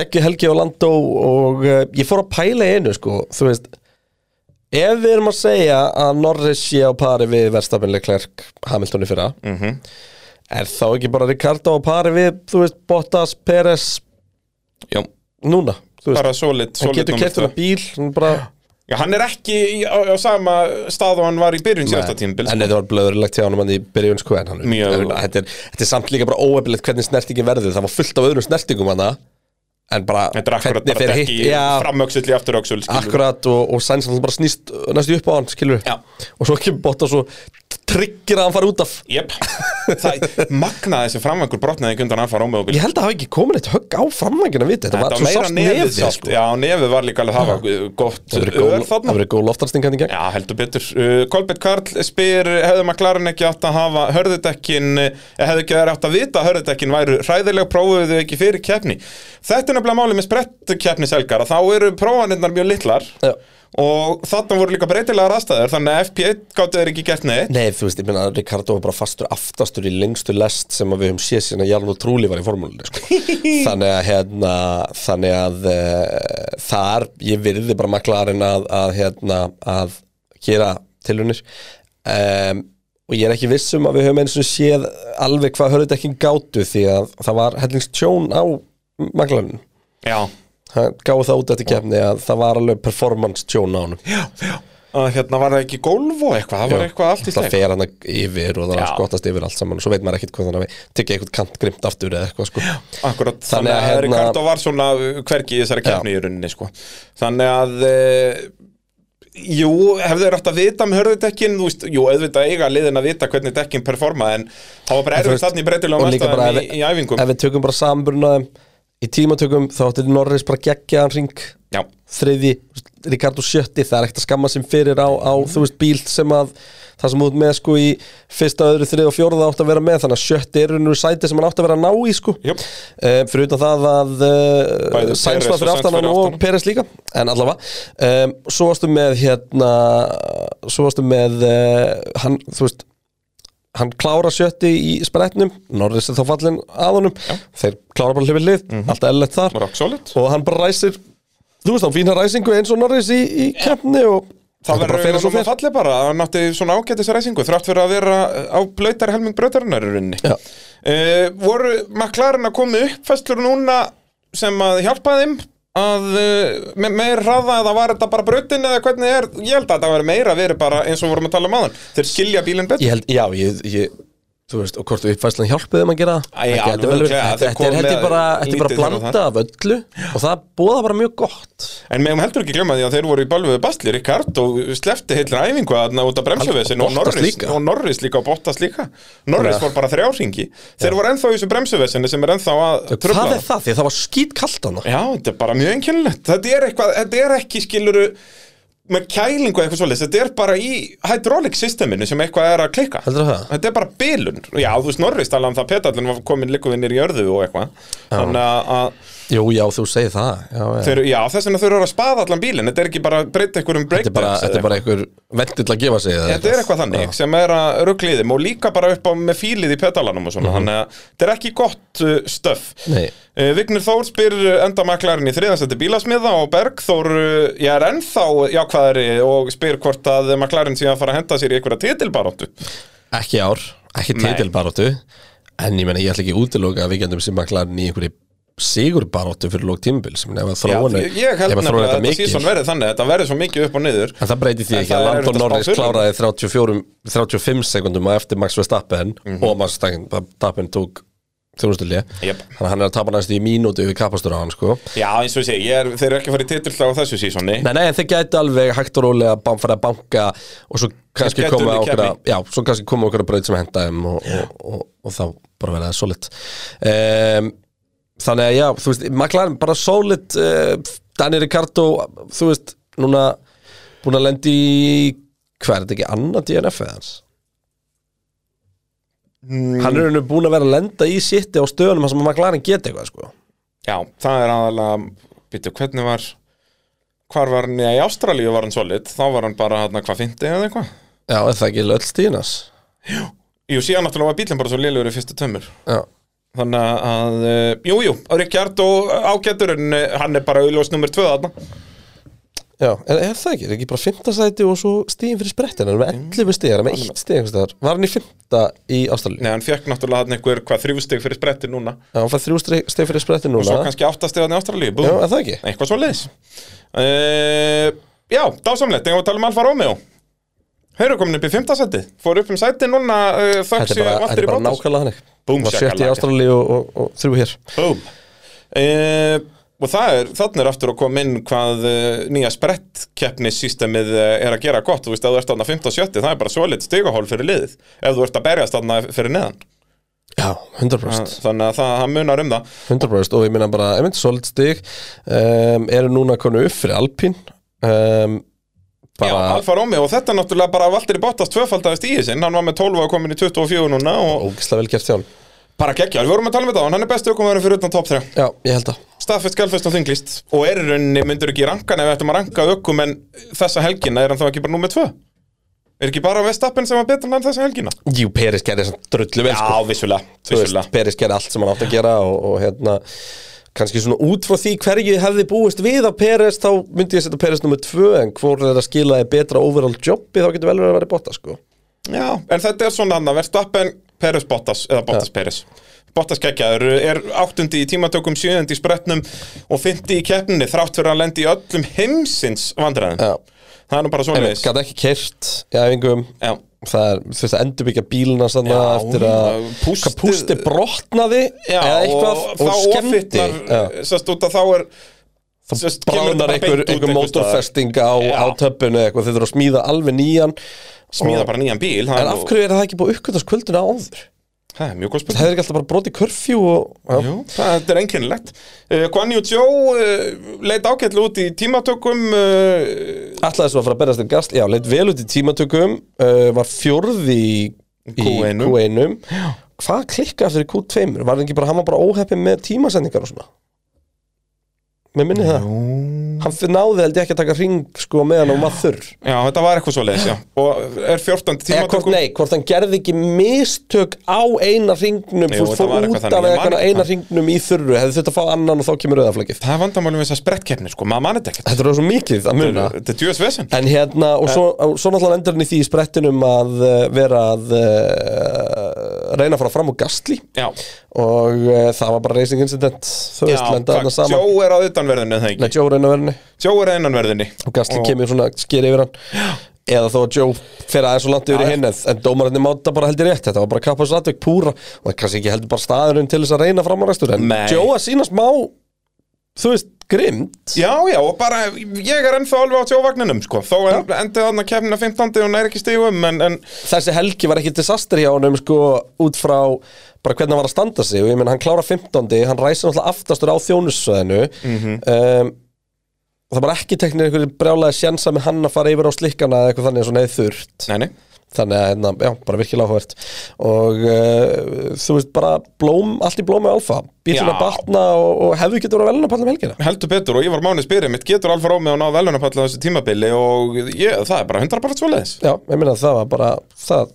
geggi Helgi og Landó og uh, ég fór að pæla í einu sko, þú veist ef við erum að segja að Norris sé á pari við verðstafnileg klærk Hamilton í fyrra Mhm. er þá ekki bara Ricardo á pari við þú veist Bottas, Peres Já, núna, þú veist bara solid, hann solid getur númer keftur tvö. að bíl hann bara Já, hann er ekki í- á, á sama stað og hann var í byrjun síðasta tímabil. sko. En þetta var blöðurlegt hjá honum hann í byrjun sko en hann Mjög. en þetta, er, þetta er samt líka bara óefnilegt hvernig snertingin verður Það var fullt af öðrum snertingum hann En bara Þetta er akkurat hvernig bara fer dekki hitt- Já, framöksulli afturöksul akkurat og, og sæns hann bara snýst næstu upp á hann skilur Já. Og svo kemur bótt og svo tryggir að hann fara út af Jep, það magnaði þessi framvængur brotnaði ekki undan Alfa Romeo bíl Ég held að það hafi ekki komin eitt högg á framvængina við þetta, var, svo sást nefið sko. Já, nefið var líka alveg það var gott Það ör þarna verið góð loftarsting hann í gegn Já, heldur betur. Uh, Kolbett Karl spyr, hefðu McLaren ekki átt að hafa hörðudekkin, hefðu ekki verið átt að vita að hörðudekkin væru hræðilega prófuðu ekki fyrir keppni. Þetta er nefnilega málið með sprettkeppniselgar að þá eru prófanirnar mjög litlar Já. og þarna voru líka breytilegar aðstæður þannig að FP1 gáttu þeir ekki gert neitt Nei, þú veist, ég meina að Ricardo var bara fastur aftastur í lengstu lest sem að við höfum séð síðan að Jarl og Trúli var í formúlunni sko. þannig að hérna, þannig að uh, þar, ég virði bara maklarinn að, að hérna, að gera tilunir um, og ég er ekki viss um að við höfum eins og séð alveg hvað hörðu ekki gátu því að það var hellingstjón á maklarinn Já, gáðu það út eftir kefni að það var alveg performance tjón á honum já, já að hérna var það ekki gólf og eitthvað, það var eitthvað allt í það sleik fer hann yfir og það er Já. að skottast yfir allt saman og svo veit maður ekkert hvað þannig að við tekja eitthvað kant grimt aftur eða eitthvað sko Akkurat, Þannig þannig að að hérna- Ricardo var svona uh, hvergi í þessari keppni í rauninni sko. Þannig að e, Jú, hefðu þeir átt að vita með hörðudekkin, þú veist, jú, auðvitað eiga liðin að vita hvernig dekkin performa en það var bara En þú erfitt veist, þarna í breytilega og líka bara mestaðum í, ef- í æfingum ef við tökum bara samanburnaðum í tímatökum þá áttir Norris bara geggjaðan ring Já, þriði, þú veist, Ricardo sjötti það er ekkert að skamma sem fyrir á, á þú veist bíl sem að það sem þú ert með sko í fyrsta, öðru, þrið og fjórða átt að vera með þannig að sjötti er nú sæti sem hann átt að vera að ná í sko Jöp. Eh, fyrir utan það að uh, Bæði Sainz var Perez fyrir og Sainz aftan hann fyrir og aftan. Peres líka en allavega um, svo varstu með hérna svo varstu með uh, hann, þú veist hann klára sjötti í spretnum Norris er þá fallin að honum þeir klára bara hlifið lið, Mhm. alltaf ellert þar rock solid og hann bara ræsir þú veist, hann fína ræsingu eins og Norris í, í keppni og Það bara verður fyrir svo svona fyrir fallið bara að hann átti svona ágætis ræsingu þrátt fyrir að vera á blöytari helming brötarinnar í rauninni Já. uh, Voru maklarinn að koma upp festlur núna sem að hjálpa þeim að uh, me meir hraða eða var þetta bara brötin eða hvernig er ég held að þetta verið meira verið bara eins og vorum að tala um áðan þeir skilja bílinn betur ég held, já, ég, ég þú veist, og hvort uppfæslan hjálpið þeim að gera það? Æ, Það alveg gæti vel verið. örugglega, þetta þeir þetta er komu held ég með bara, þetta er bara lítið þar og blanda af öllu og það bóða bara mjög gott en meðum heldur ekki glemma því að þeir voru í balviðu basli Rikard og slefti heilin æfingu að út af bremsuvesin og Bottas Norris, líka. og Norris líka og Bottas líka Norris Þannig að- fór bara þrjáringi þeir voru ennþá í þessu bremsuvesinni sem er ennþá að tröfla það er það, því að það var skýt kallt hana Já, þetta er bara mjög einkennilegt Þetta er, eitthvað, þetta er ekki skiluru með kælingu eitthvað svoleiðis Þetta er bara í hydraulic systeminu sem eitthvað er að klikka heldur það? Þetta er bara bilun Já, þú veist Norris talaði um það að petallin var komin líkuvinnir í jörðu og eitthvað Þannig að- að Jú, já, þú segir það já, já. þeir, já, þess vegna þau eru að spaða allan bílinn Þetta er ekki bara að breyta einhverjum þetta er bara, breakdance þetta eða er bara einhver vendil að gefa sig eða Þetta er eitthvað þannig Já. sem er að ruggliðum og líka bara upp á með fílið í petalanum og svona Þannig að þetta er ekki gott uh, stöf Nei. uh, Vignir Þór spyr endamaklarinn í þriðansætti bílasmiða og Bergþór uh, ég er ennþá jákvæðari og spyr hvort að maklarinn sé að fara að henda sér í einhverja titilbaróttu ekki í ár, ekki Nei. titilbaróttu en ég menna ég ætla ekki að útiloka að við getum sem að klara í einhverju sigurbaróttu fyrir lók tímbil sem ef að Já, þróun ég- Ég held ef að nefnilega þróun að þetta þetta mikið síðan verið þannig þetta verður svo mikið upp og niður en það breyti því En ekki það að er Landon erfitt að spá Norris fyrir. kláraði 34, 35 sekundum á eftir Max Verstappen og Max Verstappen tók þjónustulja Mhm. Jep. þannig að hann er að tapa næstu í mínútu yfir kapastur á hann sko Já, eins og ég segi, ég er, þeir eru ekki að fara í titilslag á þessu sísoni Nei, nei, en þeir gætu alveg hægt og rólega að fara að banka og svo kannski gætu koma unnið okkur að, keppni. já, svo kannski koma okkur að braut sem henda þeim og, og, og, og þá bara verða það solid um, Þannig að já, þú veist, maklarinn bara solid uh, Dani Ricardo, þú veist, núna búin að lendi í, hvað er þetta ekki, annað DNF eða hans? Hann er nú búin að vera að lenda í sitti á stöðunum þar sem maklarinn geta eitthvað, sko Já, það er aðalega, býttu, hvernig var hvar var hann, já, í Ástralíu var hann solid þá var hann bara hann hvað fyndi eða eitthvað Já, er það ekki löll stíðinas? Jú, síðan náttúrulega var bílinn bara svo lélugur í fyrstu tömur Já, Þannig að, eh, jú, jú, Ríkjard og ágættur en eh, hann er bara auðljós nummer tvö þarna Já, er, er það ekki? Er ekki bara fymta sæti og svo stíðin fyrir sprettin? Er með 11 stíð, er með 1 stíð einhverstaðar? Var hann í fymta í Ástralíu? Nei, hann fekk náttúrulega hann einhver hvað þrjústig fyrir spretti núna Já, hann fær 3 stíð fyrir sprettin Svo núna kannski áttastig hann í Ástralíu, bú Já, er það ekki? Eitthvað svo leiðis Já, dásamlegt, þegar við tala um Alfa Romeo Þeir eru komin upp í fymtasæti Fóru upp um sæti núna uh, Þetta Þöksi er bara, þetta er Valtteri bara Bottas nákvæmlega þannig Búm, Var sjötti í shakalaka. Ástralíu og, og, og þrjú hér Búm uh, Og það er, þannig er aftur að koma inn hvað uh, nýja sprettkeppnissystemið uh, er að gera gott, þú veist, ef þú ert þarna 15 70, það er bara svolít stigahól fyrir liðið ef þú ert að berjast þarna fyrir neðan Já, 100% þannig að það, það munar um það 100% og ég minna bara, ef einmitt solid stíð um, eru núna konu upp fyrir Alpín um, Já, bara Alfa Romeo og þetta er náttúrulega bara Valtteri Bottas tvöfaldaðist í sinn, hann var með 12 og komin í 24 núna og ógislega vel gert hjá hann bara geggjar, við vorum að tala um þetta, hann er bestu okkur fyrir utan top 3 Já, ég held að staðfest galfest á þinglist og er í rauninni myndur ekki ranka ef við ættum að ranka ökum en þessa helgina er hann þá ekki bara númer tvö er ekki bara Vestappen sem var betur en hann þessa helgina Jú, Peris gerði þess að drullu vel sko. Já, vissulega, Þú veist, vissulega. Peris gerði allt sem hann átt að gera og, og hérna, kannski svona út frá því hverju ég hefði búist við á Peris þá myndi ég setja Peris nummer tvö en hvort er að skila þið betra overall jobbi þá getur vel verið að vera botta sko Já, en þetta er svona annað Verstappen, Peres Bottas eða Bottas Peres Bottas geggjaður er áttundi í tímatökum, sjöðundi í spretnum og fyndi í keppninni þrátt fyrir að hann lendi í öllum heimsins vandræðum Já. Það er nú bara svona Einmitt, þess Gat ekki kert í æfingum Já. Það er, þú veist, að endurbyggja bíluna sann Já, eftir að pústið- hvað pústi brotnaði Já, eða eitthvað og, og, þá skemmdi ofittar, Já. sérst út að þá er sérst, kemur þetta bráðnar bara einhver, beint út einhver einhvers staðar. mótorfesting á, Já. á töppinu eða eitthvað, þeir þurfa að smíða alveg nýjan Smíða Og- bara nýjan bíl það er En nú- af hverju er það ekki búið að uppkvöldast kvölduna áður? Það er mjög góð Það spurning hefur ekki alltaf bara brotið körfjú og já. Jú, það þetta er einkennilegt uh, Guan Yu Zhou uh, leit ágætlega út í tímatökum uh, Ætlaði svo að fara að berast um gast Já, leitt vel út í tímatökum uh, Var fjórði í í Q1. Q1 Hvað klikkaði aftur í Q2? Var hann ekki bara, hann var bara óheppin með tímasendingar og svona? Mér minni það Hann fyrir náði held ég ekki að taka ring sko meðan og maður þurr Já, þetta var eitthvað svo leiðis, já Og er Eða 14. hvort, tímatökum nei, hvort hann gerði ekki mistök á eina ringnum Jú, Þú þetta fór var eitthvað út af þannig, ég man eitthvað ekki eina það. ringnum í þurru Hefði þetta að fá annan og þá kemur auðaflækið Það er vandamálum við þessar sprettkeppni, sko, maður mann þetta ekkert Þetta er svo mikið að muna Þetta er djúðis vesen En hérna, og svo, og svo náttúrulega endur hann í því í sprettinum að uh, vera að uh, reyna að fara fram úr gastli Já, og uh, það var bara racing incident þú já veist, lenda hann saman Jó er á utanverðinu, það Nei, ekki Joe reyna að verðinni Jó er að innanverðinu og gastli kemur svona, sker yfir hann eða þó að Joe fer aðeins og landi yfir Já, í hinn en en dómararnir máta bara heldur rétt þetta var bara kappas atvik púra og það er kannski ekki heldur bara staðurinn til þess að reyna framarækstur en Nei. Joe að sína smá þú veist, grimt Já, já, og bara, ég er ennþá alveg á tjóvagninum, sko Þó en, endið þarna keppnina 15. og næri ekki stigum En, en þessi helgi var ekki disaster hjá honum sko út frá bara hvernig hann var að standa sig og ég menn hann klára 15. hann ræsir náttúrulega aftastur á þjónussöðinu um, og það var ekki teknir einhverju brjálaði sjensa með hann að fara yfir á slikkana eða eitthvað þannig eins og neði þurrt Nei, nei þannig að hérna, já, bara virkilega áhugavert og uh, þú veist bara blóm, allt í blómi alfa bílina Já. batna og, og hefðu getur að velna pallum helgina heldur betur og ég var mánið spyrja mitt getur Alfa Rómi að ná velunapall á þessu tímabili og ég, það er bara 100% svoleiðis Já, ég meina það var bara það,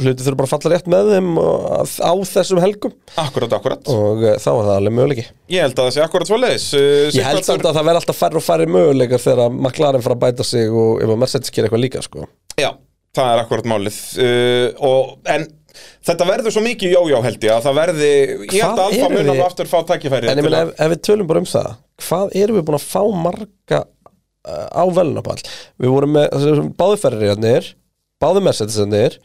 hluti þurfa bara að falla rétt með þeim og, á þessum helgum Akkurat, akkurat, og uh, þá var það alveg möguleiki ég held að það sé akkurat svoleiðis Eh, Ég held samt að það verði alltaf færri og færri möguleikar þegar að McLaren fara að bæta sig og ef að Mercedes gerir eitthvað líka sko. Já, það er akkurat málið uh, og, En þetta verður svo mikið jójó held ég að það verði Ég held Hvað að Alfa erum mun við- alveg aftur fá tækifæri En ég til meina að- ef, ef við tölum bara um það hvað erum við búin að fá marga uh, á velunapall Við vorum með þessum báði ferriðarnir báði Mercedesarnir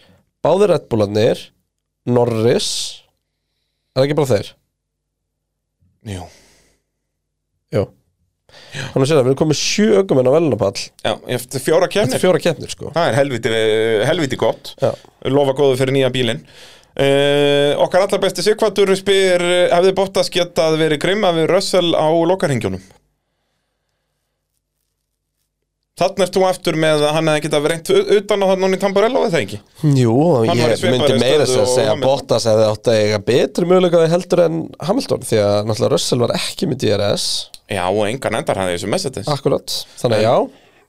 báði Red Bullarnir Norris Er það ekki bara þeir? Jú. Jú Þannig að sér að við erum komið sjö ögumenn á velunapall Já, eftir Þetta fjóra er kefnir fjóra keppnir sko Það er helviti, helviti gott Já. Lofa góðu fyrir nýja bílinn Uh, okkar allar besti Sigvartur spyr eh, hefði Bottas getað verið grimma við Russell á lokarhingjónum Þannig ert þú aftur með að hann hefði getað reynt u- utan á þann núna í Tamburello eða ekki Jú, Hann var í ég svipaðri myndi meira sem að stöðu og segja Hamilton. Bottas hefði átt að eiga betri möguleikaði heldur en Hamilton því að náttúrulega Russell var ekki með DRS Já, og engan endar hann í þessu messages Akkurat, þannig að já,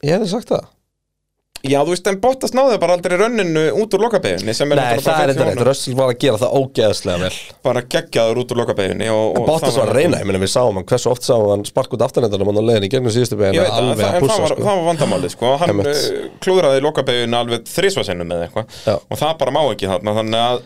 ég hefði sagt það Já, þú veist, en Bottas náði bara aldrei rönninu út úr lokabeginni sem er Nei, náttúrulega það bara er þetta 50 rétt, honum. Russell var að gera það ógeðslega vel Bara geggjaður út úr lokabeginni og, og Bottas það var að reyna, ég meina við sáum hann hversu oft sáum hann spark út aftanendanum hann á leiðin í gegnum síðustu Ég beginn veit að, alveg það, að en það pússa var, sko það var vandamálið, sko Hann uh, Einmitt. klúðraði lokabeginu alveg þrisvasinnum með eitthvað Já. Og það bara má ekki þarna, þannig að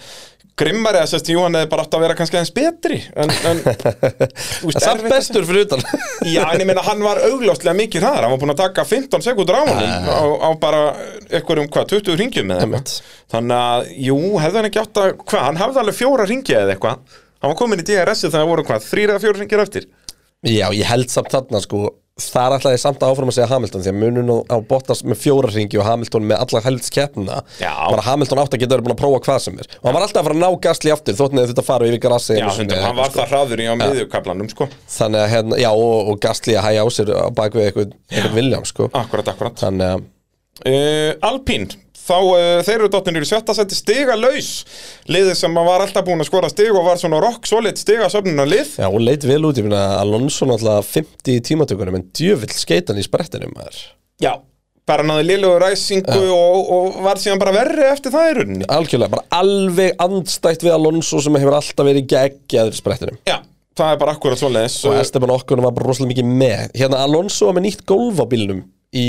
Grimmari að sérst, jú, hann hefði bara átt að vera kannski aðeins betri En, <laughs> en þú En samt erfitt að- bestur fyrir utan <laughs> Já, en ég meina, hann var augljóslega mikið hraðar Hann var búin að taka 15 sekundur á honum á, á bara einhverjum, hvað, 20 ringjum með Einmitt. Þannig að, jú, hefði hann ekki átt að Hvað, hann hafði alveg fjóra ringja eða eitthvað Hann var komin í DRS-ið þegar voru hvað, þrýra eða fjóra ringir eftir Já, ég held samt þarna sko Þar ætlaði ég samt áfram að segja Hamilton því að munun á- á Bottas með fjóra hringi og Hamilton með alla helst keppna Já. bara Hamilton átt að geta verið búin að prófa hvað sem er og hann var alltaf að fara að ná gasli aftur þóttin eða þetta fara yfir grassi Já, einu sinni hundar, eða hann var eitthvað, það hraður í á miðjukablanum, sko sko. þannig að hérna, já og, og gasli að hæja á sér á bakvið eitthvað, eitthvað vilja sko Akkurat, akkurat þannig að uh, Alpín, þá uh, þeir eru dottinir í sjötta seti stiga laus liðið sem var alltaf búin að skora stig og var svona rock solid stiga söfnunar lið Já, hún leit vel út, ég finna Alonso náttúrulega 50 í tímatökunum en djöfull skeitan í sprettinum maður. Já, bara náði liðlegu ræsingu og, og var síðan bara verri eftir það í rauninni Algjörlega, bara alveg andstætt við Alonso sem hefur alltaf verið geggjaður í sprettinum Já, það er bara akkurat svoleiðis og og- Esteban Okkunum var bara rosalega mikið með Hérna Alonso var með nýtt gólf á bílnum í,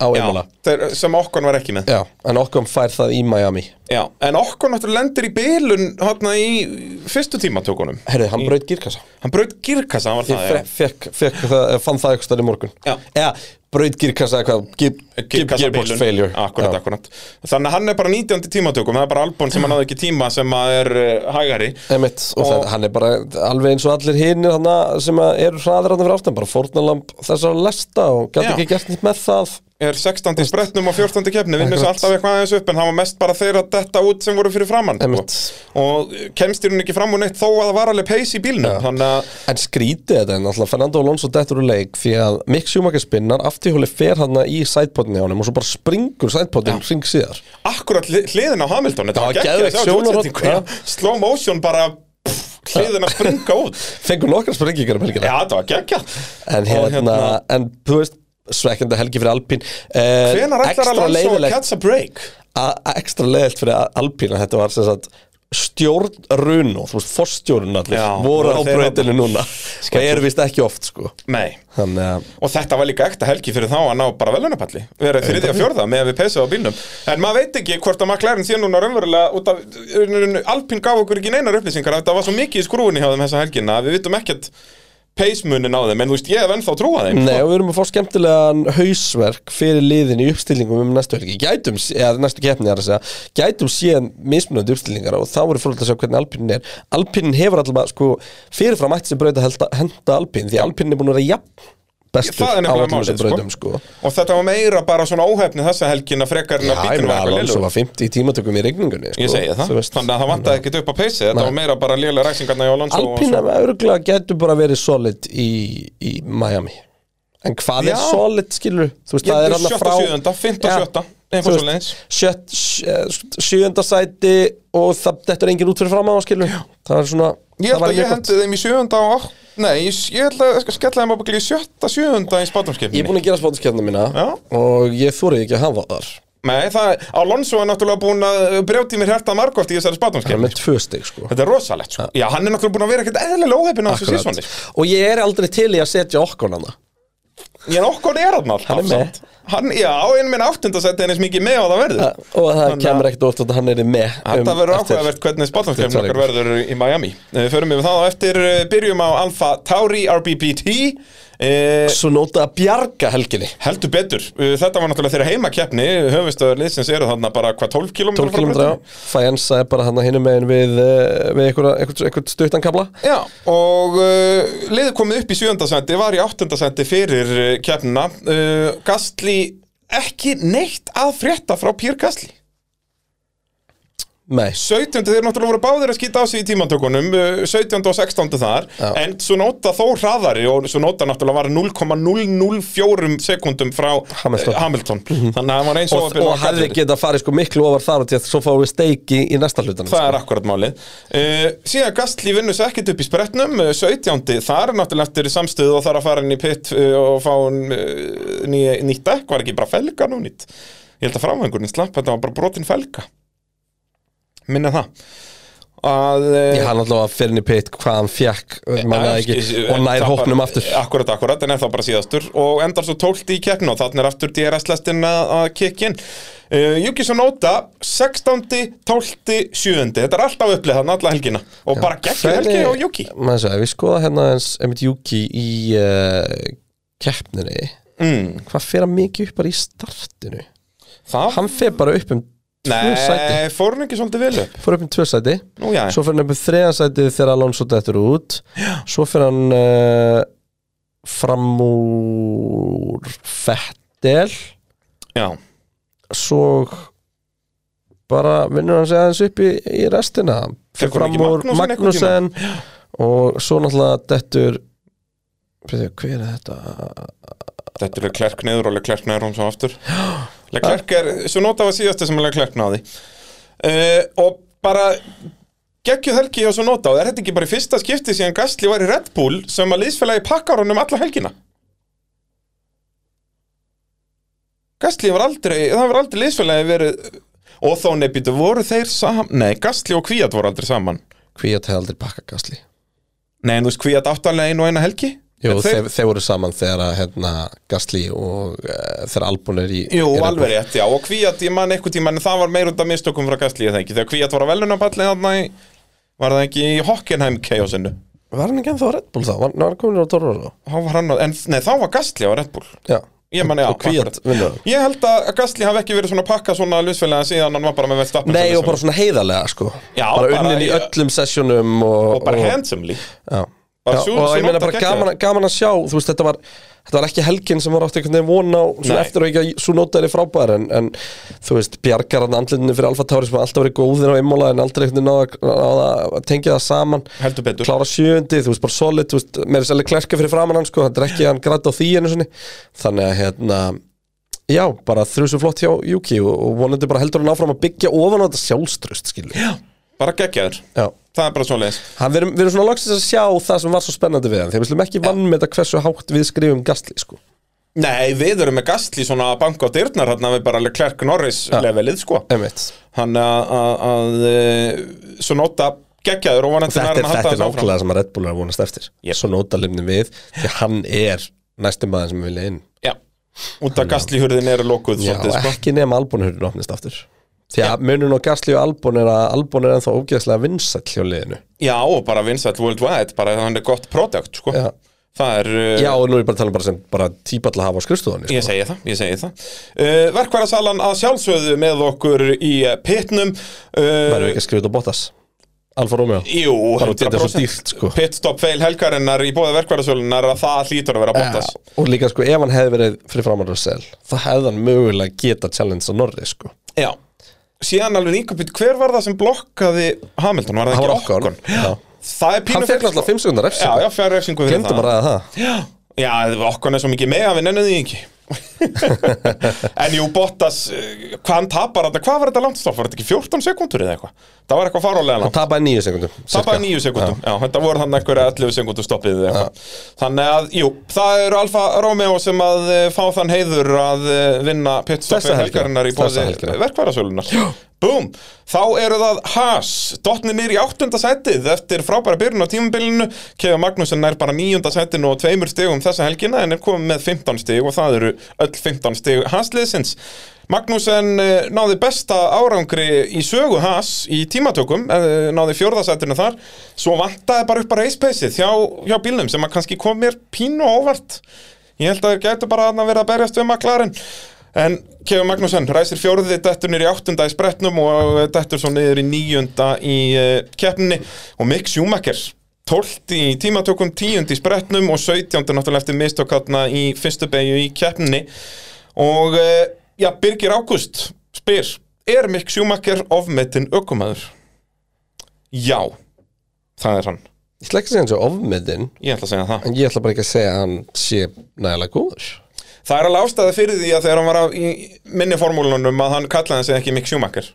á Já, Emola þeir, sem okkur var ekki með Já, en Okkunum fær það í Miami Já, en okkur náttúrulega lendir í bylun hátna í fyrstu tímatökunum Herðu, hann braut gírkassa Hann braut girkassa, hann var Ég það, fe- fekk, fekk það, eh, fann það eitthvað í morgun Já. Eða, braut gírkassa eitthvað gir- já gir- Gearbox bilun. failure Akkurat, Já. akkurat Þannig að hann er bara 19. tímatökum, það er bara albún sem hann náði ekki tíma sem að er uh, hægari Einmitt, og, Og- og hann er bara alveg eins og allir hinir hana, sem að eru hraðir hann fyrir aftan bara fórnalamb þessar lesta og gæti Já. ekki gert nýtt með það Er 16. í spretnum og 14. kefni, vinnur sér Akkurat. alltaf eitthvað aðeins upp en hann var mest bara þeir að detta út sem voru fyrir framann sko. Einmitt. Og eh, kemst í hún ekki fram úr neitt þó að það var alveg peis í bílnum Þannig að, En skrítið þetta en alltaf Fernando Alonso dettur úr leik því að Mick Schumacher spinnar aftíhóli fer hann í sætpotni á hann og svo bara springur sætpotnin hring síðar akkurat hli- hliðin á Hamilton, þetta Já, var geggjað að geðveikt sjá þetta sjónarhorn, útsendingu, já. já. Slow motion bara pff, hliðin að springa út Fengur nokkra springingar um helgina Já, þetta var geggjað En hérna, Og hérna- en þú veist svekkjandi helgi fyrir Alpín eh, Hvenær ætlar Ekstra Alonso að leiðilegt catch a break? a- a- Ekstra leiðilegt fyrir Al- Alpín að þetta var sem sagt stjórn Runo, þú veist, forstjórn allir Já, voru voru á þeir breytinu núna og er vist ekki oft sko Nei Þannig að Og þetta var líka ekta helgi fyrir þá að ná bara velunapalli Verið þriðja og fjórða með að við pesaði á bílnum En maður veit ekki hvort að McLaren sé núna raunverulega út af, Alpín gaf okkur ekki neinar upplýsingar að Þetta var svo mikið í skrúinni hjá þeim þessa helgina að Við vitum ekkert peismunin á þeim En þú veist, ég hef ennþá trúa þeim Nei, og við erum að fá skemmtilegan hausverk fyrir liðin í uppstillingum um næstu helgi gætum, sé- eða næstu keppni er að segja gætum síðan mismunandi uppstillingar og þá voru fólk að sjá hvernig Alpinin er Alpinin hefur allavega, sko, fyrirfram ætti sem braut að helda- henda Alpin því Alpinin er búin að vera jafn bestur Það er á nefnilega öllum málið, þessum brautum, sko, Og þetta var meira bara svona óhefni þessa helgina frekar en Já, að ég bílnum meina var að eitthvað Alonso lélur var 50 í tímatökum í rigningunni, sko Ég segi það, þú veist. þannig að það vantaði ekkert upp á peysið Þetta Nei. var meira bara lélega ræsingarna hjá Alonso og Alpina svo- örgulega getur bara verið solid í, í Miami En hvað Já. er solid, skilur? Þú veist, Ég það held er hann að að sjötta, frá sjöunda, fimmta, Já, sjötta, eitthvað þú veist, svoleiðis. sjött- sjö- Sjöunda sæti og það, þetta er engin út fyrir fram á, skilur Það er svona, það Ég held að mjög ég gott. hendi þeim í sjöunda og átt Nei, ég ég held að sk- skella þeim ábyggli í sjötta, sjöunda í Ég er spátumskipninni búin að gera spátiskefna mína Já. Og ég þorið ekki að hafa þar Nei, það, Alonso er náttúrulega búin að brjóti mér hértað margóft í Það þessari er spátumskipni með tvö stig, sko Þetta er rosalegt, sko Já, hann er náttúrulega búin að vera ekkert eðlilega óheppin á þessu Akkurat. sísoni Og ég er aldrei til í að setja okkur hana Ég er okkur er hann alltaf Hann er með. samt. hann, Já, en minn áttundasætti er eins mikið með á það verður Og það Þannig að- kemur ekkert oft að hann er í með Þetta um verður eftir- áhugavert hvernig spátumskipni Þetta er okkar verður í Miami Eh, Förum við það á eftir, eh, byrjum á Alfa Tauri RBBT eh, Svo nota að bjarga helginni Heldur betur, Uh, þetta var náttúrulega þeirra heimakeppni höfustöður liðsins eru þarna bara hvað 12 km 12 km á Fajensa er bara hann að hinum megin við, eh, við einhverja- einhvern einhver stuttan kabla Já, og uh, liðið komið upp í sjöndasendi, var í áttundasendi fyrir uh, keppnina uh, Gastli, ekki neitt að frétta frá Pír Gastli Nei, 17. þeir náttúrulega voru báðir að skýta á sig í tímantökunum uh, 17. og 16. þar Já. en svo nota þó hraðari og svo nota náttúrulega var 0,004 sekundum frá Hamilton. Mhm. eh, Hamilton. þannig að hann var eins og, og hefði geta farið sko miklu ofar þar og til að svo fáum við steiki í næsta sko. hlutan Það er akkurat málið uh, Síðan Gastli vinnur sér ekkert upp í spretnum uh, 17. þar er náttúrulega eftir samstöð og þarf að fara inn í pitt uh, og fá uh, ný, nýtt dekk var ekki bara felga nú nýtt Ég held að framvengurinn slapp, þetta var bara brotin felga Minna það að, eh, Ég hann alltaf að fyrir henni pitt hvað hann fjekk manna það ekki, og nær hópnum aftur Akkurat, akkurat, en er þá bara síðastur og endar svo tólt í keppnu og þannig er aftur DRS-lestin að að kikki inn uh, Juki svo nota 16. 12. 7. Þetta er alltaf upplið þannig alla helgina og bara geggjur helgi Hvernig- og Juki Maður segja, við skoða hérna eins einmitt Juki í uh, keppninni mm, Hvað fer hann mikið upp bara í startinu? Það, Hann fer bara upp um tvö sæti nei, fór hann ekki svolítið vel upp Fór upp um tvö sæti Nú, já, Svo fyrir hann upp í þriðansætið þegar Alonso dettur út Svo fyrir hann uh, fram úr Fettel já, Svo bara vinnur hann sig aðeins upp í, í restina Fyrir Tekur hann fram ekki úr Magnussen einhvern Magnussen Og svo náttúrulega dettur Fyrir, hver er þetta? <gasps> þetta er klerk niður og klerk niður um svo aftur Leclerc er, svo nota var síðasta sem Leclerc náði uh, og bara geggjuð helgi og svo nota og er þetta ekki bara í fyrsta skipti síðan Gastli var í Red Bull sem að liðsfélagi pakkar honum alla helgina Gastli var aldrei, það var aldrei liðsfélagi verið og þá nefnir, voru þeir saman nei, Gastli og Kvíat voru aldrei saman Hví að það aldrei pakka gasli nei, en þú veist, Kvíat áttalega einu og eina helgi Jú, En þeir, þeir, voru saman þegar að, hérna, Gasly og uh, þeir Albon er í Jú, er alveg rétt, já, og Kvíat, ég man einhvern tímann, en það var meir undan mistökum frá Gastli, ég það ekki, þegar Kvíat var á velunapalli þarna í, var það ekki í Hockenheim chaosinu, Var hann ekki ennþá á Red Bull þá? Var, var hann komin á Toro Rosso? þá var hann, á- en nei, þá var Gastli á Red Bull, Já ég man, já, Og Kvíat akkurat. vinnur hann. Ég held að Gastli hafi ekki verið svona pakka svona lusfélaga síðan hann var bara með velstappin Nei, og bara svona heiðarlega, sko Já, Bara bara unnin í í- öllum sessjónum og, og bara handsomely, Já Bara Já, sú- og sú ég meina nota bara geggjaður. gaman, að- gaman að sjá þú veist þetta var, þetta var ekki helgin sem var átt einhvern veginn von á svona Nei. eftir og ekki að svo nótaðir frábæðar en, en þú veist bjargar hann andlindinu fyrir Alfa Tauri sem hafa alltaf verið góðir á einmála en aldrei einhvern veginn náða- náða að tengja það saman heldur betur klára sjöundi, þú veist bara solid þú veist, meira sérlega klerka fyrir framann hann sko, hann drekki hann grætt á því einu sinni þannig að hérna já, bara þrjus og flott hjá Juki og, og vonandi bara heldur hann áfram að byggja ofan á þetta sjálfströst skilur já. bara geggjaður, já það er bara svona leis Hann, við, erum, við erum svona loksins að sjá það sem var svo spennandi við hann Þegar við slum ekki vann með þetta hversu hátt við skrifum gasli sko. Nei, við erum með Gastli svona að banka á dyrnar hann við bara Klerk Norris levelið, sko Einmitt. hann að- að að, e, svo nota geggjaður og vonandi Þetta nær er, hann að halda þetta er þessu áfram. nákvæmlega sem að Red Bull er að vonast eftir Yep. Svo nota limnum við Því að hann er næstum maður sem við vilja inn Já, út af gaslihurðin eru lokuð Já, svolítið, sko. ekki nema albónhurinn opnist aftur Því að munun og gasli og albón er að albón er ennþá ógeðslega vinsæll hjá liðinu Já, og bara vinsæll worldwide, bara hann er gott product, sko Já. Það er, uh, Já, og nú er ég bara að tala um bara sem bara típa til að hafa á skrifstofunni sko. ég segi það, ég segi það uh, Verkværasalan að sjálfsögðu með okkur í eh, pitnum Það eru uh, ekki að skrifa út á Bottas Alfa Romeo Jú, Bara út í þetta er svo 100% dýrt sko Pitstop fail helgarinnar í bóða verkværasalunar að það hlýtur að vera bóttas Já, og líka sko ef hann hefði verið fyrir framann Russell þá hefði hann mögulega geta challenge á Norri sko Já, síðan alveg nýkupið, hver var það sem blokkaði Hamilton, var það hann var ekki okkar okkon? Það er hann pínu fekk náttúrulega 5 sekundar Já, refsingu já, fjara refsingu fyrir glemdum að ræða það Já, já okkon er svo mikið með að við nennum því ekki En jú, Bottas, eh, hvað hann tapar þetta, hvað var þetta langt stopp? Var þetta ekki 14 sekundur eða eitthvað? Það var eitthvað farálega hann langt tapaði 9 sekundum Tapaði níu sekundum, já. þetta voru þannig einhverja 11 sekundum stoppið eða eitthvað Þannig að, jú, það eru Alfa Romeo sem að eh, fá þann heiður að eh, vinna Þessa pitstoppi helgina. helgarinnar í Þessa bóði helgina. verkværasölunar Búm, þá eru það Haas, dottninir í áttunda sætið eftir frábæra byrjun á tímabilinu Kefa Magnússon er bara níunda sætinu og tveimur stigum þessa helgina en er komið með 15 stig og það eru öll 15 stig Haas-liðsins Magnússon eh, náði besta árangri í sögu Haas í tímatökum, eh, náði fjórðasætinu þar svo vantaði bara upp að reispeysið hjá, hjá bílnum sem að kannski kom mér pínu á óvart ég held að þeir gætu bara að vera að berjast við maklarinn En Kevin Magnússon ræsir fjóruði dettur niður í áttunda í spretnum og dettur svo niður í níunda í uh, keppninni og Mick Schumacher 12 í tímatökum, 10 í spretnum og 17 náttúrulega eftir mistökatna í fyrstu beigju í keppninni og uh, já, Birgir Ágúst spyr, er Mick Schumacher ofmetinn ökumæður? Já, það er hann ég ætla ekki að segja hann svo ofmiðin ég ætla að segja það en ég ætla bara ekki að segja að hann sé nægilega góður Það er alveg ástæði fyrir því að þegar hann var á, í minni formúlunum að hann kallaði sig ekki Mick Schumacher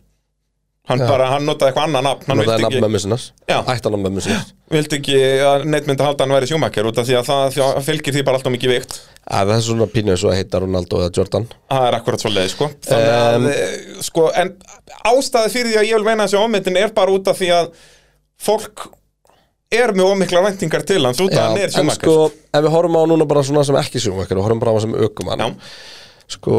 Hann bara, hann notaði eitthvað annað nafn Hann það er vildi nafn ekki, mömmu sinnas Já. ættan nafn mömmu sinnas vildi ekki að neitt myndi halda að hann væri Schumacher út af því að það því að fylgir því bara alltaf mikið vikt það er svona pínu eins og að heita Ronaldo eða Jordan Það er akkurat svo leið, sko Þannig að, eh, sko, en ástæði fyrir því að ég vil meina þessi ómyndin er bara út af því að fólk er með ómikla væntingar til hans út af að hann er en Schumacher sko ef við horfum á hann núna bara svona sem ekki sjómakar og horfum bara á hann sem ökumann Já, sko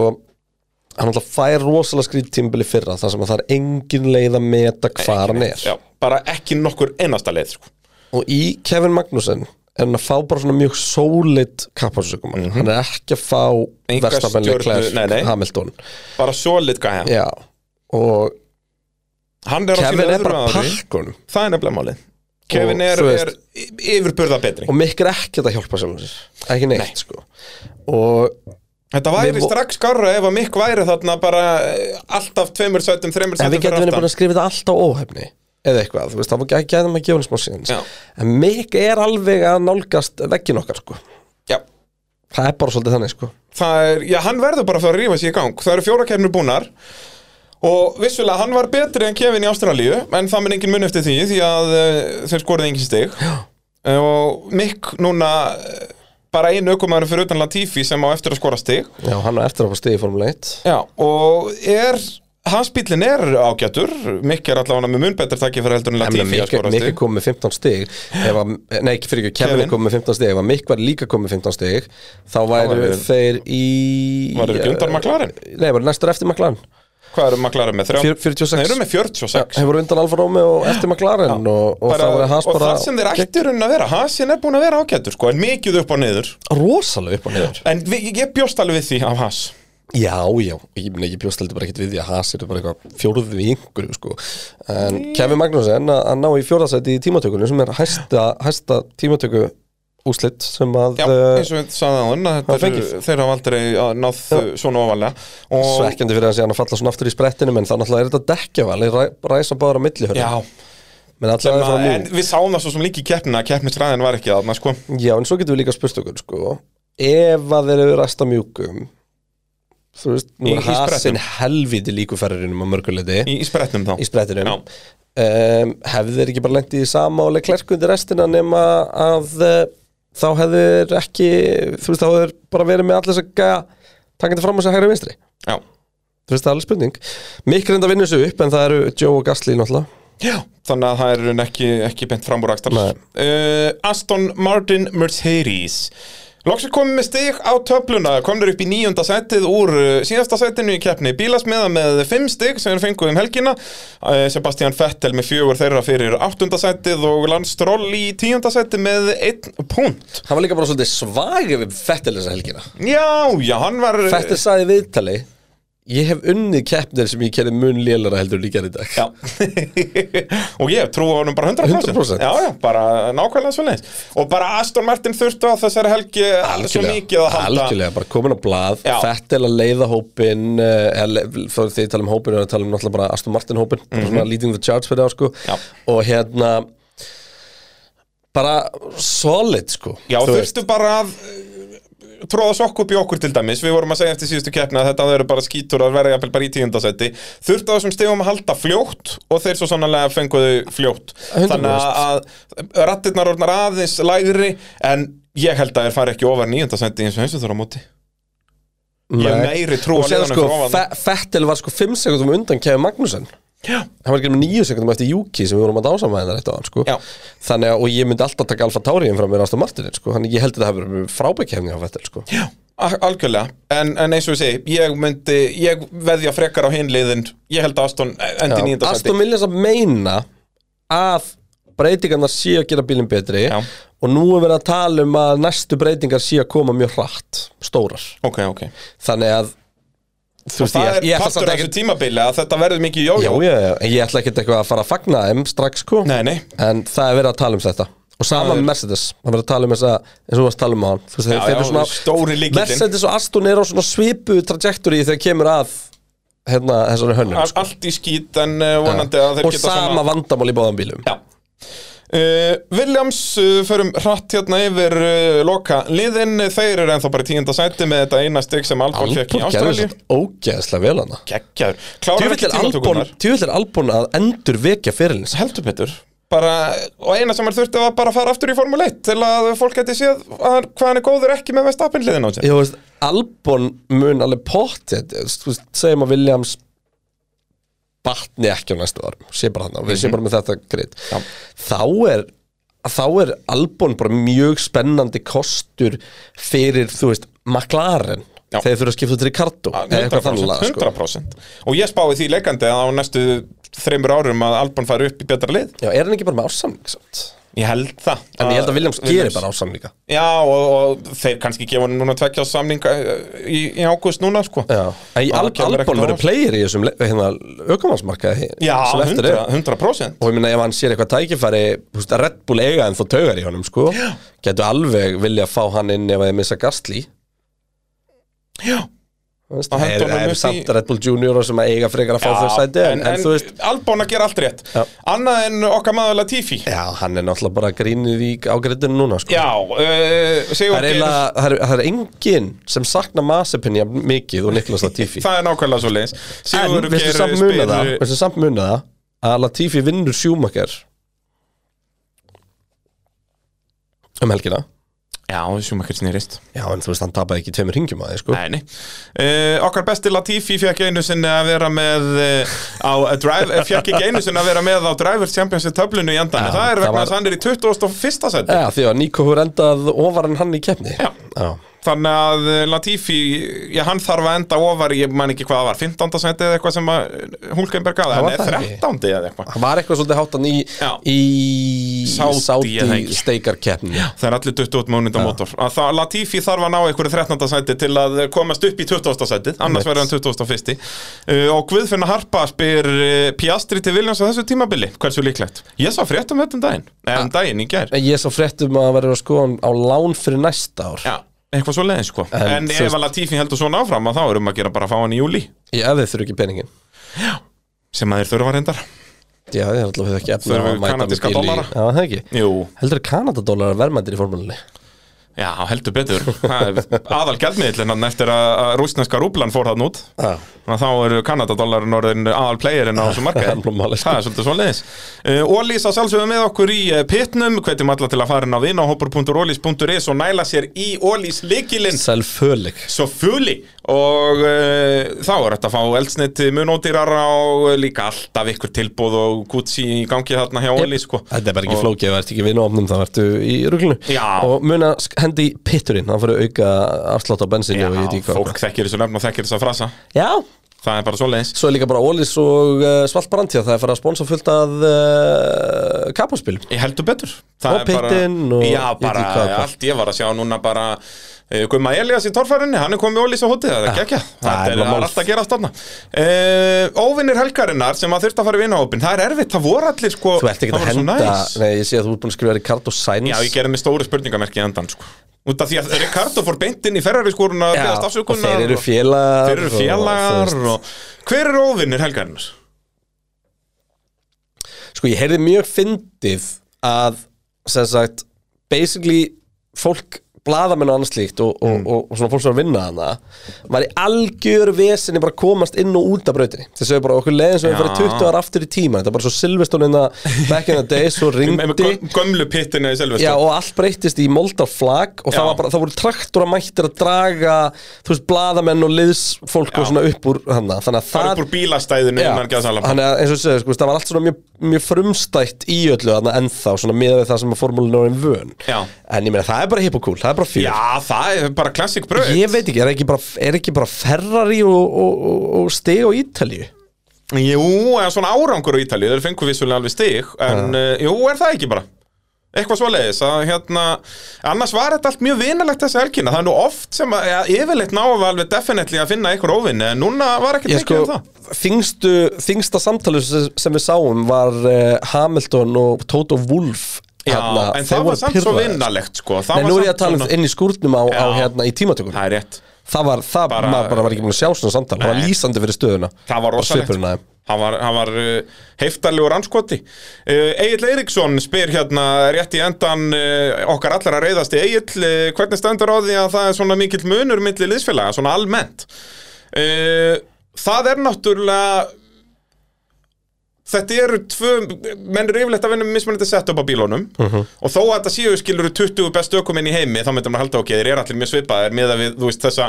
hann alltaf fær rosalega skrítið tímbili fyrra þar sem að það er engin leið að meta hvar hann er já, bara ekki nokkur einasta leið, sko og í Kevin Magnussen er hann að fá bara svona mjög sólid kapphásökum mm hann er ekki að fá Mhm. Enga verstapenni stjórnu- nei, nei. Klerk Hamilton Bara solid gæja já og Hann er á sínu Kevin er öðru bara ári. pakkunum Það er nefnilega málið Kevin Og, er, þú veist- er y- yfirburða betri og mikil er ekki að hjálpa sjálfum sér ekki neitt sko og Þetta væri við vo- strax skarra ef að Mikk væri þarna bara eh, alltaf tveimur sætum, en þreimur sætum við getum verið búin að skrifa þetta allt á óhefni eða eitthvað, þú veist, þá gæ- gæðum að gefa hann smá síðan Já. en mikil er alveg að nálgast veggin okkar sko Já, það er bara svolítið þannig sko það er, já, hann verður bara að fara að rífa sér í gang það eru fjóra kefnir búnar og vissulega hann var betri en Kevin í Ástralíu en það mun engin mun eftir því því að uh, þeir skoruði engin stig já. og Mick núna eh, bara einu aukumæður fyrir utan Latifi sem á eftir að skora stig Já, hann er eftir að fá stið í Formule 1 já, og er hans bílinn er ágætur Mick er allavega með mun betur takki fyrir heldur Ég en meina, Latifi að Mikk skora Mikk er stig komið með 15 stig ef að, Nei, ekki fyrir ekki, Kevin Kevin. er komið með 15 stig Ef að Mikk var líka komið með 15 stig Þá væru væru- þeir í eh, Væru ekki undan McLaren? Nei, bara næstur eftir McLaren hvað eru maklarið með? Fjör- Þrjá- 46. Nei, eru með 46 Hefur undan Alfa Romeo og eftir McLaren Og, og bara, það var hans og bara það sem þeir ættir að vera Hasin er búin að vera ágætur sko, en mikið upp og niður rosalega upp á niður En við, ég- ég bjóst alveg við því af Haas Já, já, ég, meni, ég bjóst heldur bara ekkert við því að Haas er bara eitthvað fjóruð við yngur sko. En Kevin Magnussen að, að ná í fjórðasæti í tímatökunni sem er hæsta, hæsta tímatöku úslit sem að Já, eh, eins og við sagði áðan að það þetta fengið. eru- Þeir hafa aldrei að náð svona ofalega og, svekkjandi fyrir að sé hann að falla svona aftur í sprettinum en þannig að þetta dekkja vel, ræ, ræsa bara á milli hörðu, Já, menn alltaf sem er að, frá en nú við sáum það svo sem líki í keppnina Keppnisræðin var ekki þarna sko Já, en svo getum við líka spurt okkur sko, ef að þeir eru ræsta mjúkum þú veist, nú Í- er í hasin sprettinum. helviti líkufærarinum á mörguleiti Í, í spretnum þá í sprettinum Já. um, hefðu þeir ekki bara lent í því sama og Leclerc undir restina nema að uh, þá hefðu þeir ekki þú veist þá hefðu þeir bara verið með allir þess að gæja takandi fram á sig hægri og vinstri Já, þú veist það er alveg spurning mikil reynda vinnur þessu upp en það eru Joe og Gasly náttúrulega Já. Þannig að það eru ekki, ekki bent fram úr akstar Nei. Aston Martin Mercedes Loks er komið með stig á töfluna, komnir upp í níunda setið úr uh, síðasta setinu í keppni bílasmiða með fimm stig sem er fenguð um helgina Uh, Sebastian Vettel með fjögur þeirra fyrir áttunda setið og Lance Stroll í tíunda setið með einn punt hann var líka bara svolítið svag við Fettil þessa helgina Já, já, hann var Fettil sagði í viðtali ég hef unnið keppnir sem ég kerði mun lélara heldur líka í dag Já <laughs> Og ég trú á honum bara 100%, 100%. Já, já, bara nákvæmlega svo leins Og bara Aston Martin þurftu á þessari helgi eh, Svo mikið að halda algjörlega, bara komin á blað Já. Fettel að leiða hópin þá er því að tala um hópin og tala um náttúrulega bara Aston Martin hópin, bara svona leading the charge fyrir þá sko Mhm. Já. og hérna bara solid sko Já, Þú veist, þurftu bara að uh, tróða sokk upp í okkur til dæmis Við vorum að segja eftir síðustu keppni að þetta þau eru bara skítur að vera jafnvel bara í tíundasetti Þurftu á þessum stegum að halda fljótt og þeir svo sannlega fenguðu fljótt 100%. Þannig að rattirnar orðnar aðeins lægri en ég held að þeir fari ekki ofar níundasetti eins og eins og þurfa á móti Ég hef nei. meiri trú Og á séð liðunum sko, fyrir ofan. Fe- Vettel var sko 5 sekundum undan Kevin Magnussen Já hann var ekki með 9 sekundum eftir Juki sem við vorum að dása með hennar eitt á hann sko Já. þannig að og ég myndi alltaf taka Alfa Tauri fram með Aston Martin sko þannig að ég held að það hefur verið frábækjefni á Vettel sko Já, al- algjörlega, en, en eins og ég segi ég myndi, ég veðja frekar á hinliðin, ég held að Aston endi Já, nýjönda seti Aston Vilja að meina að breytingarnar sé að gera bílinn betri Já. og nú er verið að tala um að næstu breytingar sé að koma mjög hratt stórar, Ok, ok, þannig að þú og það ég, er ég ætla partur samt af þessu ekki tímabili að þetta verður mikið Já, jójó já, já, en ég ætla ekkert eitthvað að fara að fagna þeim strax sko Nei, nei, en það er verið að tala um þetta og sama með Mercedes, það er verið að tala um þessa eins og við varst að tala um á hann veist, Já, þeir eru já, stóri lykillinn. Mercedes og Aston er á svona svipu trajektori þegar kemur að hérna, þessari hönnun al- allt í skít en uh, vonandi að þeir og geta sama svona vandamál í báðan bílum Já Uh, Williams, uh, förum hratt hérna yfir uh, loka liðin þeir eru ennþá bara í tíunda sæti með þetta eina stygg sem Albon fekk í Albon gerði Ástralíu þetta ógeðslega vel hana Gekkjaður, klárar Tjöfull ekki er Albon, tímatökunar djöfull er Albon að endur vekja fyrirlins heldur betur bara, og eina sem hann þurfti var bara að fara aftur í Formule 1 til að fólk geti séð að, hvað hann er góður ekki með Vestapen liðin á sér Ég veist, Albon mun alveg pottið Þú veist, segjum að Williams batni ekki á næstu árum sé bara þannig, við séum bara með þetta greit þá er þá er Albon bara mjög spennandi kostur fyrir, þú veist, McLaren Já. þegar þurfa að skipta til Ricardo eða eitthvað 100%, þannig lagað, sko. 100%. og ég spáði því leikandi að á næstu þreymur árum að Albon fari upp í betra lið Já, er hann ekki bara með ársamning samt? ég held það En ég held að Williams gerir bara ársamninga já og, og þeir kannski gefa hann núna tvekja samninga eh, í, í águst núna sko Já, Al það kemur Albon ekkert á verður óvart. player í þessum le- hérna, aukumannsmarkaði já sem eftir 100%, er 100%. og ég meina ef hann sér eitthvað tækifæri þú veist, að Red Bull eiga en þó taugar í honum sko, getur alveg vilja fá hann inn ef að þið missa Gastli Já. þú veist, Á það er- höndunum það upp eru í- samt Red Bull Junior sem að eiga frekar að fá þau sæti en, en, þú veist Albon að gera allt rétt Já. Annað en okkar maður Latifi Já, Já, hann er náttúrulega bara grínið í ágreitinu núna sko. uh, segjum Það er, okkur eiginlega, það, er, það er engin sem sakna Masipin jafn mikið og Niklas Latifi Það er nákvæmlega svo leiðis En við sem samt muna það Við sem samt muna það að Latifi vinnur sjúmakar um helgina Já, Schumacher snýrist Já, en þú veist, hann tapaði ekki tveimur ringjum að þið, sko Nei, nei. Uh, okkar besti Latifi fekk einu sinni að vera með uh, á uh, drive, eh, fekk ekki einu sinni að vera með á Drivers Championship töflunni í endan Já, það er það vegna var- þess að hann er í 21. seti Já, því að Nico hefur endað ofar en hann í keppni Já. þannig að eh, Latifi já, hann þarf að enda ofar, ég man ekki hvað það var 15. seti eða eitthvað sem að eh, Hulkenberg aða, Það var hann er það ekki. 13. eða eitthvað Hann var eitthvað svolítið hátan í, Já. í Saudi, ég það ekki. steikarkeppni Já, Það er allir 28 mánuð á mótor Að það- Latifi þarf að ná einhverju 13. sæti til að komast upp í 20. sæti annars Einmitt. verður hann 21. Uh, og Guðfinna Harpa spyr uh, Piastri til Viljans á þessu tímabili, hversu líklegt? Ég sá frétt um þetta um daginn, eða Ah. um daginn í gær En Ég sá fréttum að verður að skoða hann á lán fyrir næsta ár Já, eitthvað svo leiðin sko En, En, þú ef veist- að Latifi heldur svona áfram að þá erum að gera bara að fá hann í júli Ég ef þið þurfi ekki peningin sem að þeir þurfa reyndar Já, þið er alltaf ekki efna Þurfum við kanadíska bíl í- dollara? Já, það ekki Jú, Heldur að kanadadólar er verðmændir í formúlunni já, heldur betur aðal gældmiðillin eftir að að rússneska rúblan fór þarna út Já Þannig að þá eru Kanadadólarinn orðin aðal playerinn <laughs> á þessu markaði Hann blóm máli, sko. Það er svolítið svolítið uh, Ólís að sjálfsögum með okkur í uh, pitnum Hvetjum alla til að fara inn á vinahopur.ólís.is og næla sér í Ólís likilinn Selvfölig Svo fuli Og uh, þá er þetta að fá eldsniti munódýrara og líka alltaf ykkur tilbúð og kutsi í gangi þarna hjá Ólís sko. Þetta er bara ekki Og- flókið, ef það ert ekki vinu ofnum þá ertu í ruglunu Já. Og muna sk- hendi í pitturinn, það fyrir auka afslátt á bensinu Já, og ég veit ekki hvað fólk þekkir þessu nefn og þekkir þessa frasa Já, Það er bara svolítið svo er líka bara Ólís og uh, Svalt Brandtja, það er farið að sponsa fullt að uh, kapaspilum Ég heldur betur Og pittinn og- Já, ég veit bara ekki hvað og hvað. allt ég var að sjá núna bara eh, Guðma Elias í torfærinni, hann er komið ólís á hótið, það er gekkja Ah, það Það er er bara mál. alltaf að gera stanna Óvinnir helgarinnar sem að þurft að fara í vinahópin Það er erfitt, það voru allir sko Þú ert ekki það að var svo henda, næs. nei ég sé að þú ert búin að skrifa Ricardo Sainz Já, ég gerði mig stóru spurningamerki í endan sko Út af því að Ricardo fór beint inn í ferrari skorun að Já, beðast og afsökunar þeir eru og- félagar Þeir eru og- félagar þú veist. og, Hver eru óvinnir helgarinnar? Sko ég heyrði mjög fyndið að sem sagt, basically fólk blaðamenn og annars líkt og, Mm. og, og, og svona fólk sem var að vinna hana var í algjör vesinni bara að komast inn og út af brautinni þeir sögðu bara okkur leiðin sem við Já. farið 20 ára aftur í tíma þetta er bara svo silvestóninna back in the day svo Með ringdi göm- gömlu pittinu í selvestum Já, og allt breyttist í moldarflag og sko. Já. það, var bara, það voru traktora mættir að draga þú veist, blaðamenn og liðsfólk Já. og svona upp úr hana þannig að Það það upp úr bílastæðinu Já, innan geðsalam Þannig að eins og segja, sko, það var allt svona mjög, mjög frumstætt í öllu þarna ennþá svona miðað við það sem að formúlinu er einn vön Já. En ég meina, það er bara hipp og cool, það er bara fyrir Já, það er bara klassik bröð Ég veit ekki, er ekki bara, er ekki bara Ferrari og, og, og, og Steg og Ítalíu? Jú, eða svona árangur á Ítalíu, þeir fengu vissulega alveg stig En uh, jú, er það ekki bara Eitthvað svoleiðis að hérna Annars var þetta allt mjög vinalegt þessi helgina Það er nú oft sem að, ja, yfirleitt náum við alveg definitely að finna einhver óvinni En núna var ekki Ég tekið sko, um það þingstu, þingsta samtali sem sem við sáum var uh, Hamilton og Toto Wolff Já, hérna, en þeir það voru var samt svo pirraðir. vinalegt sko. Það Nei, var nú er ég samt að tala um svona- inn í skúrnum á, á Já. hérna í tímatökunum Það er rétt Það var, það, Bara- maður bara var ekki búin að sjá svona samtal Það var Nei. lýsandi fyrir stöðuna Það var Og rosalegt svipurinn á þeim. Hann var, hann var uh, heiftarlegur anskoti uh, Egil Eiríksson spyr hérna rétt í endan uh, okkar allar að reyðast í Egil uh, hvernig stendur á því að það er svona mikill munur milli liðsfélaga, svona almennt uh, Það er náttúrulega Þetta eru tvö, menn eru yfirleitt að vinna með mismunandi sett upp á bílunum og þó að þetta séu skilur 20 bestu ökumenn í heimi þá myndum maður halda ok, þeir eru allir mjög svipaðir með að við, þú veist, þessa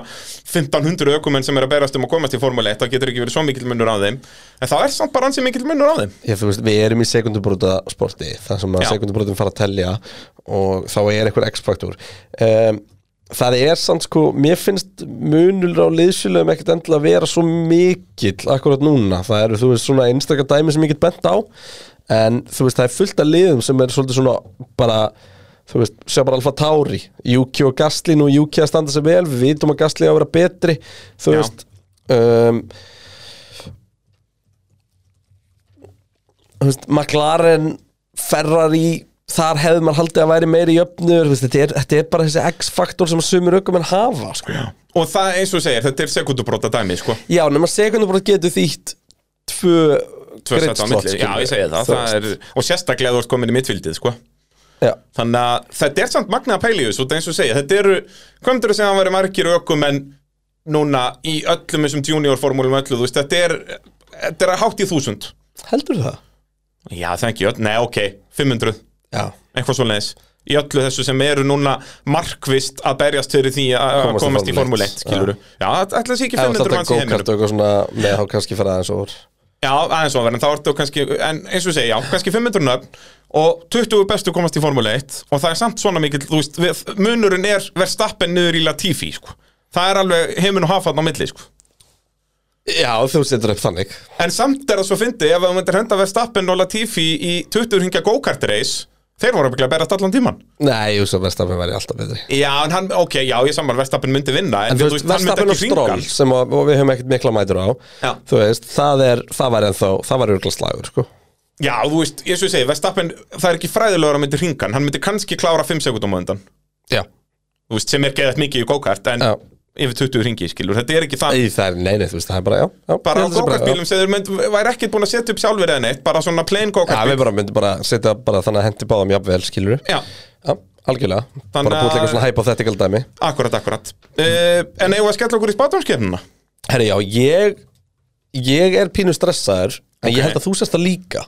1500 ökumenn sem eru að berast um að komast í Formule 1 það getur ekki verið svo mikill munnur á þeim en þá er samt bara ansið mikill munnur á þeim Ég, þú veist, Við erum í sekundubróta sporti þar sem að Já. sekundubrótum fara að telja og þá er einhver x-faktor um, Það er samt sko mér finnst munul á liðsfélögum ekkert endilega að vera svo mikill akkurat núna, það eru þú veist svona einstakar dæmi sem ég get bent á en þú veist það er fullt af liðum sem er svolítið svona bara þú veist, sjá bara Alfa Tauri Juki og Gasly nú Juki að standa sig vel við vitum að Gasly á að vera betri þú Já. veist um, þú veist, McLaren Ferrari, þar hefði maður haldið að væri meiri jöfnur þú veist, þetta, er, þetta er bara þessi X-faktor sem sumir aukum en hafa sko. já, Og það eins og þú segir, þetta er sekundubróta dæmi sko. já nema sekundabrót getur þýtt tvö Tvö sæti á griddslot, milli. Já, skilur ég segi við, það, þú það veist. er, Og sérstaklega þú ert komin í mittfildið sko. Já, Þannig að þetta er samt magnað að pæla í þessu og eins og segja, þetta eru, hvað myndir að segja að það væri margir ökum en núna í öllum þessum juniorformúlum öllu, þú veist, þetta er, þetta er að hátt í þúsund. heldur það? Já, það er ekki öll, nei, ok, 500, Já, eitthvað svo leiðis, í öllu þessu sem eru núna markvist að berjast fyrir því að að Komast í komast í Formúlu formúl 1, 1, skilur Já, ætla sé ekki ef 500 þetta manns í heiminum. go-kart og eitthvað svona með þá kannski fara aðeins over Já, aðeins ofar, en þá ertu kannski, en eins og ég segi, já, kannski 500 nöfn og 20 bestu komast í Formule 1 og það er samt svona mikill, þú veist, við, munurinn er verðstappen niður í Latifi, sko. Það er alveg heiminn og hafann á milli, sko. Já, þú setur upp þannig En samt er það svo fyndið, ef þú myndir henda verðstappen og Latifi í 20 hringja go-kart race, þeir voru bygglega að berast allan tíman. Nei, jú, svo verðstafin væri alltaf betri Já, en hann, ok, já, ég samar verðstappen myndi vinna, en, En þú veist, hann myndi verðstafin og ekki hringa stról hann. sem að, og við höfum ekkert mikla mætur á Já. Þú veist, það, er, það var ennþá, það var örgla slagur, sko Já, þú veist, eins og ég segi, verðstappen, það er ekki fræðilegur að myndi hringa hann, hann myndi kannski klára 5 sekundum á undan. Já þú veist, sem er geðað mikið í go-kart en Já. yfir 20 ringi, skilur, þetta er ekki það Í það er, nei, nei, þú veist, það er bara, já, já ég held bara á að sé go-kartbílum sem þeir mynd, væri ekkert búin að setja upp sjálfur eða neitt, bara svona Já, plain Já, go-kartbíl við bara myndum bara setja bara þannig að hendi báðum jafnvel, skilur Já, Já, algjörlega Þannig Bara búið að- eitthvað svona hypothetical dæmi akkurat, akkurat uh, En eigum við að skella okkur í spátumskefnina? Herri, já, ég, ég er pínu stressaður En Ok. ég held að þú sérst það líka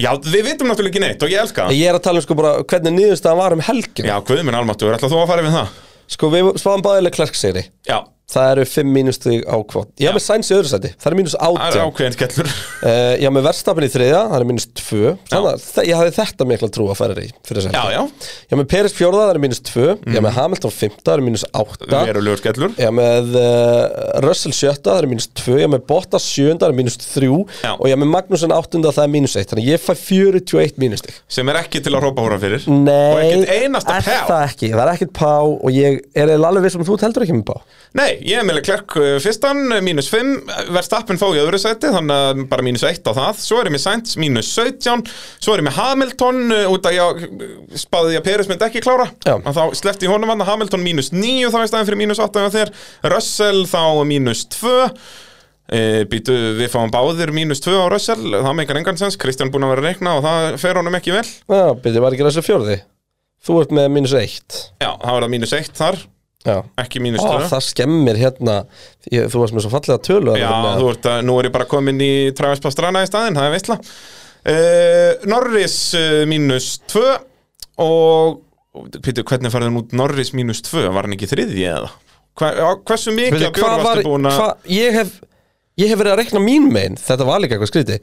Já, við vitum náttúrulega ekki neitt og ég elska En það ég er að tala um sko bara hvernig niðurstaðan var um helgin Já, guðminn almáttur, ætla þú að fara yfir það? Sko, við spáðum báðilega klerksegri Já, Það eru 5 mínustig á kvot Ég haf með sæns í öðru sæti, það er mínus það 18 er uh, ákveðin skellur Ég haf með verstafin í þriðja, það er mínus 2 Þannig að þe- ég hafði þetta mikla trú að færa í fyrir þess að Já, já, Ég haf með Peris fjórða, það er mínus 2 Ég Mm. haf með Hamilton 5, það er mínus 8 verulegur skellur Ég haf með uh, Russell 7, það er mínus 2 Ég haf með Bottas 7, það er mínus 3 Já. Og ég haf með Magnussen 8, það er mínus 1 Þannig að ég fæ 41 mínustig sem er ekki til að hrópa hóra fyrir og Nei, ekkert einasta er pjá það ekki, það er ekkert pá og ég er eiginlega alveg vissum að þú teldur ekki með pá Nei, ég er meðlega klerk eh, fyrstan, mínus 5, verðstappin fá í öðru sæti, þannig að bara mínus 1 á það, svo er ég með Sainz, mínus 17, svo er ég með Hamilton, eh, út að ég eh, spáði ég að Peres myndi ekki klára, Já. að þá sleppti ég honum hann Hamilton mínus 9 þá í staðin fyrir mínus 8 á þér, Russell þá mínus 2, e, býtu við fáum báðir mínus 2 á Russell, eh, það meikar engan sens, Kristján búin að vera að reikna og það fer honum ekki vel, Já, byrði, var ekki Russell fjórði Þú ert með mínus 1 já, þá er það mínus 1 þar, Já ekki mínus 2. Ó, það skemmir hérna ég, Þú varst með svo fallega tölu Já, þarna. hérna. þú ert að, nú er ég bara komin í Travis Pastrana í staðinn, það er veistla uh, Norris uh, mínus 2 og, Pítur, hvernig farið hann út Norris mínus 2, var hann ekki þriðji eða? Hva, á, hversu mikið Veitu, að hvað björn var, varstu búin að hva, ég, hef, ég hef verið að rekna mín megin Þetta var líka eitthvað skrýti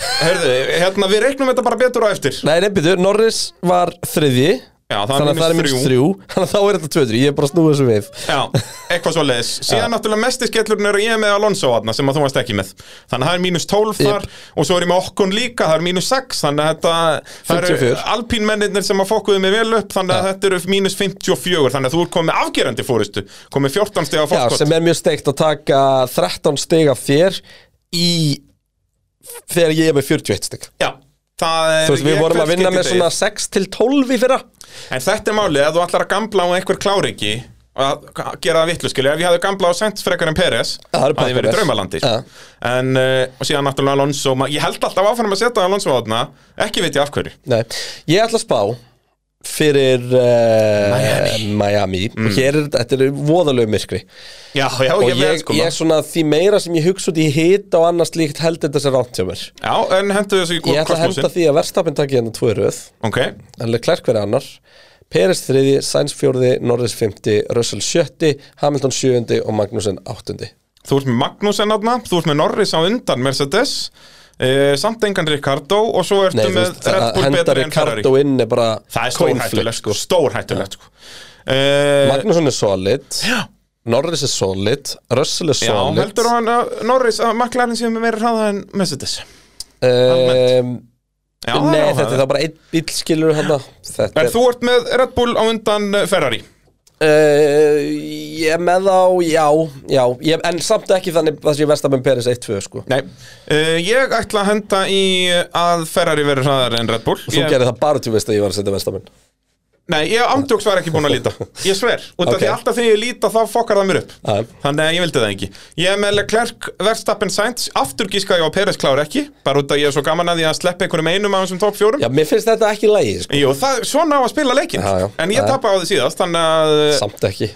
Herðu, hérna, við reiknum þetta bara betur á eftir Nei, nefnbyttu, Norris var þriðji Já, það er Þannig að mínus það er mínus þrjú. þrjú <laughs> Þannig að þá er þetta tvöðri, ég er bara að snúa þessu við Já, eitthvað svo leiðis Síðan náttúrulega mesti skellurinn er ég með Alonso aðna sem að þú varst ekki með Þannig að það er mínus 12 þar og svo er ég með okkun líka, það er mínus 6 Þannig að þetta, það 54. eru alpínmennirnir sem að fokkuðu mig vel upp Þannig að þetta eru mínus 54 Þannig að þú er komið afgerandi fórustu Komið 14 stiga Já, fórskot sem er mjög steikt að taka 13 stig af þér Í Þegar ég er með 41 stig Já, það er Þú veist, við ég vorum að kveðst vinna ekki með þig. svona 6 til 12 í fyrra En þetta er málið að þú ætlar að gambla á einhver kláringi að gera það vitlu, skilja, ef ég hefði gamblað á Sainz frekar en Peres, það er að ég verið Peres. draumalandi Já. en, uh, og síðan náttúrulega Alonso ma- ég held alltaf áfram að setja Alonso á þarna ekki veit ég af hverju Nei, ég ætla að spá fyrir uh, Miami, Mm. og hér er þetta er voðalegu myrkri Já, já, og ég, ég, veit ég, sko er svona því meira sem ég hugsa út í hita og annars líkt held þetta sér rátt hjá mér Já, en hendur þessu í ég ætla að henda kosmosin því að verðstapin taki hérna tvö röð Ok, en Leclerc verið annar Peres þriði, Sainz fjórði, Norris fymti Russell sjötti, Hamilton sjöundi og Magnussen áttundi þú ert með Magnussen þarna þú ert með Norris á undan Mercedes uh, samt engan Ricardo og svo ertu Nei, þú með veist, Red að Bull henda betri en Ferrari Ricardo inn er bara Það er coin flip, stórhættulegt, sko. sko. stórhættulegt sko. uh, Magnussen er solid, Já Norris er solid Russell er Já, solid heldur hann að Norris að McLaren séu með meira hraða en Mercedes Já, um, það Nei, er þetta er áhugavert. þá bara einn bíl skilur hann Þetta En þú ert með Red Bull á undan eh, Ferrari uh, ég er með á, já, já ég, En samt ekki þannig það sé Vestabenn Peris 1-2 sko Nei, uh, ég ætla að henda í að Ferrari verður hraðar en Red Bull Þú ég, gerir það bara til veist að ég var að setja Vestabenn Nei, ég ándjóks var ekki búin að líta Ég sver, út Ok. af Ah. því alltaf þegar ég líta þá fokkar það mér upp Já. Þannig að ég vildi það ekki Ég er með Leclerc, Verstappen, Sainz Aftur gískaði ég á Peres klára ekki Bara út af ég er svo gaman að ég að sleppa einhverjum einum af þessum top fjórum Já, mér finnst þetta ekki í lagi sko Jú, það, svona á að spila leikinn Já, já. En ég Já. tappa á því síðast Þannig að, eh, Samt ekki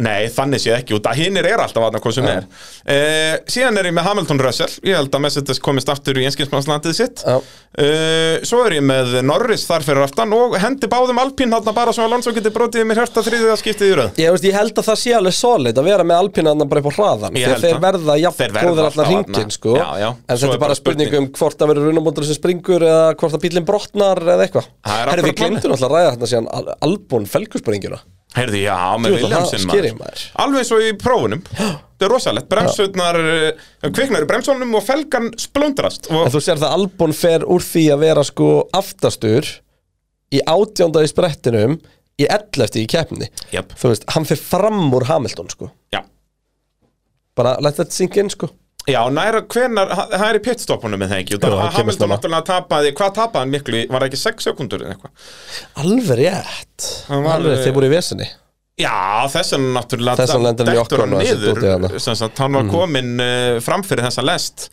nei, þannig sé ekki Út af hinnir er alltaf aðna hvað sem Já. er uh, Síðan er ég með Hamilton Russell Ég held að Mercedes komist aftur í einskismannslandið sitt Já, Uh, svo er ég með Norris þar fyrir aftan og hendi báðum Alpín þarna bara svo að Lonsson geti brotið í mér hérta þriðið að skiptið í röð Ég, veist, ég held að það sé alveg solid að vera með alpinarna bara upp á hraðan Ég Þegar held þeir það. verða Þeir jafn verða góðir allan alltaf hringin þarna. sko Já, já. En Svo þetta er er bara bara spurning spurning. um hvort það verður runamóndur sem springur eða hvort að bílinn brotnar eða eitthvað Það er Herri, akkurat við glemdum alltaf að ræða hérna síðan Al- Albon felgursprengjuna Heyrðu, já, með Jú, það Williamson skýrir maður maður. Alveg svo í <gasps> prófunum Það er rosalegt, bremsurnar uh, kviknar í bremsunum og felgan splundrast En og, þú sér það að Albon fer úr því að vera sko aftastur í átjónda í sprettinum í ellefti í keppni Jep. Þú veist, hann fer fram úr Hamilton sko já, Bara let that sink in sko já, næra hvenar það er í pitstoppunum með það ekki og Jú, það það kemur Hamilton snemma. náttúrulega tapaði, hvað tapaði hann miklu, var það ekki 6 sekundur eða eitthvað Alveg rétt Hann var- Alveg rétt, þeir voru í vesinni Já, þessan náttúrulega Þess vegna lendir hann í dettur Ocon og þessu niður, dóti þarna. Mm. sem sagt, hann var kominn uh, fram fyrir þessa lest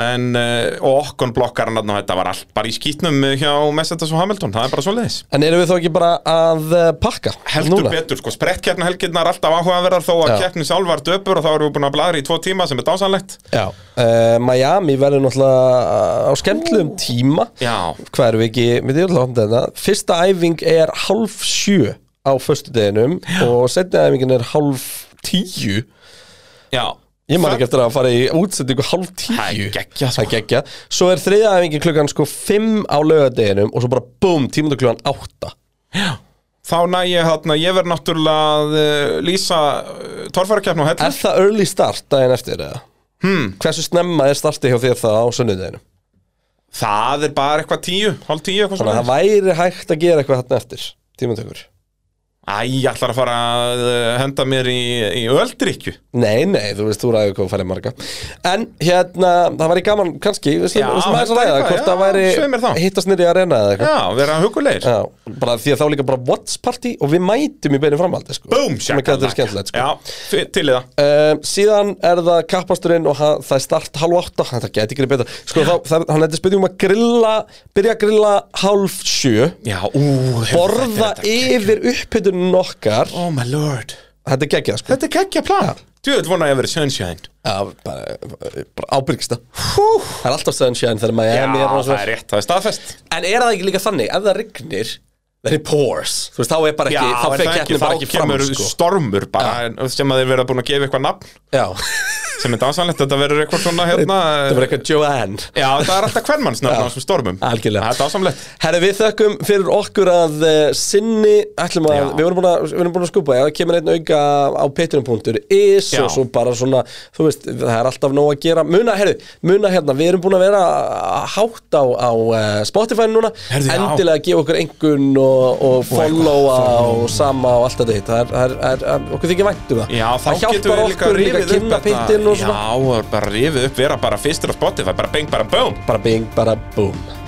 en, uh, og okkon blokkar hann þarna og þetta var allt bara í skýtnum uh, hjá Mercedes og Hamilton, það er bara svoleiðis En erum við þá ekki bara að eh, pakka heldur betur, sko, sprettkeppna helgirna er alltaf áhugaverðar þó að Já. keppni sjálf var döpur og þá erum við búin að bladra í tvo tíma sem er dásanlegt Já uh, Miami verður náttúrulega á skemmtluðum tíma Já. Hvað erum við ekki, við erum alltaf þetta Fyrsta æfing er hálf sjö á föstudeginum og setni æfingin er hálf tíu Já, Ég man ekki eftir að fara í útsendingu hálf tíu Það er geggjað, sko. Það er geggja Svo er þriða æfingin klukkan sko fimm á laugardeginum og svo bara búm, tímundu klukkan átta Þá næ ég þarna, ég verð náttúrulega að uh, lýsa uh, torfærakeppna á hellu Er það early start daginn eftir eða? Hmm. Hversu snemma er startið hjá þér það á sunnudeginum? Það er bara eitthvað tíu, hálf tíu eitthvað Þannig að svoleiðis. það væri hægt að gera eitthvað þarna eftir Tímatökur Æ, ég ætlar að fara að uh, henda mér í, í öldrykju Nei, nei, þú veist, þú ræður hvað færið marga En hérna, það væri gaman kannski Við Já, slum aðeins að þetta er ræða eitthvað, Hvort já, það segðu mér þá. væri hittast nýri í arena eða eitthvað Já, vera hugulegir Já, bara því að þá líka bara What's party og við mætum í beinu framhaldi sko. Búm, Sem er gætið verið skemmtilegt sko. Já, fi- til í það um, Síðan er það kappasturinn og hann, það er start halv átta Það gæti ekki verið betra Sko, þá, það, hann hætti spytum um að grilla Byrja að grilla halv sjö Já, ú, hefur Borða þetta- yfir upphitunum okkar Oh my lord Þetta er geggjað sko Þetta er kekkja plan Djöðl vona að ég verið sunshine Já, bara, bara ábyrgsta Það er alltaf sunshine þegar maður Já, er mér það er rétt, það er staðfest En er það ekki líka þannig, ef það rignir Then it pours, þú veist, þá er bara Já, ekki Þá er fer það ekki, keppni þá bara ekki fram kemur sko. stormur bara en- sem að þeir verða búin að gefa eitthvað nafn Já, sem er dásanlegt, þetta verður eitthvað svona hérna það var eitthvað Joanne Já, það er alltaf hvernmannsnafn á <laughs> þessum stormum Algjörlega. Það er dásamlegt Herri, við þökkum fyrir okkur að uh, sinni ætlum að, Já. við vorum búin að, við vorum búin að skúpa, já, það kemur einn auka á patreon.is Já. og svo bara svona, þú veist, það er alltaf nóg að gera, muna, herri, muna hérna, við erum búin að vera hátt á, á uh, Spotify núna, Heyrðu, já. endilega að gefa okkur engun og, og followa og sama og allt þetta hitt, það er, það er, það er, það er okkur þykir vænt um það, Já, þá það getum hjálpar við líka okkur líka rifið að upp kynna þetta pittin og svona, Já, bara rifið upp, vera bara fyrstur á Spotify, bara beng, bara bóm bara bing, bara boom.